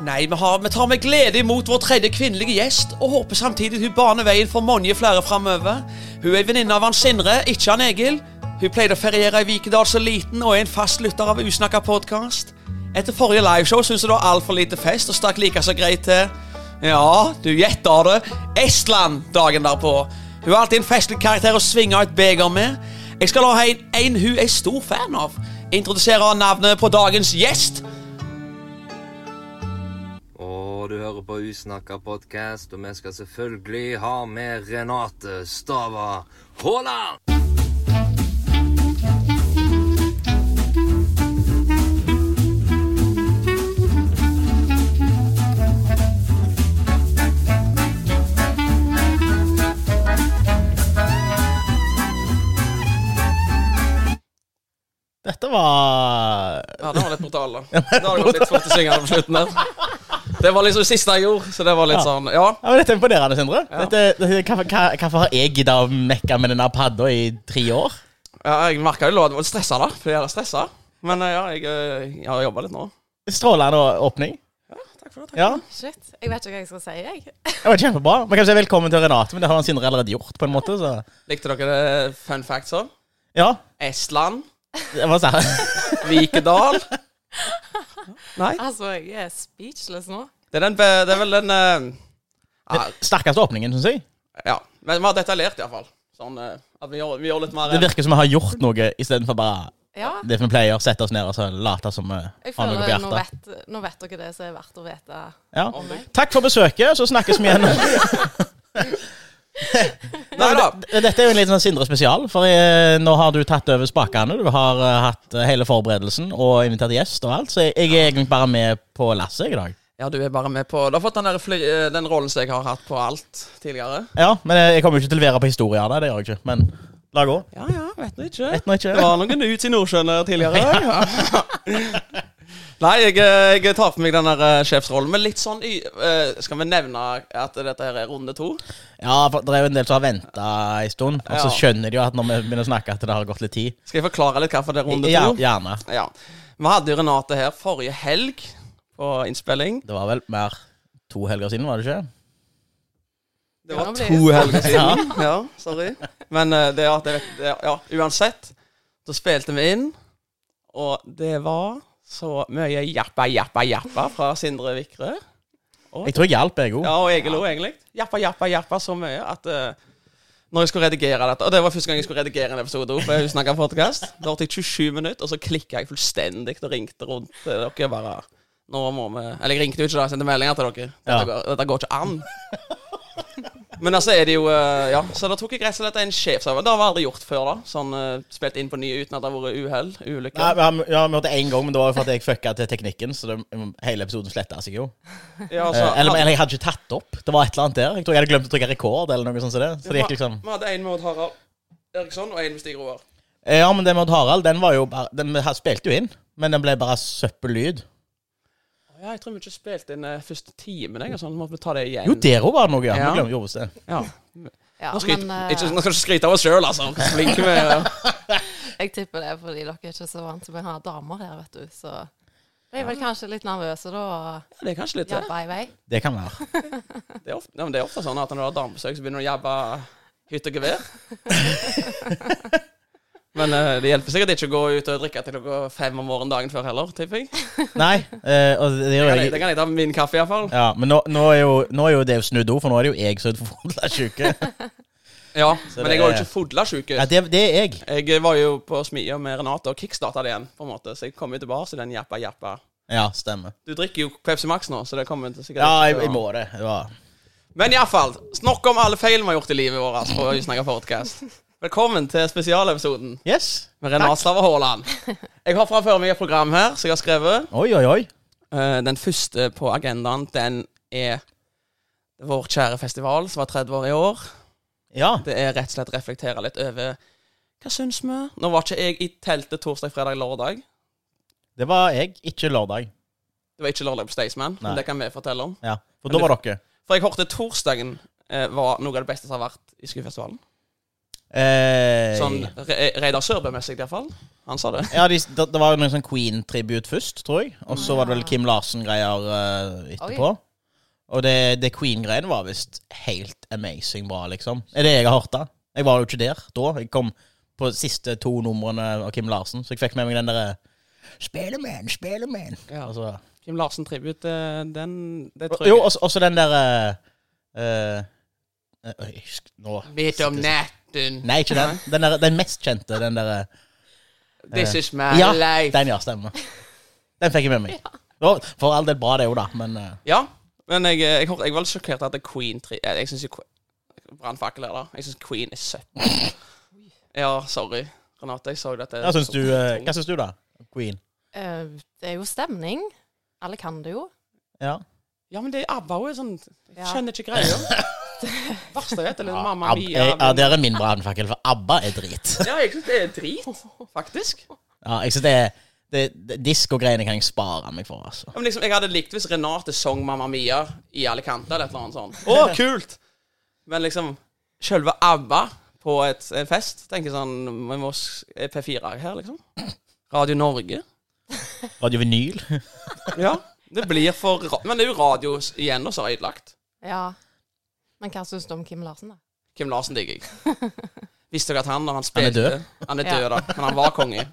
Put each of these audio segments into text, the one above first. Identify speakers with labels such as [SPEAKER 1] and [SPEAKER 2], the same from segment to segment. [SPEAKER 1] Nei, vi, har, vi tar med glede imot vår tredje kvinnelige gjest, og håper samtidig hun baner veien for mange flere framover. Hun er ei venninne av han Sindre, ikke han Egil. Hun pleide å feriere i Vikedal som liten, og er en fast lytter av Usnakka podkast. Etter forrige liveshow syntes hun det var altfor lite fest, og stakk like så greit til Ja, du gjetter det. Estland dagen derpå. Hun har alltid en festlig karakter å svinge av et beger med. Jeg skal la en, en hun er stor fan av, introdusere navnet på dagens gjest.
[SPEAKER 2] Og du hører på Usnakka podkast, og vi skal selvfølgelig ha med Renate Stava Haaland!
[SPEAKER 3] Dette var
[SPEAKER 1] Ja, det var litt brutal, da. Det har gått litt fort å synge på slutten der. Det var liksom det siste jeg gjorde, så det var litt
[SPEAKER 3] Ja.
[SPEAKER 1] sånn Ja.
[SPEAKER 3] ja, men Dette er imponerende, Sindre. Dette, dette, hva- hva- Hvorfor har jeg gidda å mekke med denne padda i tre år?
[SPEAKER 1] ja jeg merka jo at jeg var litt stressa, da. Fordi jeg er stressa. Men eh, ja, jeg, eh, jeg har jobba litt nå.
[SPEAKER 3] Strålende åpning.
[SPEAKER 1] Takk for det. Takk.
[SPEAKER 3] Ja,
[SPEAKER 4] Shit, jeg vet ikke hva jeg skal si, jeg.
[SPEAKER 3] det var Kjempebra. Man kan si velkommen til Renate, men det har han Sindre allerede gjort. på en måte så.
[SPEAKER 1] Likte dere det fun facts òg?
[SPEAKER 3] Ja,
[SPEAKER 1] Estland.
[SPEAKER 3] det var sånn.
[SPEAKER 1] Vikedal. Nei.
[SPEAKER 4] Altså, jeg er speechless nå.
[SPEAKER 1] Det er, den, be- det er vel den eh,
[SPEAKER 3] Den sterkeste åpningen, syns jeg.
[SPEAKER 1] Ja. Men vi har detaljert, iallfall. Sånn eh, at vi gjør, vi gjør litt mer
[SPEAKER 3] Det virker som vi har gjort noe istedenfor bare
[SPEAKER 4] Ja,
[SPEAKER 3] det vi pleier. Sette oss ned og så late som vi
[SPEAKER 4] jeg
[SPEAKER 3] har noe på
[SPEAKER 4] føler nå
[SPEAKER 3] hjertet.
[SPEAKER 4] vet, nå vet dere det som er verdt å vite.
[SPEAKER 3] Ja.
[SPEAKER 4] om meg.
[SPEAKER 3] Takk for besøket, så snakkes vi igjen.
[SPEAKER 1] Nei da.
[SPEAKER 3] Dette er jo en liten sånn Sindre spesial, for eh, nå har du tatt over spakene. Du har eh, hatt eh, hele forberedelsen og invitert gjest og alt, så jeg, jeg er egentlig bare med på lasset jeg, i dag.
[SPEAKER 1] Ja, du er bare med på Du har fått den, der fly, eh, den rollen som jeg har hatt på alt tidligere.
[SPEAKER 3] Ja, men eh, jeg kommer jo ikke til å levere på historier, nei, det gjør jeg ikke. Men la gå.
[SPEAKER 1] Ja, ja, vet nå ikke.
[SPEAKER 3] Vet nå ikke.
[SPEAKER 1] Det var noen ut i Nordsjøen der tidligere. Nei, jeg, eh, jeg tar på meg den der eh, sjefsrollen, men litt sånn y- eh, Skal vi nevne at dette her er runde to?
[SPEAKER 3] Ja, for det er jo en del som har venta en stund, og så
[SPEAKER 1] Ja.
[SPEAKER 3] skjønner de jo at når vi begynner å snakke, at det har gått litt tid.
[SPEAKER 1] Skal jeg forklare litt hvorfor det er runde
[SPEAKER 3] Ja,
[SPEAKER 1] to?
[SPEAKER 3] gjerne.
[SPEAKER 1] Ja. Vi hadde jo Renate her forrige helg på innspilling.
[SPEAKER 3] Det var vel mer to helger siden, var det ikke?
[SPEAKER 1] Det
[SPEAKER 4] Ja,
[SPEAKER 1] var
[SPEAKER 4] nå blir
[SPEAKER 1] to
[SPEAKER 4] jeg-
[SPEAKER 1] helger siden. Ja, sorry. Men eh, det at jeg vet det, Ja, uansett. Så spilte vi inn, og det var så mye jappa, jappa, jappa fra Sindre Vikre.
[SPEAKER 3] Jeg tror jeg hjalp, jeg òg.
[SPEAKER 1] Ja, og Egil òg, egentlig. Jappa, jappa, jappa så mye at eh, når jeg skulle redigere dette Og det var første gang jeg skulle redigere en episode også, for jeg snakket podcast. Da holdt jeg 27 minutter, og så klikka jeg fullstendig og ringte rundt til dere bare Nå må vi Eller jeg ringte jo ikke, da. Jeg sendte meldinger til dere. Dette,
[SPEAKER 3] Ja.
[SPEAKER 1] går, dette går ikke an. Men altså er det jo eh, Ja, så da tok jeg rett og slett en sjefsøvelse. Det har vi aldri gjort før, da. Sånn eh, spilt inn på ny uten at det har vært uhell.
[SPEAKER 3] Nei,
[SPEAKER 1] Ulykker.
[SPEAKER 3] vi har- ja, vi hørte én gang, men det var jo for at jeg fucka til teknikken, så det, hele episoden sletta seg jo.
[SPEAKER 1] Ja,
[SPEAKER 3] Eh,
[SPEAKER 1] altså,
[SPEAKER 3] eller, eller jeg hadde ikke tatt opp. Det var et eller annet der. Jeg tror jeg hadde glemt å trykke rekord. eller noe sånt som det. Så det gikk liksom...
[SPEAKER 1] Vi hadde én med Odd Harald Eriksson og én med Stig Roar.
[SPEAKER 3] Eh, Ja, men den med Odd Harald, den var jo bare Den her spilte jo inn, men den ble bare søppellyd.
[SPEAKER 1] Ja, jeg tror vi ikke spilte inn eh, første timen. Jeg, og sånn, så måtte vi ta det igjen.
[SPEAKER 3] Jo, der òg var det noe, ja.
[SPEAKER 1] Ja.
[SPEAKER 3] Vi glemte jo det.
[SPEAKER 1] Ja.
[SPEAKER 4] Ja,
[SPEAKER 1] Nå, skryt,
[SPEAKER 4] men eh,
[SPEAKER 1] ikke, nå skal du ikke skryte av oss sjøl, altså. Flinke med
[SPEAKER 4] jeg tipper det er fordi dere er ikke så vant til å ha damer her, vet du. Så de er vel kanskje litt nervøse da, og
[SPEAKER 1] Det er kanskje litt det.
[SPEAKER 4] jabba i vei.
[SPEAKER 3] Det kan være.
[SPEAKER 1] Det er ofte, ja, men det er ofte sånn at når du har damebesøk, så begynner du å jabbe hytt og gevær. Men eh, det hjelper sikkert ikke å gå ut og drikke til klokka fem om morgenen dagen før heller, tipper jeg.
[SPEAKER 3] Nei, eh, og det, det
[SPEAKER 1] Det
[SPEAKER 3] gjør
[SPEAKER 1] kan jeg,
[SPEAKER 3] jeg
[SPEAKER 1] det kan jeg ta med min kaffe, iallfall.
[SPEAKER 3] ja, Men nå, nå, er jo, nå er jo det jo snudd òg, for nå er det jo jeg som er fodlasjuke.
[SPEAKER 1] Ja, men jeg
[SPEAKER 3] det
[SPEAKER 1] var
[SPEAKER 3] er-
[SPEAKER 1] jo ikke fodla sjuk.
[SPEAKER 3] Ja, det, det er jeg.
[SPEAKER 1] Jeg eh, var jo på Smia med Renate og kickstarta det igjen, på en måte. Så jeg kom jo tilbake til den jappa jappa.
[SPEAKER 3] Ja, stemmer.
[SPEAKER 1] Du drikker jo Pepsi Max nå, så det kommer til sikkert
[SPEAKER 3] Ja, jeg,
[SPEAKER 1] til å-
[SPEAKER 3] jeg må det. det var.
[SPEAKER 1] Men iallfall, snakk om alle feil vi har gjort i livet vårt. på Ysnaga Podcast. Velkommen til spesialepisoden
[SPEAKER 3] Yes.
[SPEAKER 1] med Renate Stave Haaland. Jeg har fra før meg et program her som jeg har skrevet.
[SPEAKER 3] Oi, oi, oi.
[SPEAKER 1] Eh, Den første på agendaen, den er vår kjære festival som var 30 år i år.
[SPEAKER 3] Ja.
[SPEAKER 1] Det er rett og slett reflektere litt over hva syns vi? Nå var ikke jeg i teltet torsdag, fredag, lørdag.
[SPEAKER 3] Det var jeg, ikke lørdag.
[SPEAKER 1] Det var ikke lørdag på Staysman,
[SPEAKER 3] Nei.
[SPEAKER 1] men det kan vi fortelle om.
[SPEAKER 3] Ja, For da var dere.
[SPEAKER 1] For jeg hørte torsdagen eh, var noe av det beste som har vært i Skufestivalen.
[SPEAKER 3] Eh,
[SPEAKER 1] Sånn Re Reidar Sørbø-messig, i hvert fall. Han sa det.
[SPEAKER 3] Ja, de, det, det var jo noen sånn Queen-tribute først, tror jeg. Og så var det vel Kim Larsen-greier eh, etterpå. Og det, det Queen-greien var visst helt amazing bra, liksom. Det er det jeg har hørt da. Jeg var jo ikke der da. Jeg kom på siste to numrene av Kim Larsen, så jeg fikk med meg den eh, derre Spelemann, Spelemann.
[SPEAKER 1] Ja.
[SPEAKER 3] Altså,
[SPEAKER 1] Kim Larsen Tribute, eh, den det tror jeg
[SPEAKER 3] jo, altså. også, også den derre eh, eh, øy, sk- Nå
[SPEAKER 1] Midt om natten.
[SPEAKER 3] Nei, ikke den. Den, der, eh, den mest kjente, den derre
[SPEAKER 1] This is my
[SPEAKER 3] Ja,
[SPEAKER 1] life.
[SPEAKER 3] den, ja, stemmer. Den fikk jeg med meg. Å, For all del bra, det jo, da, men eh,
[SPEAKER 1] Ja, men jeg, eh, jeg, hørte- jeg var litt sjokkert at det er Queen tri eh, Jeg syns jo Que- Brannfakkel er der. Jeg syns Queen er søppel. Ja, sorry. Renate, jeg så jo dette.
[SPEAKER 3] hva syns du, eh, hva syns du, da? Queen.
[SPEAKER 4] Eh, det er jo stemning. Alle kan det jo.
[SPEAKER 3] Ja.
[SPEAKER 1] Ja, men det er ABBA òg. Sånn, jeg
[SPEAKER 4] Ja.
[SPEAKER 1] skjønner ikke greia. Verste jeg vet, er litt Mamma
[SPEAKER 3] Ab
[SPEAKER 1] Mia.
[SPEAKER 3] jeg, Ah, ja, det er min brannfakkel, for ABBA er drit.
[SPEAKER 1] Ja, jeg syns det er drit, faktisk. Ja,
[SPEAKER 3] Ja, jeg synes det er det, det, Diskogreiene kan jeg spare meg for, altså.
[SPEAKER 1] men liksom, Jeg hadde likt hvis Renate sang Mamma Mia i Alicante eller et eller annet sånt. Å, kult! Men liksom, sjølve ABBA på et, en fest Tenker sånn Vi må s- er P4 her, liksom. Radio Norge.
[SPEAKER 3] Radio Vinyl.
[SPEAKER 1] Ja, det blir for ra Men det er jo radio s- igjen, og så har jeg ødelagt.
[SPEAKER 4] Ja. Men hva syns du om Kim Larsen, da?
[SPEAKER 1] Kim Larsen digger jeg. Visste dere at han, når han
[SPEAKER 3] Han er
[SPEAKER 1] spilte
[SPEAKER 3] død?
[SPEAKER 1] Han er død,
[SPEAKER 4] Ja.
[SPEAKER 1] da. Men han var konge.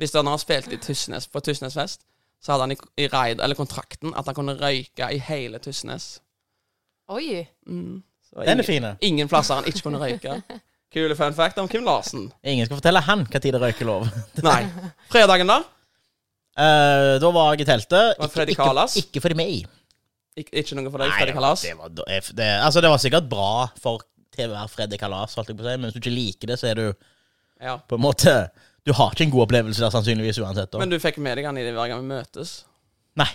[SPEAKER 1] Visste dere når han spilte i Tysnes, på Tysnesfest, så hadde han i, i raid, eller kontrakten at han kunne røyke i hele Tysnes.
[SPEAKER 4] Oi!
[SPEAKER 1] Mm. Så
[SPEAKER 3] Den
[SPEAKER 1] ingen,
[SPEAKER 3] er fin.
[SPEAKER 1] ingen plasser han ikke kunne røyke. Kule fun fact om Kim Larsen.
[SPEAKER 3] Ingen skal fortelle han hva tid det røyker lov.
[SPEAKER 1] Nei. Fredagen, da?
[SPEAKER 3] Eh, da var jeg i teltet.
[SPEAKER 1] var Freddy
[SPEAKER 3] ikke,
[SPEAKER 1] Kalas.
[SPEAKER 3] ikke for meg.
[SPEAKER 1] Ik ikke noe for deg,
[SPEAKER 3] Nei,
[SPEAKER 1] Freddy Kalas?
[SPEAKER 3] Det var, det, var- det, altså, det var sikkert bra for til hver Freddy Kalas, holdt jeg på å si. Men hvis du ikke liker det, så er du
[SPEAKER 1] Ja.
[SPEAKER 3] på en måte Du har ikke en god opplevelse der, sannsynligvis, uansett. Da.
[SPEAKER 1] Men du fikk med deg han i det hver gang vi møtes?
[SPEAKER 3] Nei.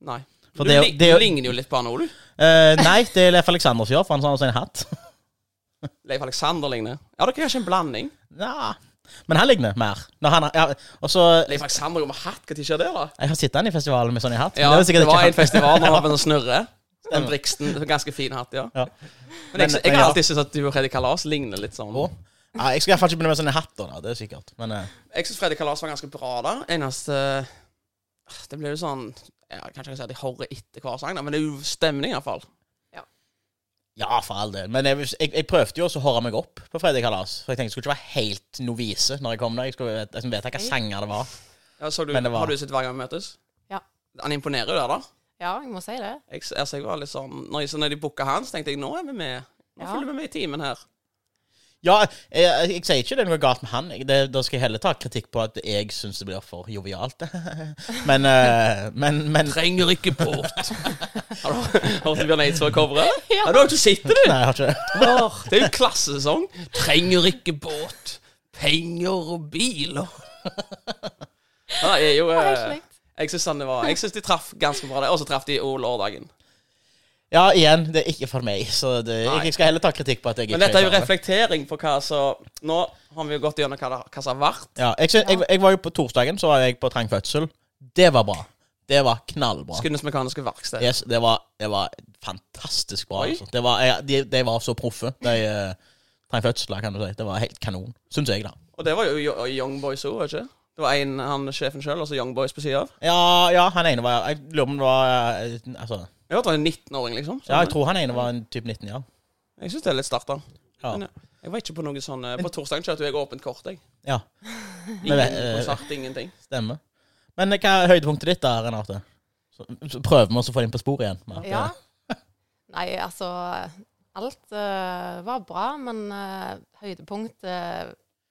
[SPEAKER 1] Nei.
[SPEAKER 3] For
[SPEAKER 1] du
[SPEAKER 3] det er jo-
[SPEAKER 1] lig-
[SPEAKER 3] det er jo-
[SPEAKER 1] du ligner jo litt på han Olu.
[SPEAKER 3] Eh, nei, det er Leif Aleksander som gjør, for han har også en hatt.
[SPEAKER 1] Leif Alexander ligner. Ja, dere er kanskje en blanding?
[SPEAKER 3] Ja. Men han ligner mer. Når han, har- ja, og så
[SPEAKER 1] Leif Alexander går med hatt, hva tid skjer det, da?
[SPEAKER 3] Jeg har sett han i festivalen med sånn i hatt. men
[SPEAKER 1] Ja,
[SPEAKER 3] er
[SPEAKER 1] det,
[SPEAKER 3] sikkert
[SPEAKER 1] var
[SPEAKER 3] ikke
[SPEAKER 1] en
[SPEAKER 3] han.
[SPEAKER 1] festival når han var med sånn snurre. Den
[SPEAKER 3] Stemmer.
[SPEAKER 1] Brixton, ganske fin hatt, ja.
[SPEAKER 3] Ja.
[SPEAKER 1] Men jeg, jeg
[SPEAKER 3] Men- men
[SPEAKER 1] har
[SPEAKER 3] ja.
[SPEAKER 1] alltid syntes at du og Freddy Kalas ligner litt sånn.
[SPEAKER 3] Å. Ja, jeg skal iallfall ikke begynne med sånne hatter, da. Det er sikkert. Men eh,
[SPEAKER 1] Jeg syns Freddy Kalas var ganske bra der. Eneste øh, Det ble jo sånn ja, Kanskje jeg kan si at de horrer etter hver sang, da, men det er jo stemning, iallfall.
[SPEAKER 3] ja, for all del. Men jeg, jeg, jeg prøvde jo også å høre meg opp på Fredrik Kalas. For jeg tenkte jeg skulle ikke være helt novise når jeg kom der. Jeg skulle vet- liksom vite hva sanger det var.
[SPEAKER 1] Ja, så du,
[SPEAKER 3] Men det var-
[SPEAKER 1] Har du sett Hver gang vi møtes?
[SPEAKER 4] Ja.
[SPEAKER 1] Han imponerer jo der, da.
[SPEAKER 4] Ja, jeg må si det.
[SPEAKER 1] Jeg, altså, jeg var litt sånn Når, jeg, så når de booka han, så tenkte jeg nå er vi med. Nå
[SPEAKER 4] Ja.
[SPEAKER 1] følger vi med i timen her.
[SPEAKER 3] Ja, jeg, jeg, jeg sier ikke det er noe galt med han. Jeg, det, da skal jeg heller ta kritikk på at jeg syns det blir for jovialt. men, eh, men, men
[SPEAKER 1] Trenger ikke port. har du hørt Bjørn Eidsvåg-coveret?
[SPEAKER 4] Ja.
[SPEAKER 1] Ja, du har jo ikke sett det, du!
[SPEAKER 3] Nei, jeg har ikke
[SPEAKER 1] Åh, det er jo klassesang. Trenger ikke båt, penger og biler. Ja, jeg er jo
[SPEAKER 4] Det er
[SPEAKER 1] eh,
[SPEAKER 4] helt slikt.
[SPEAKER 1] Jeg syns han det var Jeg synes de traff ganske bra, det. Og så traff de O lørdagen.
[SPEAKER 3] Ja, igjen, det er ikke for meg. Så det,
[SPEAKER 1] Nei.
[SPEAKER 3] jeg, jeg skal heller ta kritikk på at jeg
[SPEAKER 1] Men dette er jo
[SPEAKER 3] klarer det.
[SPEAKER 1] reflektering på hva som Nå har vi jo gått gjennom hva, det- hva som har vært.
[SPEAKER 3] Ja, jeg, synes, jeg, jeg var jo på torsdagen så var jeg på trang fødsel. Det var bra. Det var knallbra.
[SPEAKER 1] Skudenes mekaniske verksted.
[SPEAKER 3] Yes, det, var, det var fantastisk bra.
[SPEAKER 1] Oi.
[SPEAKER 3] Altså. Det var, jeg, de, de var så proffe, de eh, trang fødsler, kan du si. Det var helt kanon, syns jeg, da.
[SPEAKER 1] Og det var jo Yo- Young Boys òg, ikke Det var en, han sjefen sjøl, og så Young Boys på sida av.
[SPEAKER 3] Ja, ja, han ene var Jeg lurer på om det var eh, altså,
[SPEAKER 1] Jeg hørte han var en 19-åring, liksom. Så
[SPEAKER 3] Ja, jeg tror han ene var en type 19, ja.
[SPEAKER 1] jeg syns det er litt sterkt, da.
[SPEAKER 3] Ja.
[SPEAKER 1] Men, ja, Jeg var ikke på noe sånn eh, På torsdagen kjørte jo jeg åpent kort, jeg.
[SPEAKER 3] ja
[SPEAKER 1] Ingen
[SPEAKER 3] vet, eh,
[SPEAKER 1] konsert, ingenting.
[SPEAKER 3] stemmer. Men eh, hva er høydepunktet ditt, da, Renate? Så, så prøver vi også å få det inn på sporet igjen. med at,
[SPEAKER 4] Ja.
[SPEAKER 3] eh,
[SPEAKER 4] Nei, altså Alt eh, var bra, men eh, høydepunkt eh,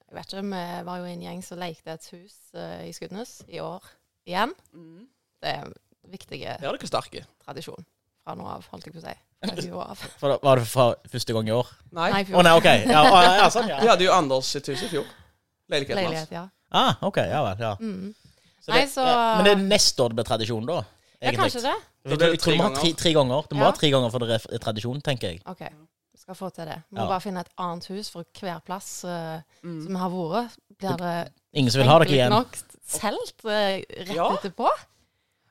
[SPEAKER 4] Jeg vet ikke, vi var jo en gjeng som lekte et hus eh, i Skudenes i år igjen.
[SPEAKER 3] Mm.
[SPEAKER 4] Det er en viktig eh,
[SPEAKER 1] Her er dere sterke.
[SPEAKER 4] tradisjon fra nå av, holdt jeg på å si. Fra nå av.
[SPEAKER 3] for, da- var det fra første gang i år?
[SPEAKER 4] Nei,
[SPEAKER 3] Å nei, OK. Ja, å, ja, sånn,
[SPEAKER 1] Vi
[SPEAKER 3] ja.
[SPEAKER 1] hadde jo Anders sitt hus i fjor. Leiligheten hans.
[SPEAKER 4] leilighet, ja.
[SPEAKER 3] Ah, OK. Ja vel. Ja.
[SPEAKER 4] Mm.
[SPEAKER 3] Så
[SPEAKER 4] Nei,
[SPEAKER 3] det-
[SPEAKER 4] så-
[SPEAKER 3] ja, Men det er neste år det blir tradisjon, da?
[SPEAKER 4] Ja,
[SPEAKER 3] egentlig.
[SPEAKER 4] kanskje det.
[SPEAKER 1] Da blir
[SPEAKER 3] Jeg tror
[SPEAKER 1] det
[SPEAKER 3] jeg tror vi må ha
[SPEAKER 1] tre
[SPEAKER 3] tre, tre ganger. Det må
[SPEAKER 4] Ja.
[SPEAKER 3] ha tre ganger for det er tradisjon, tenker jeg.
[SPEAKER 4] OK, vi skal få til det. Vi må
[SPEAKER 3] Ja.
[SPEAKER 4] bare finne et annet hus for hver plass eh, som vi har vært. Blir det
[SPEAKER 3] Ingen som vil ha dere
[SPEAKER 4] enkelt
[SPEAKER 3] igjen.
[SPEAKER 4] nok solgt eh, rett
[SPEAKER 1] Ja.
[SPEAKER 4] etterpå?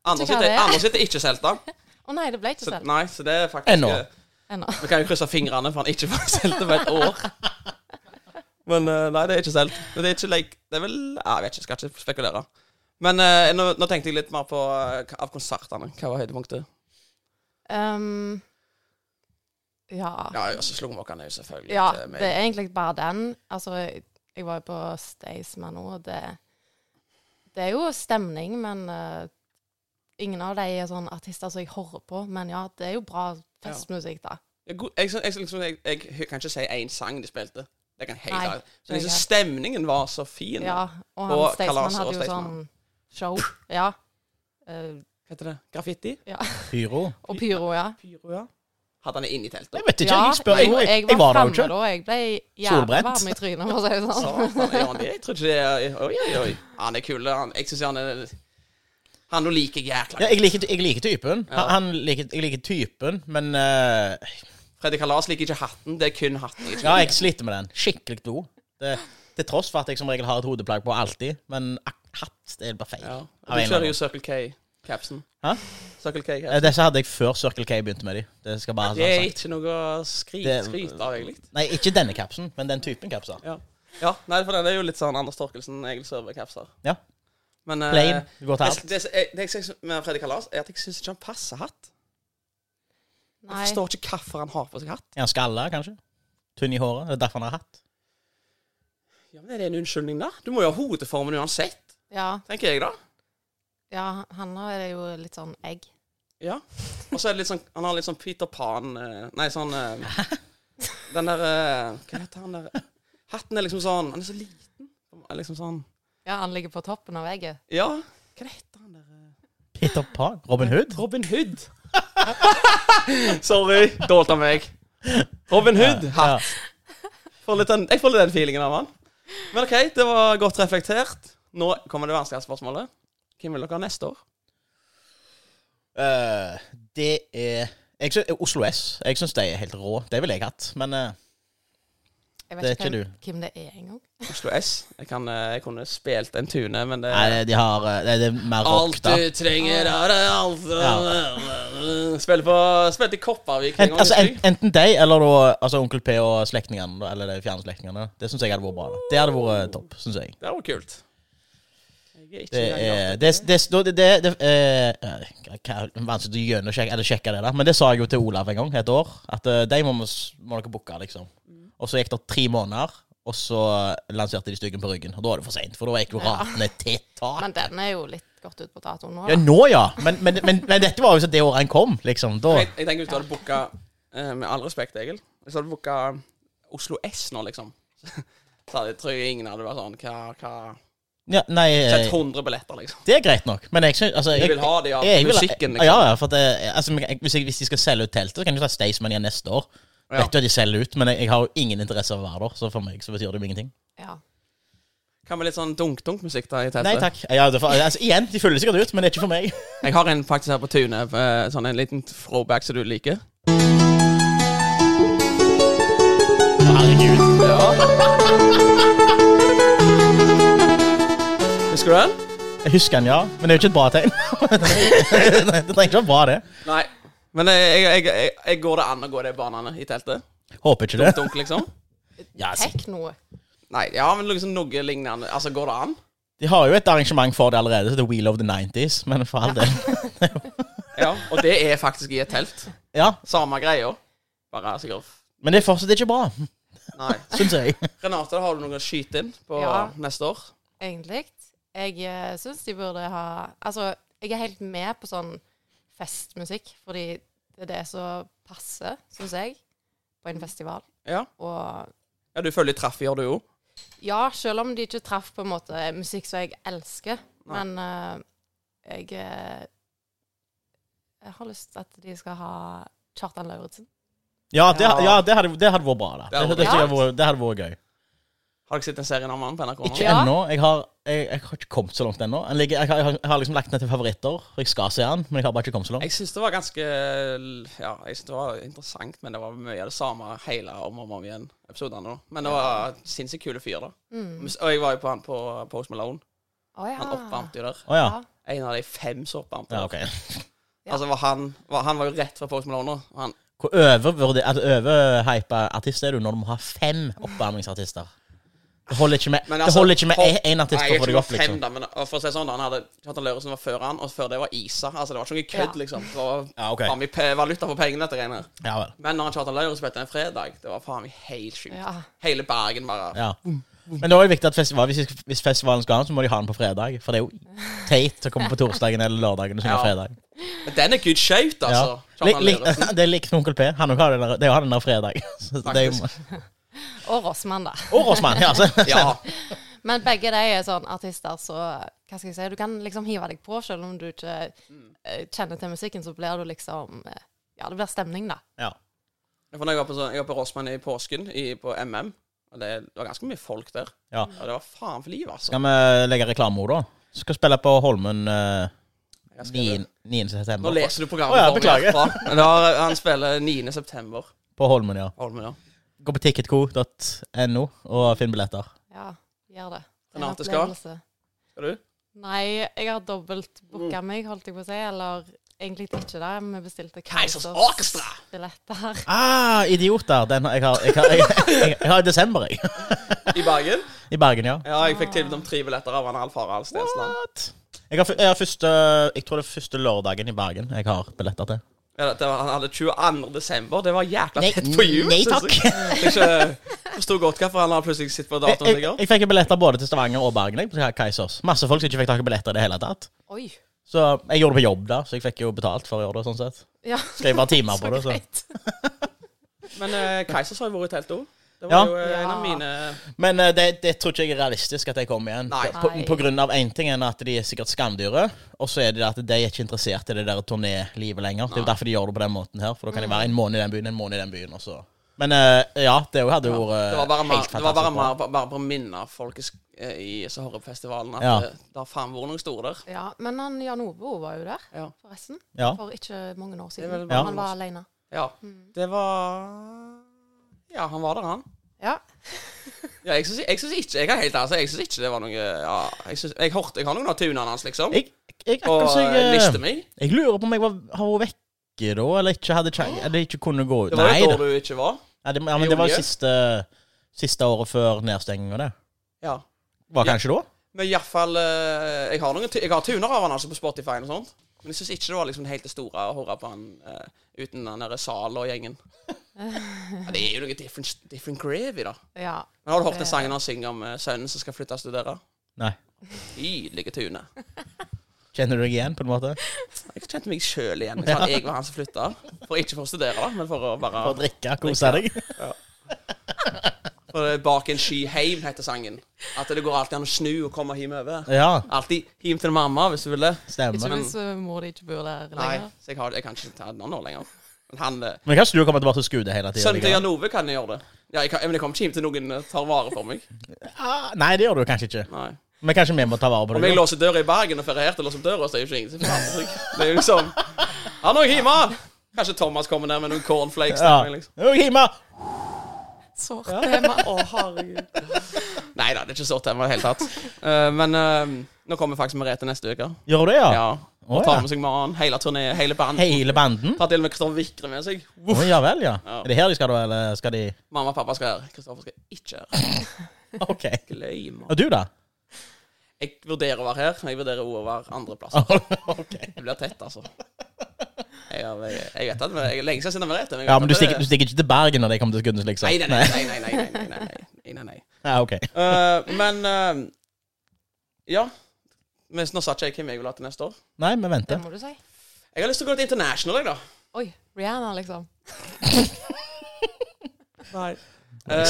[SPEAKER 1] Anders
[SPEAKER 4] Vet du hva
[SPEAKER 1] sitt
[SPEAKER 4] det er?
[SPEAKER 1] Anders sitt er ikke solgt, da.
[SPEAKER 4] Å nei, det ble ikke
[SPEAKER 1] Så,
[SPEAKER 4] solgt
[SPEAKER 1] nei, så det er faktisk
[SPEAKER 3] Ennå.
[SPEAKER 1] eh,
[SPEAKER 4] ennå.
[SPEAKER 1] Vi kan jo krysse fingrene for han ikke får solgt det på et år. Men eh, nei, det er ikke selv. Men det er ikke like Det er vel ja, Jeg vet ikke, skal ikke spekulere. Men eh, nå, nå tenkte jeg litt mer på eh, hva- av konsertene. Hva var høydepunktet?
[SPEAKER 4] Um, ja.
[SPEAKER 1] Ja, altså, eh, og så slo vi oss ned, selvfølgelig.
[SPEAKER 4] Ja,
[SPEAKER 1] til meg.
[SPEAKER 4] det er egentlig bare den. Altså, jeg, jeg var jo på Staysman nå, og det, det er jo stemning, men eh, ingen av de er sånn artister som jeg hører på. Men ja, det er jo bra festmusikk, da.
[SPEAKER 1] Jeg, jeg, jeg, jeg, liksom- jeg, jeg kan ikke si én sang de spilte. Det kan helt
[SPEAKER 4] Nei,
[SPEAKER 1] klart. Men
[SPEAKER 4] det er
[SPEAKER 1] liksom,
[SPEAKER 4] greit.
[SPEAKER 1] stemningen var så fin.
[SPEAKER 4] Ja, og han
[SPEAKER 1] Og
[SPEAKER 4] Staysman
[SPEAKER 1] kalaset og
[SPEAKER 4] hadde jo sånn
[SPEAKER 1] Staysman.
[SPEAKER 4] show. Ja. Eh,
[SPEAKER 1] Hva heter det? Graffiti?
[SPEAKER 3] Pyro.
[SPEAKER 4] og pyro, ja.
[SPEAKER 1] Pyro, ja. Hadde han det inni teltet?
[SPEAKER 3] Jeg vet ikke,
[SPEAKER 4] ja,
[SPEAKER 3] jeg spør.
[SPEAKER 4] jo,
[SPEAKER 3] Jeg, jeg, jeg var der jo
[SPEAKER 4] fremme
[SPEAKER 3] ikke.
[SPEAKER 4] da. Jeg ble jævlig
[SPEAKER 3] Solbrent.
[SPEAKER 4] varm i trynet, for å si det sånn.
[SPEAKER 1] Satan, gjør han det? Jeg tror ikke det er Oi, oi, oi. Han er kul. Han, jeg syns han er Han nå liker jeg jækla
[SPEAKER 3] Ja,
[SPEAKER 1] godt.
[SPEAKER 3] jeg liker, jeg liker typen.
[SPEAKER 1] Ja.
[SPEAKER 3] Han, han liker, jeg liker typen, men eh,
[SPEAKER 1] Freddy Kalas liker ikke hatten. Det er kun hatten. Jeg tror.
[SPEAKER 3] Ja, jeg sliter med den. Skikkelig god. Det, til tross for at jeg som regel har et hodeplagg på alltid, men ak- hatt det er bare feil.
[SPEAKER 1] Ja.
[SPEAKER 3] Av en
[SPEAKER 1] Du
[SPEAKER 3] eller
[SPEAKER 1] kjører
[SPEAKER 3] annen
[SPEAKER 1] jo Circle K-capsen.
[SPEAKER 3] Hæ?
[SPEAKER 1] Circle
[SPEAKER 3] Eh,
[SPEAKER 1] K-capsen.
[SPEAKER 3] Disse hadde jeg før Circle K begynte med de. Det skal bare
[SPEAKER 1] Det er
[SPEAKER 3] være sagt.
[SPEAKER 1] ikke noe å skry-
[SPEAKER 3] altså Det-
[SPEAKER 1] skryte av, egentlig.
[SPEAKER 3] Nei, ikke denne kapsen, men den typen kapser.
[SPEAKER 1] Ja. ja, nei, for den er jo litt sånn Anders Torkelsen, Egil Sørve-capser.
[SPEAKER 3] Ja.
[SPEAKER 1] Men eh,
[SPEAKER 3] Plain. Du går til
[SPEAKER 1] jeg-
[SPEAKER 3] alt.
[SPEAKER 1] det, jeg- det jeg syns med Freddy Kalas, er at jeg syns ikke han passer hatt. Jeg
[SPEAKER 4] Nei.
[SPEAKER 1] forstår ikke hvorfor han har på seg hatt.
[SPEAKER 3] Er han skalla, kanskje? Tynn i håret? Det er derfor han har hatt.
[SPEAKER 1] Ja, men Er det en unnskyldning, da? Du må jo ha hodeformen uansett,
[SPEAKER 4] Ja,
[SPEAKER 1] tenker jeg, da.
[SPEAKER 4] ja, han er jo litt sånn egg.
[SPEAKER 1] Ja. Og så er det litt sånn Han har litt sånn Peter Pan eh, Nei, sånn eh, Den der eh, Hva heter han der Hatten er liksom sånn Han er så liten. Han er Liksom sånn
[SPEAKER 4] Ja, han ligger på toppen av egget.
[SPEAKER 1] Ja, hva heter han der eh?
[SPEAKER 3] Peter Pan? Robin Hood?
[SPEAKER 1] Robin Hood. Sorry, dålt av meg. Robin Hood.
[SPEAKER 3] Ja.
[SPEAKER 1] Får litt den, jeg får litt den feelingen av han. Men OK, det var godt reflektert. Nå kommer det vanskelige spørsmålet. Hvem vil dere ha neste år?
[SPEAKER 3] Eh, det er jeg synes, Oslo S. Jeg syns de er helt rå. Det ville jeg hatt, men eh, Det er
[SPEAKER 4] Jeg vet ikke,
[SPEAKER 3] ikke
[SPEAKER 4] hvem, hvem det er engang.
[SPEAKER 1] Oslo S. Jeg, kan, eh, jeg kunne spilt en tune, men det
[SPEAKER 3] Nei, de har eh, Det det er mer rock,
[SPEAKER 1] Alt eh,
[SPEAKER 3] da.
[SPEAKER 1] du trenger er det alt ja. Spill på Spill til Kopervik en
[SPEAKER 3] Ent,
[SPEAKER 1] gang.
[SPEAKER 3] altså,
[SPEAKER 1] husker jeg.
[SPEAKER 3] en, enten deg eller da, altså Onkel P og slektningene, da, eller de fjerne slektningene. Det syns jeg hadde vært bra. da. Det hadde vært eh, topp, syns jeg.
[SPEAKER 1] Det var kult. Jeg er ikke
[SPEAKER 3] Det er
[SPEAKER 1] engang-
[SPEAKER 3] det, det, det, det, det eh, hva- hva- Vanskelig å gjennomsjekke eller sjekke det, da. men det sa jeg jo til Olav en gang, et år, at eh, de må, vi s- må dere booke, liksom.
[SPEAKER 4] Mm.
[SPEAKER 3] Og så gikk det tre måneder, og så lanserte de Styggen på ryggen. Og da var det for seint, for da gikk jo
[SPEAKER 4] Ja.
[SPEAKER 3] ratene til tak.
[SPEAKER 4] Men den er jo litt godt ut på datoen nå.
[SPEAKER 3] Ja,
[SPEAKER 4] Da.
[SPEAKER 3] nå, ja. Men, men, men, men dette var jo så det året han kom, liksom. Da
[SPEAKER 1] Jeg, jeg tenker hvis du hadde booka eh, Med all respekt, Egil Hvis du hadde booka um, Oslo S nå, liksom Så hadde, tror jeg ingen hadde vært sånn hva, hva?
[SPEAKER 3] ja, Nei,
[SPEAKER 1] Sett
[SPEAKER 3] eh,
[SPEAKER 1] 100 billetter, liksom.
[SPEAKER 3] det er greit nok, men jeg syns altså,
[SPEAKER 1] Jeg vil ha det av
[SPEAKER 3] jeg vil-
[SPEAKER 1] musikken, liksom.
[SPEAKER 3] Ja, ja, for at det, altså, men jeg- hvis, jeg, hvis de skal selge ut teltet, så kan de ta Staysman igjen neste år.
[SPEAKER 1] Ja.
[SPEAKER 3] Vet du at de selger ut, men jeg, jeg har jo ingen interesse av å være der, så for meg så betyr det jo ingenting.
[SPEAKER 4] Ja.
[SPEAKER 1] Kan vi litt sånn dunk-dunk-musikk da i teltet?
[SPEAKER 3] Nei takk. Ja, det, for, altså, igjen, de følger sikkert ut, men det er ikke for meg.
[SPEAKER 1] Jeg har en faktisk her på tunet. eh, Sånn en liten throwback som du liker.
[SPEAKER 3] Herregud.
[SPEAKER 1] Husker du den?
[SPEAKER 3] Jeg husker den, ja, men det er jo ikke et bra tegn. Nei, det trenger ikke være bra, det.
[SPEAKER 1] Nei. Men jeg, jeg, jeg, jeg, jeg går det an å gå de banene i teltet?
[SPEAKER 3] Håper ikke det.
[SPEAKER 1] Dunk, liksom?
[SPEAKER 3] Ja, altså,
[SPEAKER 4] Tekno.
[SPEAKER 1] Nei, ja, men liksom noe lignende. Altså, går det an?
[SPEAKER 3] de har jo et arrangement for det allerede, så det er Wheel of the 90s, men for all del.
[SPEAKER 1] Ja, Og det er faktisk i et telt.
[SPEAKER 3] Ja,
[SPEAKER 1] Samme greia. Bare sikkert
[SPEAKER 3] men det er fortsatt ikke bra,
[SPEAKER 1] Nei.
[SPEAKER 3] syns jeg.
[SPEAKER 1] Renate, har du noe å skyte inn på
[SPEAKER 4] Ja.
[SPEAKER 1] neste år?
[SPEAKER 4] egentlig. Jeg uh, syns de burde ha Altså, jeg er helt med på sånn festmusikk, fordi det er det som passer, syns jeg, på en festival.
[SPEAKER 1] Ja.
[SPEAKER 4] Og
[SPEAKER 1] Ja, du følger traff, gjør du jo.
[SPEAKER 4] ja, selv om de ikke traff på en måte musikk som jeg elsker,
[SPEAKER 1] Nei.
[SPEAKER 4] men eh, jeg eh, Jeg har lyst til at de skal ha Kjartan Lauritzen.
[SPEAKER 3] Ja, det, ja, det, hadde, det hadde vært bra, da.
[SPEAKER 1] Det hadde vært
[SPEAKER 3] Det, det,
[SPEAKER 4] bra.
[SPEAKER 3] hadde vært- det hadde vært gøy.
[SPEAKER 1] Har dere sett en serien om han på NRK nå?
[SPEAKER 3] Ikke
[SPEAKER 4] Ja.
[SPEAKER 3] ennå. Jeg har, jeg, jeg har ikke kommet så langt ennå. Han ligger- Jeg, har- jeg, har- jeg har liksom lagt den til favoritter. og Jeg skal se den, men jeg har bare ikke kommet så langt.
[SPEAKER 1] Jeg syns det var ganske Ja, jeg synes det var interessant, men det var mye av det samme hele om og om igjen. episodene da. Men det var sinnssykt kule fyr, da.
[SPEAKER 4] Mm.
[SPEAKER 1] Og jeg var jo på han på Post Malone.
[SPEAKER 4] Å ja.
[SPEAKER 1] Han oppvarmte jo der.
[SPEAKER 3] Å ja.
[SPEAKER 1] En av de fem som oppvarmte.
[SPEAKER 3] Ah. ja
[SPEAKER 1] der.
[SPEAKER 3] ok.
[SPEAKER 4] Ja.
[SPEAKER 1] Altså, var han, var, han var jo rett fra Post Malone. da. Han,
[SPEAKER 3] Hvor overvurdi- altså, overhypa artist er du når du må ha fem oppvarmingsartister? Det holder ikke med,
[SPEAKER 1] Men
[SPEAKER 3] det
[SPEAKER 1] altså,
[SPEAKER 3] holder ikke med
[SPEAKER 1] Hov-
[SPEAKER 3] én artist
[SPEAKER 1] Nei,
[SPEAKER 3] for å
[SPEAKER 1] jeg
[SPEAKER 3] få
[SPEAKER 1] er
[SPEAKER 3] deg
[SPEAKER 1] ikke
[SPEAKER 3] opp,
[SPEAKER 1] fem,
[SPEAKER 3] liksom.
[SPEAKER 1] da, men for å si det sånn, han hadde Kjartan Lauritzen var før han, og før det var Isa. Altså, det var ikke noe kødd,
[SPEAKER 4] Ja.
[SPEAKER 1] liksom. Det var
[SPEAKER 3] Ja, ok.
[SPEAKER 1] faen meg pe- valuta for pengene, dette greiene. her.
[SPEAKER 3] Ja vel.
[SPEAKER 1] Men når han Kjartan Lauritzen spilte en fredag, det var faen meg helt sjukt.
[SPEAKER 4] Ja.
[SPEAKER 1] Hele Bergen bare
[SPEAKER 3] Ja. Men da er det viktig at festival, hvis, hvis festivalen skal ha den, så må de ha den på fredag. For det er jo teit å komme på torsdagen eller lørdagen og synge
[SPEAKER 1] Ja.
[SPEAKER 3] fredag.
[SPEAKER 1] Men den er good shout, altså.
[SPEAKER 3] Ja. Lik,
[SPEAKER 1] Kjartan
[SPEAKER 3] lik,
[SPEAKER 1] Lauritzen.
[SPEAKER 3] det er likt med Onkel P. Han òg har den der- det er jo han den der fredag. Så det er jo,
[SPEAKER 1] Faktisk.
[SPEAKER 4] Og Rossmann, da.
[SPEAKER 3] og Rossmann. Ja, altså. så.
[SPEAKER 1] Ja.
[SPEAKER 4] Men begge de er sånn artister, så hva skal jeg si, du kan liksom hive deg på selv om du ikke eh, kjenner til musikken, så blir du liksom eh, Ja, det blir stemning, da.
[SPEAKER 3] Ja.
[SPEAKER 1] For når jeg var på, sånn- jeg var på Rossmann i påsken, i, på MM, og det, det var ganske mye folk der.
[SPEAKER 3] Ja.
[SPEAKER 1] Og det var faen for livet, altså.
[SPEAKER 3] Skal vi legge reklameord, da? Skal spille på Holmen eh,
[SPEAKER 1] Jeg skrev det.
[SPEAKER 3] 9. 9. september.
[SPEAKER 1] Nå leser du programmet
[SPEAKER 3] Å ja,
[SPEAKER 1] for meg
[SPEAKER 3] beklager.
[SPEAKER 1] herfra. Men da- Han spiller 9. september.
[SPEAKER 3] På Holmen, ja.
[SPEAKER 1] Holmen, ja.
[SPEAKER 3] Gå på ticketco.no og finn billetter.
[SPEAKER 4] Ja, gjør det. Det er en
[SPEAKER 1] Renate skal?
[SPEAKER 4] opplevelse.
[SPEAKER 1] Skal du?
[SPEAKER 4] Nei, jeg har dobbeltbooka
[SPEAKER 1] Mm.
[SPEAKER 4] meg, holdt jeg på å si. Eller egentlig ikke det. Vi bestilte
[SPEAKER 1] Keisers Orkestra!
[SPEAKER 4] billetter.
[SPEAKER 3] Ah, idioter! Den har jeg har, jeg har, jeg, jeg, jeg har i desember, jeg.
[SPEAKER 1] I Bergen?
[SPEAKER 3] I Bergen, ja.
[SPEAKER 1] Ja, jeg fikk tilbud om tre billetter av han Alf Harald Stensland.
[SPEAKER 3] What? Jeg har, fu- jeg har første Jeg tror det er første lørdagen i Bergen jeg har billetter til.
[SPEAKER 1] Ja, det var, han hadde 22. desember. Det var jækla tett for jul.
[SPEAKER 3] nei
[SPEAKER 1] synes
[SPEAKER 3] takk!
[SPEAKER 1] Jeg Jeg ikke forstod godt hvorfor han har plutselig sitter på
[SPEAKER 3] Jeg,
[SPEAKER 1] datoen.
[SPEAKER 3] jeg,
[SPEAKER 1] Jeg,
[SPEAKER 3] jeg fikk jo billetter både til Stavanger og Bergen. Jeg, på Kaisers. Masse folk som ikke fikk tak i billetter i det hele tatt.
[SPEAKER 4] Oi.
[SPEAKER 3] Så jeg gjorde det på jobb, da, så jeg fikk jo betalt for å gjøre det. sånn sett
[SPEAKER 4] Ja,
[SPEAKER 3] Skrev bare timer på det. Så.
[SPEAKER 1] Men uh, Keisers har jo vært i telt òg. Det var
[SPEAKER 3] Ja.
[SPEAKER 1] jo eh, en av
[SPEAKER 4] Ja.
[SPEAKER 1] mine
[SPEAKER 3] Men eh, det, det tror ikke jeg er realistisk at jeg kommer igjen.
[SPEAKER 1] Nei.
[SPEAKER 3] På, på grunn av én ting er at de er sikkert skamdyre, og så er det det at de er ikke interessert i det der turnélivet lenger. Det er jo derfor de gjør det på den måten her, for da kan de være en måned i den byen, en måned i den byen, og så Men eh, ja, det hadde jo vært eh,
[SPEAKER 1] Det var bare, mer,
[SPEAKER 3] helt
[SPEAKER 1] det var bare,
[SPEAKER 3] fantastisk. bra.
[SPEAKER 1] mer, bare på å minne folk eh, i Sahorupfestivalen at
[SPEAKER 3] Ja.
[SPEAKER 1] eh, det har faen vært noen store der.
[SPEAKER 4] Ja, men han Jan Ove var jo der,
[SPEAKER 1] Ja.
[SPEAKER 4] forresten.
[SPEAKER 3] Ja.
[SPEAKER 4] For ikke mange år
[SPEAKER 1] Det er vel
[SPEAKER 4] siden.
[SPEAKER 1] bare
[SPEAKER 4] Han
[SPEAKER 1] noen år
[SPEAKER 4] var
[SPEAKER 1] siden.
[SPEAKER 4] alene.
[SPEAKER 1] Ja. Det var Ja, han var der, han.
[SPEAKER 4] Ja.
[SPEAKER 1] Ja, jeg syns jeg syns ikke Jeg er helt ærlig, jeg syns ikke det var noe ja, jeg, syns- jeg, hørte, jeg har noen av tunene hans, liksom.
[SPEAKER 3] Jeg, jeg, akkurat
[SPEAKER 1] Og
[SPEAKER 3] som
[SPEAKER 1] eh,
[SPEAKER 3] jeg,
[SPEAKER 1] lista
[SPEAKER 3] eh,
[SPEAKER 1] mi.
[SPEAKER 3] jeg lurer på om jeg var, har vært vekke da, eller ikke hadde kjeng, eller ikke kunne gå ut.
[SPEAKER 1] Det var
[SPEAKER 3] Nei,
[SPEAKER 1] jo
[SPEAKER 3] det,
[SPEAKER 1] da du ikke var.
[SPEAKER 3] Nei, det, ja, men det var jo
[SPEAKER 1] Olje.
[SPEAKER 3] siste, siste året før nedstenginga, det.
[SPEAKER 1] Ja.
[SPEAKER 3] Var
[SPEAKER 1] Ja.
[SPEAKER 3] kanskje da?
[SPEAKER 1] Men iallfall uh, Jeg har noen tu- Jeg har tuner av han altså på Spotify og sånt. Men jeg syns ikke det var liksom helt det store å høre på han eh, uten den derre Zalo og gjengen. Ja, det er jo noe different, different gravy, da.
[SPEAKER 4] ja.
[SPEAKER 1] Men har du hørt den sangen han synger om eh, sønnen som skal flytte og studere?
[SPEAKER 3] Nei.
[SPEAKER 1] Nydelige tune.
[SPEAKER 3] Kjenner du deg igjen, på en måte?
[SPEAKER 1] Jeg kjente meg sjøl igjen. Jeg, sa at jeg var han som flytta. For ikke for å studere, da, men for å bare
[SPEAKER 3] For å drikke, kose deg?
[SPEAKER 1] for eh, Bak en sky heim, heter sangen. At det går alltid an å snu og komme hjem over.
[SPEAKER 3] Ja,
[SPEAKER 1] Alltid hjem til mamma, hvis du vil det.
[SPEAKER 4] Ikke
[SPEAKER 3] stemmer.
[SPEAKER 1] Men-
[SPEAKER 4] hvis eh, mor di ikke bor der
[SPEAKER 1] Nei,
[SPEAKER 4] lenger.
[SPEAKER 1] så jeg, har, jeg kan ikke ta den nå lenger. Men han eh,
[SPEAKER 3] Men kanskje du kommer tilbake til Skude hele liksom? tida?
[SPEAKER 1] Sønnen til Jan Ove kan jeg gjøre det. Ja, jeg kan, men jeg kommer ikke hjem til noen eh, tar vare på meg.
[SPEAKER 3] Ah, nei, det gjør du kanskje ikke.
[SPEAKER 1] Nei.
[SPEAKER 3] Men kanskje vi må ta vare på
[SPEAKER 1] Om jeg
[SPEAKER 3] deg?
[SPEAKER 1] låser døra i Bergen og ferierer til å låse opp døra, så er jo ikke ingen som forandrer seg. Det er jo liksom Han er jo hjemme! Kanskje Thomas kommer ned med noen cornflakes.
[SPEAKER 3] Ja.
[SPEAKER 1] til meg, Liksom.
[SPEAKER 3] Jo, Hima!
[SPEAKER 4] Sårt tema.
[SPEAKER 1] Å, herregud. Nei da, det er ikke sårt tema i det hele tatt. Eh, men eh, nå kommer faktisk Merete neste uke.
[SPEAKER 3] Gjør du det, ja?
[SPEAKER 1] Ja. Og
[SPEAKER 3] Å,
[SPEAKER 1] tar
[SPEAKER 3] ja.
[SPEAKER 1] med seg mannen, hele turné, hele band.
[SPEAKER 3] Hele banden?
[SPEAKER 1] Tar til og med Kristoffer Vikre med seg.
[SPEAKER 3] Å, ja vel, ja.
[SPEAKER 1] Ja.
[SPEAKER 3] Er det her de skal, da? Eller skal de
[SPEAKER 1] Mamma og pappa skal her. Kristoffer skal ikke her.
[SPEAKER 3] OK.
[SPEAKER 1] Glem
[SPEAKER 3] Og du, da?
[SPEAKER 1] Jeg vurderer å være her, men jeg vurderer også å være andreplass.
[SPEAKER 3] OK.
[SPEAKER 1] Det blir tett, altså. Jeg, har- jeg, jeg vet at jeg er lenge siden jeg har vært der. jeg vet
[SPEAKER 3] Ja, men
[SPEAKER 1] at
[SPEAKER 3] du
[SPEAKER 1] det-
[SPEAKER 3] stikker, du stikker ikke til Bergen når de kommer til Skudenes, liksom?
[SPEAKER 1] Nei, nei, nei. nei, nei, nei, nei, nei, nei, nei, nei.
[SPEAKER 3] Ja, ok.
[SPEAKER 1] Eh, men eh, Ja. Men nå sa ikke jeg hvem jeg vil ha til neste år.
[SPEAKER 3] Nei, vi
[SPEAKER 4] Det
[SPEAKER 3] venter.
[SPEAKER 4] må du si.
[SPEAKER 1] Jeg har lyst til å gå til international, jeg, da.
[SPEAKER 4] Oi. Rihanna, liksom.
[SPEAKER 1] Nei.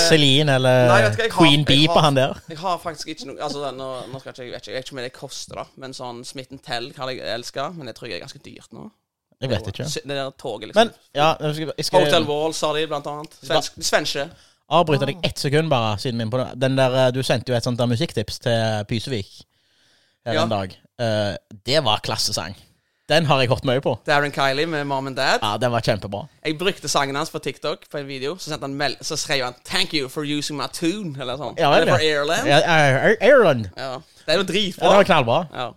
[SPEAKER 3] Celine eller
[SPEAKER 1] Eh, Nei, vet du hva, jeg har-
[SPEAKER 3] Queen Bee
[SPEAKER 1] jeg har-
[SPEAKER 3] på han der.
[SPEAKER 1] jeg har faktisk ikke noe Altså, nå, nå skal ikke, jeg vet ikke, jeg vet ikke hvor mye det koster, da. Men sånn Smitten Tell kan jeg elske, men det tror jeg er ganske dyrt nå.
[SPEAKER 3] Jeg vet ikke.
[SPEAKER 1] Det der toget, liksom.
[SPEAKER 3] Men eh, ja, jeg skal, jeg
[SPEAKER 1] Hotel
[SPEAKER 3] skal
[SPEAKER 1] Walls har de, blant annet. Svensk, svenske.
[SPEAKER 3] avbryte deg ett sekund, bare, siden vi er på det. Den der, eh, Du sendte jo et sånt der musikktips til Pysevik her
[SPEAKER 1] Ja.
[SPEAKER 3] en dag. Eh, det var klassesang. Den har jeg hørt mye på.
[SPEAKER 1] Darren Kiley med Mom and Dad.
[SPEAKER 3] Ja, den var kjempebra.
[SPEAKER 1] Jeg brukte sangen hans på TikTok på en video. Så, sendte han mel så skrev han 'Thank you for using my tune', eller sånn.
[SPEAKER 3] Ja,
[SPEAKER 1] eller
[SPEAKER 3] vel,
[SPEAKER 1] for
[SPEAKER 3] ja.
[SPEAKER 1] Ireland. Ja.
[SPEAKER 3] Ja, eh, Ireland.
[SPEAKER 1] Det er jo
[SPEAKER 3] Ja, den
[SPEAKER 1] dritbra.
[SPEAKER 3] var knallbra.
[SPEAKER 1] Ja.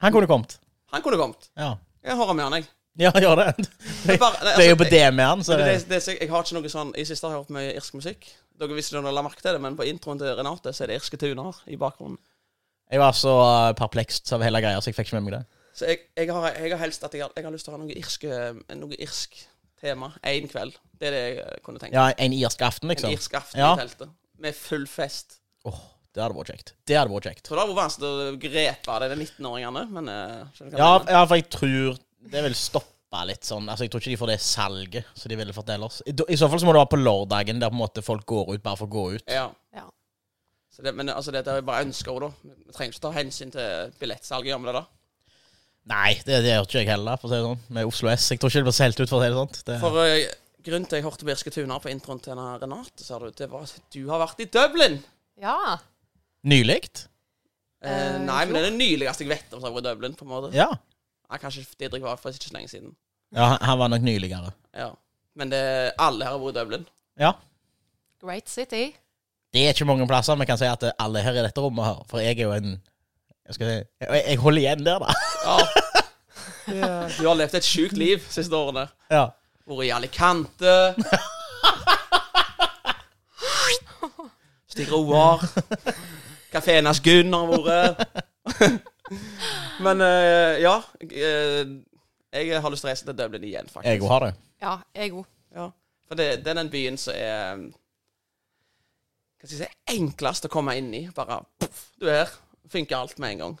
[SPEAKER 3] Han kunne kommet.
[SPEAKER 1] Han kunne kommet.
[SPEAKER 3] Ja.
[SPEAKER 1] Jeg hører med han, jeg.
[SPEAKER 3] Ja, gjør det.
[SPEAKER 1] Men bare- nei,
[SPEAKER 3] Det er jo
[SPEAKER 1] altså,
[SPEAKER 3] på DM-en, så
[SPEAKER 1] Men
[SPEAKER 3] det,
[SPEAKER 1] det, det, det, jeg har ikke noe sånn I siste har jeg hørt mye irsk musikk. Dere visste dere la merke til det, men på introen til Renate så er det irske tuner i bakgrunnen.
[SPEAKER 3] jeg var så eh, perplekst av hele greia, så jeg fikk ikke med meg det.
[SPEAKER 1] Så jeg, jeg, har, jeg har helst at jeg har, jeg har lyst til å ha noe irsk, eh, noe irsk tema én kveld. Det er det jeg eh, kunne tenke.
[SPEAKER 3] Ja, en irsk aften,
[SPEAKER 1] En
[SPEAKER 3] liksom.
[SPEAKER 1] irsk aften
[SPEAKER 3] Ja.
[SPEAKER 1] i teltet. Med full fest.
[SPEAKER 3] Åh, det hadde vært kjekt. Det hadde vært kjekt.
[SPEAKER 1] Tror det hadde vært vanskelig å grepe det, de 19-åringene, men eh, skjønner du hva
[SPEAKER 3] Ja,
[SPEAKER 1] jeg mener?
[SPEAKER 3] ja, for jeg tror det vil stoppe litt sånn Altså, jeg tror ikke de får det salget som de ville fått ellers. I, I så fall så må det være på lørdagen, der på en måte folk går ut bare for å gå ut.
[SPEAKER 1] ja.
[SPEAKER 4] Ja.
[SPEAKER 1] Så det, men altså, dette er jo bare ønsker, da. Vi trenger ikke ta hensyn til billettsalget, gjør vi det da?
[SPEAKER 3] Nei, det, det gjør ikke jeg heller, for å si det sånn. Med Oslo S. Jeg tror ikke det blir solgt ut, for å si det sånn. Det,
[SPEAKER 1] For eh, grunnen til jeg hørte Birske Tuner på introen til denne Renate, sa du, det var at du har vært i Dublin.
[SPEAKER 4] Ja.
[SPEAKER 3] Nylig?
[SPEAKER 1] Eh,
[SPEAKER 4] Eh,
[SPEAKER 1] nei, men
[SPEAKER 4] jo.
[SPEAKER 1] det er det nyligste jeg vet om som har vært i Dublin. på en måte.
[SPEAKER 3] Ja.
[SPEAKER 1] Nei, kanskje Didrik var for ikke så lenge siden.
[SPEAKER 3] ja. han- Han var nok nyligere.
[SPEAKER 1] Ja. Men det, alle her har vært i Dublin.
[SPEAKER 3] Ja.
[SPEAKER 4] Great City.
[SPEAKER 3] Det er ikke mange plasser vi kan si at eh, alle her i dette rommet her, for jeg er jo en Jeg, skal si, jeg, jeg holder igjen der, da.
[SPEAKER 1] Ja. Du har levd et sjukt liv de siste årene.
[SPEAKER 3] Ja.
[SPEAKER 1] Vært i Alicante. Stig Roar. Kafeen hans Gunn har vært. Men eh, ja eh, Jeg har lyst til å reise til Dublin igjen, faktisk.
[SPEAKER 3] Jeg òg har det.
[SPEAKER 4] Ja, jeg òg.
[SPEAKER 1] Ja, for det, det er den byen som er Hva skal jeg si enklest å komme inn i. Bare poff, du er her. Funker alt med en gang.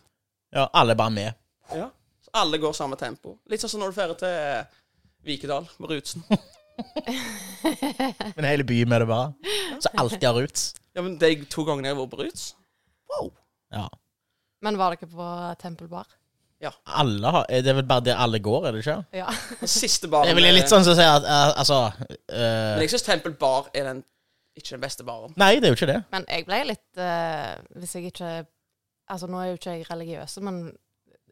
[SPEAKER 3] Ja, alle er bare med.
[SPEAKER 1] Ja. Så alle går samme tempo. Litt sånn som når du drar til Vikedal med Rutsen.
[SPEAKER 3] Men hele byen med det bare. Så alltid har roots.
[SPEAKER 1] Ja, men De to gangene jeg har vært på Ruts wow.
[SPEAKER 3] Ja.
[SPEAKER 4] Men var dere på Tempelbar?
[SPEAKER 3] Alle har, er det er vel bare det alle går, er det ikke?
[SPEAKER 4] Ja.
[SPEAKER 1] Den siste baren
[SPEAKER 3] Det er vel litt sånn som å si at eh, Altså eh,
[SPEAKER 1] Men jeg syns Tempel Bar er den, ikke den beste baren.
[SPEAKER 3] Nei, det er jo ikke det.
[SPEAKER 4] Men jeg ble litt eh, Hvis jeg ikke Altså, nå er jo ikke jeg religiøs, men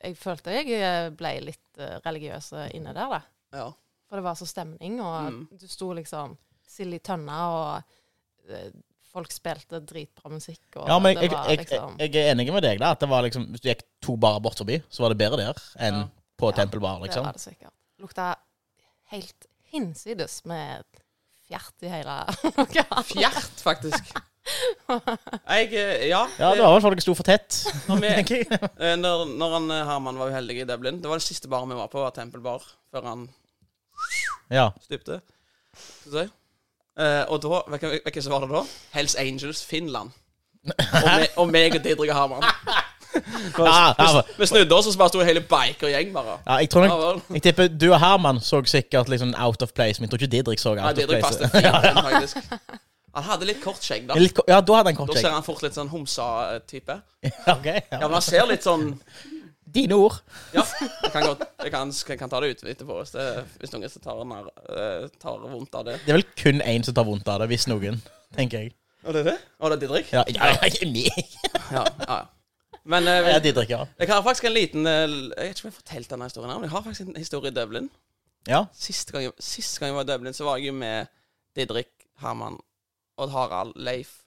[SPEAKER 4] jeg følte jeg eh, ble litt eh, religiøs inne der, da.
[SPEAKER 1] Ja.
[SPEAKER 4] For det var så stemning, og
[SPEAKER 1] Mm.
[SPEAKER 4] du sto liksom sild i tønna, og eh, folk spilte dritbra musikk, og
[SPEAKER 3] Ja, men
[SPEAKER 4] det
[SPEAKER 3] jeg,
[SPEAKER 4] var
[SPEAKER 3] jeg, jeg,
[SPEAKER 4] liksom
[SPEAKER 3] jeg er enig med deg, da. At det var liksom Hvis du gikk to barer bort forbi, så var det bedre der enn
[SPEAKER 1] Ja.
[SPEAKER 3] på
[SPEAKER 4] Ja,
[SPEAKER 3] Tempelbar,
[SPEAKER 4] Det
[SPEAKER 3] liksom.
[SPEAKER 4] var det sikkert. Lukta helt hinsides med fjert i hele
[SPEAKER 1] Fjert, faktisk. Jeg, eh, ja,
[SPEAKER 3] Ja, det var vel folk som sto for tett,
[SPEAKER 1] Når vi-
[SPEAKER 3] tenker jeg.
[SPEAKER 1] Eh, Når, når han, eh, Herman var uheldig i Dublin Det var den siste baren vi var på, var Temple Bar, før han
[SPEAKER 3] Ja.
[SPEAKER 1] stupte. Skal vi se. Eh, og da, hvem, hvem som var det da? Hells Angels Finland. Og, me, og meg og Didrik og Herman.
[SPEAKER 3] Ja, ja,
[SPEAKER 1] Vi snudde oss, og så bare sto hele bikergjeng bare.
[SPEAKER 3] ja, jeg tror
[SPEAKER 1] Ja,
[SPEAKER 3] nok
[SPEAKER 1] vel.
[SPEAKER 3] Jeg tipper du og Herman så sikkert liksom out of place, men jeg tror ikke Didrik så out
[SPEAKER 1] Nei,
[SPEAKER 3] of
[SPEAKER 1] Didrik
[SPEAKER 3] place.
[SPEAKER 1] passet fint, inn, faktisk. Han hadde litt kort skjegg, da.
[SPEAKER 3] Ja, litt ko- Ja, da hadde han kort
[SPEAKER 1] Da ser
[SPEAKER 3] sjekk.
[SPEAKER 1] han fort litt sånn homsa-type.
[SPEAKER 3] Ok,
[SPEAKER 1] Ja,
[SPEAKER 3] ja.
[SPEAKER 1] men han ser litt sånn
[SPEAKER 3] Dine ord.
[SPEAKER 1] Ja, jeg kan, godt, jeg kan, jeg kan ta det ut etterpå hvis, det, hvis noen som tar, nær- eh, tar vondt av det.
[SPEAKER 3] Det er vel kun én som tar vondt av det, hvis noen, tenker jeg.
[SPEAKER 1] Og det er det? Og det er Didrik?
[SPEAKER 3] Ja, ja, ja, jeg-
[SPEAKER 1] Ja, ja. Men eh,
[SPEAKER 3] ja Didrik, ja.
[SPEAKER 1] jeg har faktisk en liten eh, Jeg vet ikke om jeg har fortalt denne historien, her, men jeg har faktisk en historie i Dublin.
[SPEAKER 3] Ja,
[SPEAKER 1] Siste gang, jeg- siste gang jeg var i Dublin, så var jeg jo med Didrik, Herman, Odd Harald, Leif.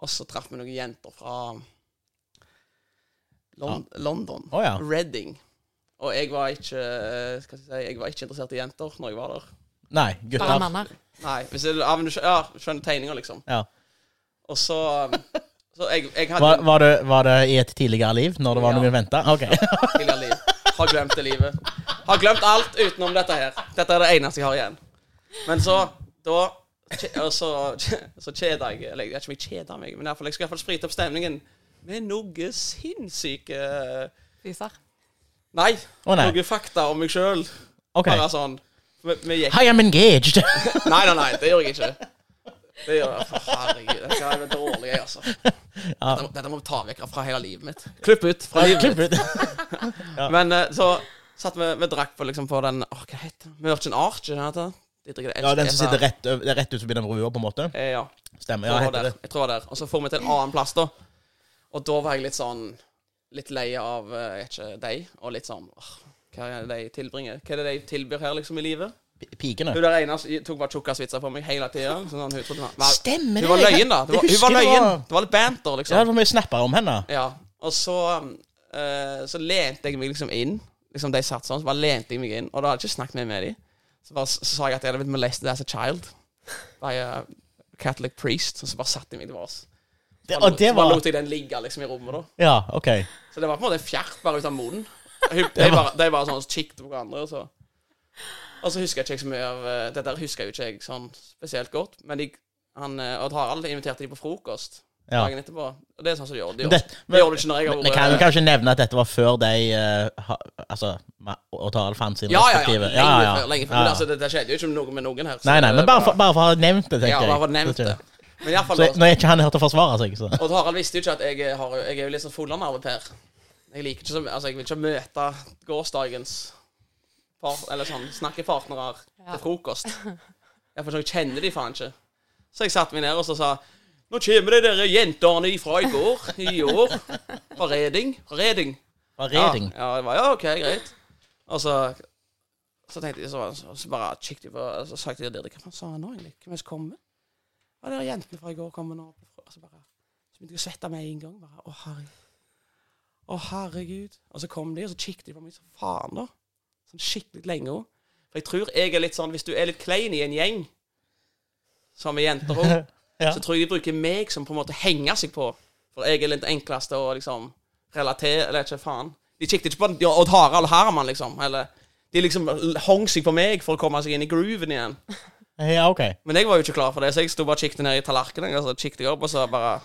[SPEAKER 1] Og så traff vi noen jenter fra Lon London.
[SPEAKER 3] Å, ja.
[SPEAKER 1] Reading. Og jeg var ikke eh, skal jeg, si, jeg var ikke interessert i jenter når jeg var der.
[SPEAKER 3] Nei,
[SPEAKER 4] Bare
[SPEAKER 3] gutter.
[SPEAKER 4] manner.
[SPEAKER 1] Nei, hvis jeg, ja, men du skjø- ja, skjønner tegninger, liksom.
[SPEAKER 3] Ja.
[SPEAKER 1] Og så, um, så jeg, jeg hadde
[SPEAKER 3] Var, var, det, var det i et tidligere liv, når det var
[SPEAKER 1] Ja.
[SPEAKER 3] noen venta? Ok.
[SPEAKER 1] tidligere liv. Har glemt det livet. Har glemt alt utenom dette her. Dette er det eneste jeg har igjen. Men så da kje- og så, så kjeder jeg Eller jeg vet ikke om jeg kjeder meg, men i hvert fall, jeg skal i hvert fall sprite opp stemningen med noe sinnssyke
[SPEAKER 4] Fyser.
[SPEAKER 1] Nei,
[SPEAKER 3] Å, nei.
[SPEAKER 1] noe fakta om meg sjøl.
[SPEAKER 3] ok
[SPEAKER 1] Bare sånn vi, vi gikk
[SPEAKER 3] Hi, I'm engaged!
[SPEAKER 1] Nei, nei, nei, det gjør jeg ikke. Det gjør jeg for Herregud, det skal være dårlig, jeg, altså. Dette, må- dette må vi ta vekk fra hele livet mitt. Klipp ut fra livet mitt.
[SPEAKER 3] Klipp ut.
[SPEAKER 1] Men eh, så satt vi Vi drakk på, liksom, på den åh, Hva heter den? Merchant Arch? er det den heter? De drikker det
[SPEAKER 3] Ja, den som sitter rett, øv- det er rett ut forbi den brua, på en måte.
[SPEAKER 1] Eh, ja.
[SPEAKER 3] Stemmer.
[SPEAKER 1] Jeg tror, det
[SPEAKER 3] ja, heter
[SPEAKER 1] var
[SPEAKER 3] det.
[SPEAKER 1] der. jeg tror det var der. Og så får vi til en annen plass, da. Og da var jeg litt sånn Litt lei av eh, jeg vet ikke deg, og litt sånn åh, Hva er det de tilbringer? Hva er det de tilbyr her, liksom, i livet?
[SPEAKER 3] P- Pikene.
[SPEAKER 1] Hun der ene tok bare tjukkeste vitser på meg hele tida. Sånn, hun trodde hun var-
[SPEAKER 3] Stemmer
[SPEAKER 1] Hun var løyen, da. Det var, hun var løyen. Det var litt banter,
[SPEAKER 3] Det var
[SPEAKER 1] liksom.
[SPEAKER 3] for mye snapper om henne.
[SPEAKER 1] Ja. Og så eh, Så lente jeg meg liksom inn liksom, de satsene, så bare lente jeg meg inn. Og da hadde jeg ikke snakket mer med dem. Så bare s- så sa jeg at jeg hadde blitt molested as a child by a Catholic priest. Og så bare satte jeg meg til oss.
[SPEAKER 3] Det, og det
[SPEAKER 1] så bare
[SPEAKER 3] var
[SPEAKER 1] lot jeg den ligge liksom i rommet, da.
[SPEAKER 3] Ja, OK.
[SPEAKER 1] Så det var på en måte fjert bare ut av moden. De bare, de bare sånn kikket på hverandre, og så Og så husker jeg ikke så mye av eh, Dette her husker jeg jo ikke jeg sånn spesielt godt, men de, han, eh, Odd Harald inviterte de på frokost
[SPEAKER 3] Ja.
[SPEAKER 1] dagen etterpå. Og det er sånn som de gjør. De
[SPEAKER 3] Men
[SPEAKER 1] gjør,
[SPEAKER 3] det-
[SPEAKER 1] de gjør det ikke når jeg
[SPEAKER 3] Men
[SPEAKER 1] har
[SPEAKER 3] Vi kan jo
[SPEAKER 1] vært
[SPEAKER 3] kanskje nevne at dette var før de eh, ha, Altså, Ma- Odd Harald fant sin
[SPEAKER 1] ja, ja, ja.
[SPEAKER 3] respektive
[SPEAKER 1] Lenge før. Lenge før.
[SPEAKER 3] Ja,
[SPEAKER 1] Men
[SPEAKER 3] ja.
[SPEAKER 1] altså, det, det skjedde jo ikke noe med noen her. så
[SPEAKER 3] Nei, nei, men
[SPEAKER 1] det
[SPEAKER 3] bare for, bare for å ha nevnt det, tenker
[SPEAKER 1] Ja, bare for å ha
[SPEAKER 3] jeg.
[SPEAKER 1] nevnt det. Men i alle fall,
[SPEAKER 3] Så jeg- nå er ikke han her til å forsvare seg, så
[SPEAKER 1] Odd Harald visste jo ikke at jeg, har, jeg er jo litt sånn fullanarve-Per. Jeg liker ikke så, altså jeg vil ikke møte gårsdagens par, eller sånn, snakkepartnere til frokost. Jeg, for sånn, jeg kjenner de faen ikke. Så jeg satte meg ned og så sa Nå kommer de der jentene ifra i går, i år, fra Reding. Fra Reding.
[SPEAKER 3] Fra Reding.
[SPEAKER 1] Ja, ja, jeg var, ja OK, greit. Og så Så tenkte jeg, så, så, så bare kikket jeg på og Så sa jeg til Didrik, hva faen sa han nå egentlig? Hvem er det som kommer? Ja, det er jentene fra i går kommer nå. Og så bare Så begynte jeg å svette med en gang. Bare, å, herregud. Å, herregud. Og så kom de, og så kikket de på meg så faen, da. Sånn skikkelig lenge òg. For jeg tror jeg er litt sånn Hvis du er litt klein i en gjeng, som er jenter òg,
[SPEAKER 3] Ja.
[SPEAKER 1] så tror jeg de bruker meg som på en måte henger seg på. For jeg er litt enkleste å liksom relatere Eller ikke faen. De kikket ikke på ja, Odd Harald Herman, liksom. Eller de liksom hong seg på meg for å komme seg inn i grooven igjen.
[SPEAKER 3] Ja, OK.
[SPEAKER 1] Men jeg var jo ikke klar for det, så jeg sto bare og kikket ned i tallerkenen. Og så kikket jeg opp, og så bare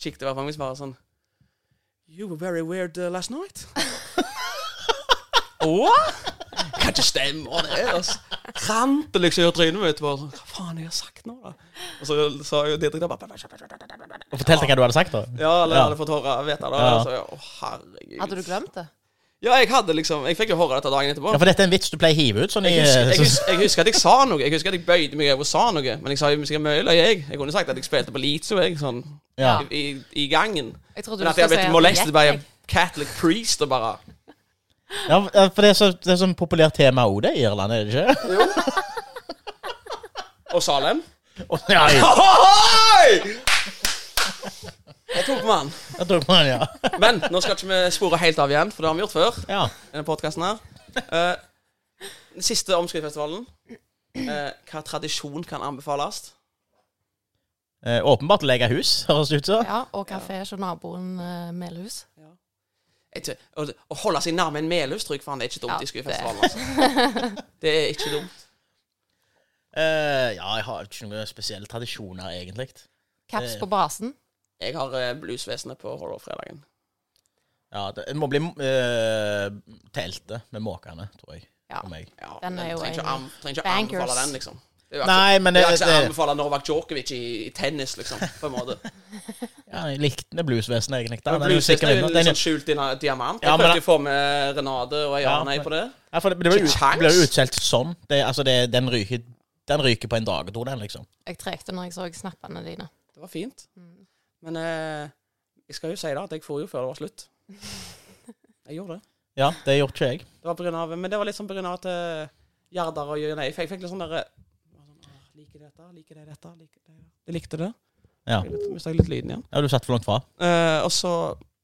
[SPEAKER 1] kikket jeg bare på meg så bare sånn You were very weird uh, last night. Åh? Kan ikke stemme hva det er. Altså. Rant det liksom i trynet mitt. Bare, sånn, hva faen har jeg sagt nå, da? Og så sa jo Didrik da bare
[SPEAKER 3] Og fortalte hva du hadde sagt, da.
[SPEAKER 1] Ja, eller
[SPEAKER 3] Ja.
[SPEAKER 1] hadde fått høre vite det.
[SPEAKER 3] Ja.
[SPEAKER 1] Så, jeg, å, herregud.
[SPEAKER 4] Hadde du glemt det?
[SPEAKER 1] Ja, jeg hadde liksom Jeg fikk jo høre dette dagen etterpå.
[SPEAKER 3] Ja, For dette er en vits du pleier å hive ut sånn i
[SPEAKER 1] Jeg husker, jeg,
[SPEAKER 3] så-
[SPEAKER 1] husker, jeg husker at jeg sa noe. Jeg husker at jeg bøyde meg over og sa noe. Men jeg sa jo sikkert mye løy, jeg. Jeg kunne sagt at jeg spilte på Litzo, jeg, sånn
[SPEAKER 3] Ja.
[SPEAKER 1] i, i gangen.
[SPEAKER 4] Jeg trodde
[SPEAKER 1] Men
[SPEAKER 4] du
[SPEAKER 1] at jeg har
[SPEAKER 4] skulle si
[SPEAKER 1] blitt
[SPEAKER 4] at
[SPEAKER 1] molested
[SPEAKER 4] jeg-
[SPEAKER 1] by a Catholic priest og bare
[SPEAKER 3] ja, for det er så, det er sånn populært tema òg, det, i Irland, er det ikke?
[SPEAKER 1] Og Salem.
[SPEAKER 3] Å, ja, ja.
[SPEAKER 1] Ohoi! Jeg tok med han.
[SPEAKER 3] Jeg tok på den, ja.
[SPEAKER 1] Men nå skal ikke vi spore helt av igjen, for det har vi gjort før.
[SPEAKER 3] ja.
[SPEAKER 1] i denne podkasten her. Eh, den siste omskriftfestivalen. Eh, hva tradisjon kan anbefales?
[SPEAKER 3] Eh, åpenbart lege hus, høres det ut som.
[SPEAKER 4] Ja, og kafé hos naboen eh, Melhus.
[SPEAKER 1] Jeg tror- Å å holde seg nærme en melhus, tror jeg faen det er ikke dumt
[SPEAKER 4] Ja,
[SPEAKER 1] i
[SPEAKER 4] det-
[SPEAKER 1] skuefestivalen. Altså. Det er ikke dumt.
[SPEAKER 3] Eh, ja, jeg har ikke noen spesielle tradisjoner, egentlig.
[SPEAKER 4] Kaps på basen.
[SPEAKER 1] Jeg har eh, bluesvesenet på horrorfredagen.
[SPEAKER 3] Ja, det det må bli eh, teltet med måkene, tror jeg.
[SPEAKER 4] Ja.
[SPEAKER 3] For meg.
[SPEAKER 1] Ja,
[SPEAKER 4] Den er
[SPEAKER 1] men
[SPEAKER 4] jo
[SPEAKER 1] trenger ikke,
[SPEAKER 4] en-
[SPEAKER 1] an, trenger ikke
[SPEAKER 4] Bankers.
[SPEAKER 1] anbefale den, liksom. Det er jo
[SPEAKER 3] Nei, men
[SPEAKER 1] det
[SPEAKER 3] det,
[SPEAKER 1] er ikke
[SPEAKER 3] det,
[SPEAKER 1] å anbefale Novak Djokovic i, i tennis, liksom. På en måte.
[SPEAKER 3] ja, jeg likte det bluesvesenet, egentlig. Da.
[SPEAKER 1] Men
[SPEAKER 3] Den er jo sikker
[SPEAKER 1] Bluesvesenet er jo
[SPEAKER 3] vinner.
[SPEAKER 1] en
[SPEAKER 3] Den
[SPEAKER 1] sånn skjult dina- diamant. Jeg
[SPEAKER 3] Ja, men
[SPEAKER 1] prøvde
[SPEAKER 3] det-
[SPEAKER 1] jo å få med Renate og Ayane
[SPEAKER 3] Ja,
[SPEAKER 1] på det.
[SPEAKER 3] Ja, for det ble jo
[SPEAKER 1] Ikke
[SPEAKER 3] ble jo
[SPEAKER 1] sjans.
[SPEAKER 3] utsolgt sånn. Det, altså det, den, ryker, den ryker på en dag og to, den, liksom.
[SPEAKER 4] Jeg trekte når jeg så snappene dine. Mm.
[SPEAKER 1] Det var fint. Men eh, jeg skal jo si da at jeg for jo før det var slutt. Jeg gjorde det.
[SPEAKER 3] Ja, det gjorde ikke jeg.
[SPEAKER 1] det var på grunn av, men det var litt sånn på grunn av at eh, Gjerdar og Jørgen Eif Jeg fikk litt sånn derre Liker dette, liker det dette, liker det Jeg likte det.
[SPEAKER 3] Ja.
[SPEAKER 1] Mista litt lyden igjen.
[SPEAKER 3] ja, du satt for langt fra.
[SPEAKER 1] Eh, og så,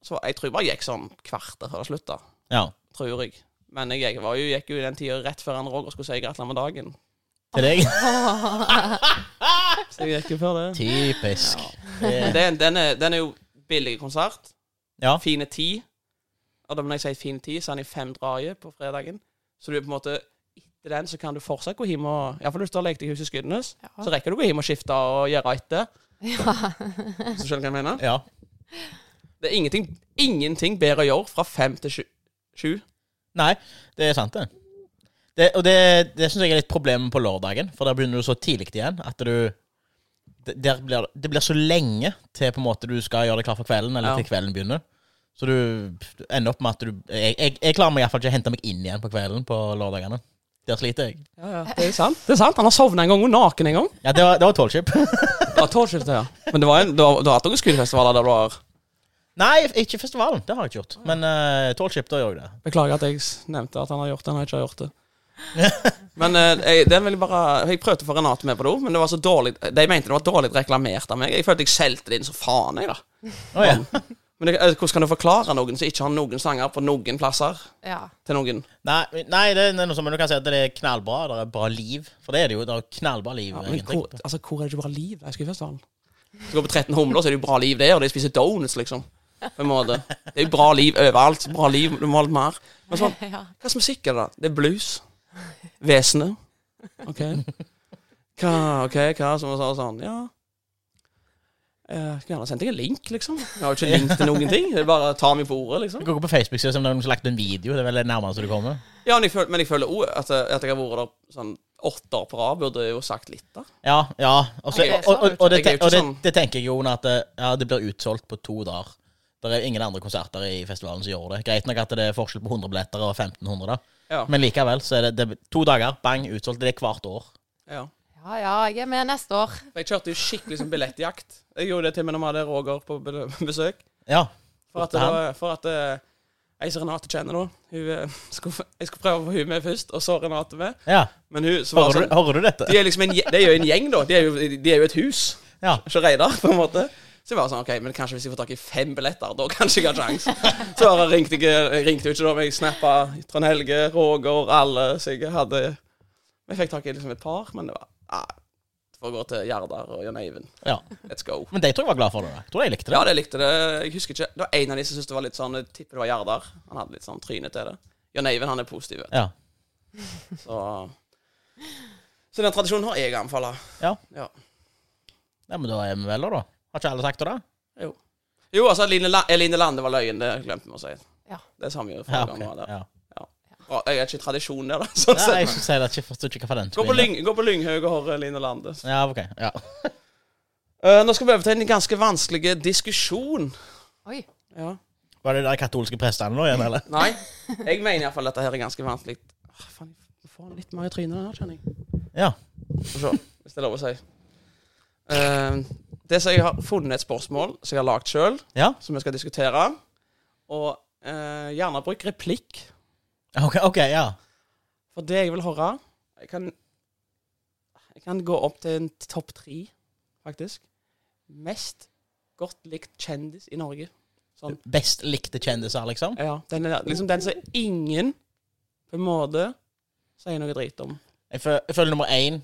[SPEAKER 1] så Jeg tror jeg bare gikk sånn kvarter før det slutta.
[SPEAKER 3] Ja.
[SPEAKER 1] Tror jeg. Men jeg, gikk- var jo, gikk jo i den tida rett før han Roger skulle si gratulerer med dagen.
[SPEAKER 3] Til deg.
[SPEAKER 1] Så jeg gikk jo før det.
[SPEAKER 3] Typisk.
[SPEAKER 1] Men
[SPEAKER 3] Det-
[SPEAKER 1] den, den, er, den er jo billig konsert.
[SPEAKER 3] Ja.
[SPEAKER 1] Fine ti. Og da når jeg sier fine ti, så er den i fem draget på fredagen. Så du er på en måte etter den så kan du fortsatt gå hjem og Iallfall hvis du har lekt i huset Skudenes,
[SPEAKER 4] Ja.
[SPEAKER 1] så rekker du å gå hjem og skifte og gjøre etter.
[SPEAKER 4] Ja.
[SPEAKER 1] Hvis du skjønner hva jeg mener?
[SPEAKER 3] Ja.
[SPEAKER 1] Det er ingenting, ingenting bedre å gjøre fra fem til sju. sju.
[SPEAKER 3] Nei, det er sant, det. det og det, det syns jeg er litt problemet på lørdagen, for der begynner du så tidlig igjen at du det- der blir, Det blir så lenge til på en måte du skal gjøre deg klar for kvelden,
[SPEAKER 1] Ja.
[SPEAKER 3] eller til kvelden begynner. Så du du ender opp med at du Jeg, jeg, jeg klarer meg iallfall ikke å hente meg inn igjen på kvelden på lørdagene. Der sliter jeg.
[SPEAKER 1] Ja, ja, det er sant. Det er sant. Han har sovna en gang og naken en gang.
[SPEAKER 3] Ja, det var, det var tallship.
[SPEAKER 1] Ja, tårskilt, ja. Men det var en, du har du har hatt noen skuespillfestivaler der du har
[SPEAKER 3] Nei, ikke festivalen. Det har jeg ikke gjort. Men uh, tallship, da gjør jeg det.
[SPEAKER 1] Beklager at jeg s- nevnte at han har gjort det, han har ikke gjort det. Men eh, jeg, den vil jeg bare Jeg prøvde å få Renate med på det òg, men det var så dårlig de mente det var dårlig reklamert av meg. Jeg følte jeg solgte det inn så faen, jeg, da.
[SPEAKER 3] Å, ja.
[SPEAKER 1] Men det, eh, hvordan kan du forklare noen som ikke har noen sanger på noen plasser?
[SPEAKER 4] Ja.
[SPEAKER 1] Til noen?
[SPEAKER 3] Nei, nei det er noe som, men du kan si at det er knallbra. Det er bra liv. For det er det jo. Det er knallbra liv.
[SPEAKER 1] Ja, men
[SPEAKER 3] egentlig.
[SPEAKER 1] hvor, altså, hvor er det ikke bra liv? Jeg skulle først ha den. Hvis du går på 13 humler, så er det jo bra liv der, og de spiser donuts, liksom. På en måte. Det er jo bra liv overalt. Bra liv, du må ha litt mer. Men sånn,
[SPEAKER 4] ja.
[SPEAKER 1] hva slags musikk er det, da? Det er blues. Vesenet. OK. Hva, ok, hva som sa sånn? Ja Eh, Skulle gjerne sendt deg en link, liksom. Jeg har jo ikke link til noen ting. Det er bare å ta meg på ordet, liksom.
[SPEAKER 3] Du kan gå på Facebook-sida som noen som har lagt en video. Det er vel det nærmeste du kommer.
[SPEAKER 1] Ja, men jeg føler, men jeg føler også at, at jeg har vært der sånn åtte år på rad, burde jeg jo sagt litt, da.
[SPEAKER 3] Ja, ja. Og, så-
[SPEAKER 4] Jeg er
[SPEAKER 3] og, og, og, det,
[SPEAKER 1] Jeg er jo
[SPEAKER 3] te-
[SPEAKER 1] ikke
[SPEAKER 3] og det,
[SPEAKER 1] sånn.
[SPEAKER 3] det tenker jeg jo Jon, at eh, ja, det blir utsolgt på to dager. Det er ingen andre konserter i festivalen som gjør det. Greit nok at det er forskjell på 100 billetter og 1500, da.
[SPEAKER 1] Ja.
[SPEAKER 3] Men likevel, så er det, det to dager, bang, utsolgt. Det er hvert år.
[SPEAKER 1] ja.
[SPEAKER 4] ja, ja, jeg er med neste år.
[SPEAKER 1] For jeg kjørte jo skikkelig som billettjakt. Jeg gjorde det til og med når vi hadde Roger på be- besøk.
[SPEAKER 3] Ja.
[SPEAKER 1] For at, det var, for at eh, jeg som Renate kjenner nå hun, eh, skulle, Jeg skulle prøve å få hun med først, og så Renate med.
[SPEAKER 3] ja.
[SPEAKER 1] Men hun så var
[SPEAKER 3] Hører,
[SPEAKER 1] sånn
[SPEAKER 3] du, hører du dette?
[SPEAKER 1] De er, liksom en, gje- de er jo en gjeng, da. De er jo, de er jo et hus.
[SPEAKER 3] Ja.
[SPEAKER 1] Ikke Reidar, på en måte. Så jeg var sånn, ok, men kanskje hvis jeg får tak i fem billetter, da kanskje jeg har sjans. Så bare ringte jeg, jeg ringte jo ikke da, men jeg snappa Trond Helge, Roger, alle så jeg hadde Jeg fikk tak i liksom et par, men det var ah, det får gå til Gjerdar og Jan Eivind.
[SPEAKER 3] ja.
[SPEAKER 1] Let's go.
[SPEAKER 3] Men de tror jeg var glad for det. da. Jeg tror de likte det.
[SPEAKER 1] Ja, det likte det. Jeg husker ikke. Det var en av de som syntes det var litt sånn Jeg tipper det var Gjerdar. Han hadde litt sånn tryne til det. Jan Eivind, han er positiv. vet
[SPEAKER 3] Ja.
[SPEAKER 1] du. Så Så den tradisjonen har jeg anbefala.
[SPEAKER 3] Ja.
[SPEAKER 1] ja.
[SPEAKER 3] ja, men da er vi vel der, da. Har ikke alle sagt det, da?
[SPEAKER 1] Jo. Jo, altså Eline, La Eline Lande var løyen, det glemte vi å si.
[SPEAKER 4] Ja.
[SPEAKER 1] Det sa vi jo
[SPEAKER 3] Ja,
[SPEAKER 1] forrige
[SPEAKER 3] ok.
[SPEAKER 1] gang. vi var der.
[SPEAKER 3] ja.
[SPEAKER 1] Bra, Jeg er ikke i tradisjon der, da. Sånn
[SPEAKER 3] Nei, jeg
[SPEAKER 1] sett.
[SPEAKER 3] skulle si det. Jeg forstår ikke hva den
[SPEAKER 1] Gå på,
[SPEAKER 3] skulle inn i.
[SPEAKER 1] lyng, gå på Lynghaug og hør Eline Lande.
[SPEAKER 3] Ja, ok. Ja.
[SPEAKER 1] Eh, nå skal vi over til en ganske vanskelig diskusjon.
[SPEAKER 4] Oi.
[SPEAKER 1] Ja.
[SPEAKER 3] Var det de katolske prestene nå igjen, eller?
[SPEAKER 1] Nei, jeg mener iallfall dette her er ganske vanskelig. Åh, faen, jeg får litt mer i trynet her, kjenner jeg.
[SPEAKER 3] Ja.
[SPEAKER 1] Få se, hvis det er lov å si. Eh, det som jeg har funnet et spørsmål som jeg har lagd sjøl,
[SPEAKER 3] Ja?
[SPEAKER 1] som vi skal diskutere. Og eh, gjerne bruk replikk
[SPEAKER 3] Ok, ok, ja.
[SPEAKER 1] For det jeg vil høre Jeg kan, jeg kan gå opp til en topp tre, faktisk. Mest godt likt kjendis i Norge. Sånn.
[SPEAKER 3] Best likte kjendiser, liksom?
[SPEAKER 1] Ja, den er liksom den som ingen på en måte sier noe drit om.
[SPEAKER 3] Jeg føler, jeg føler nummer én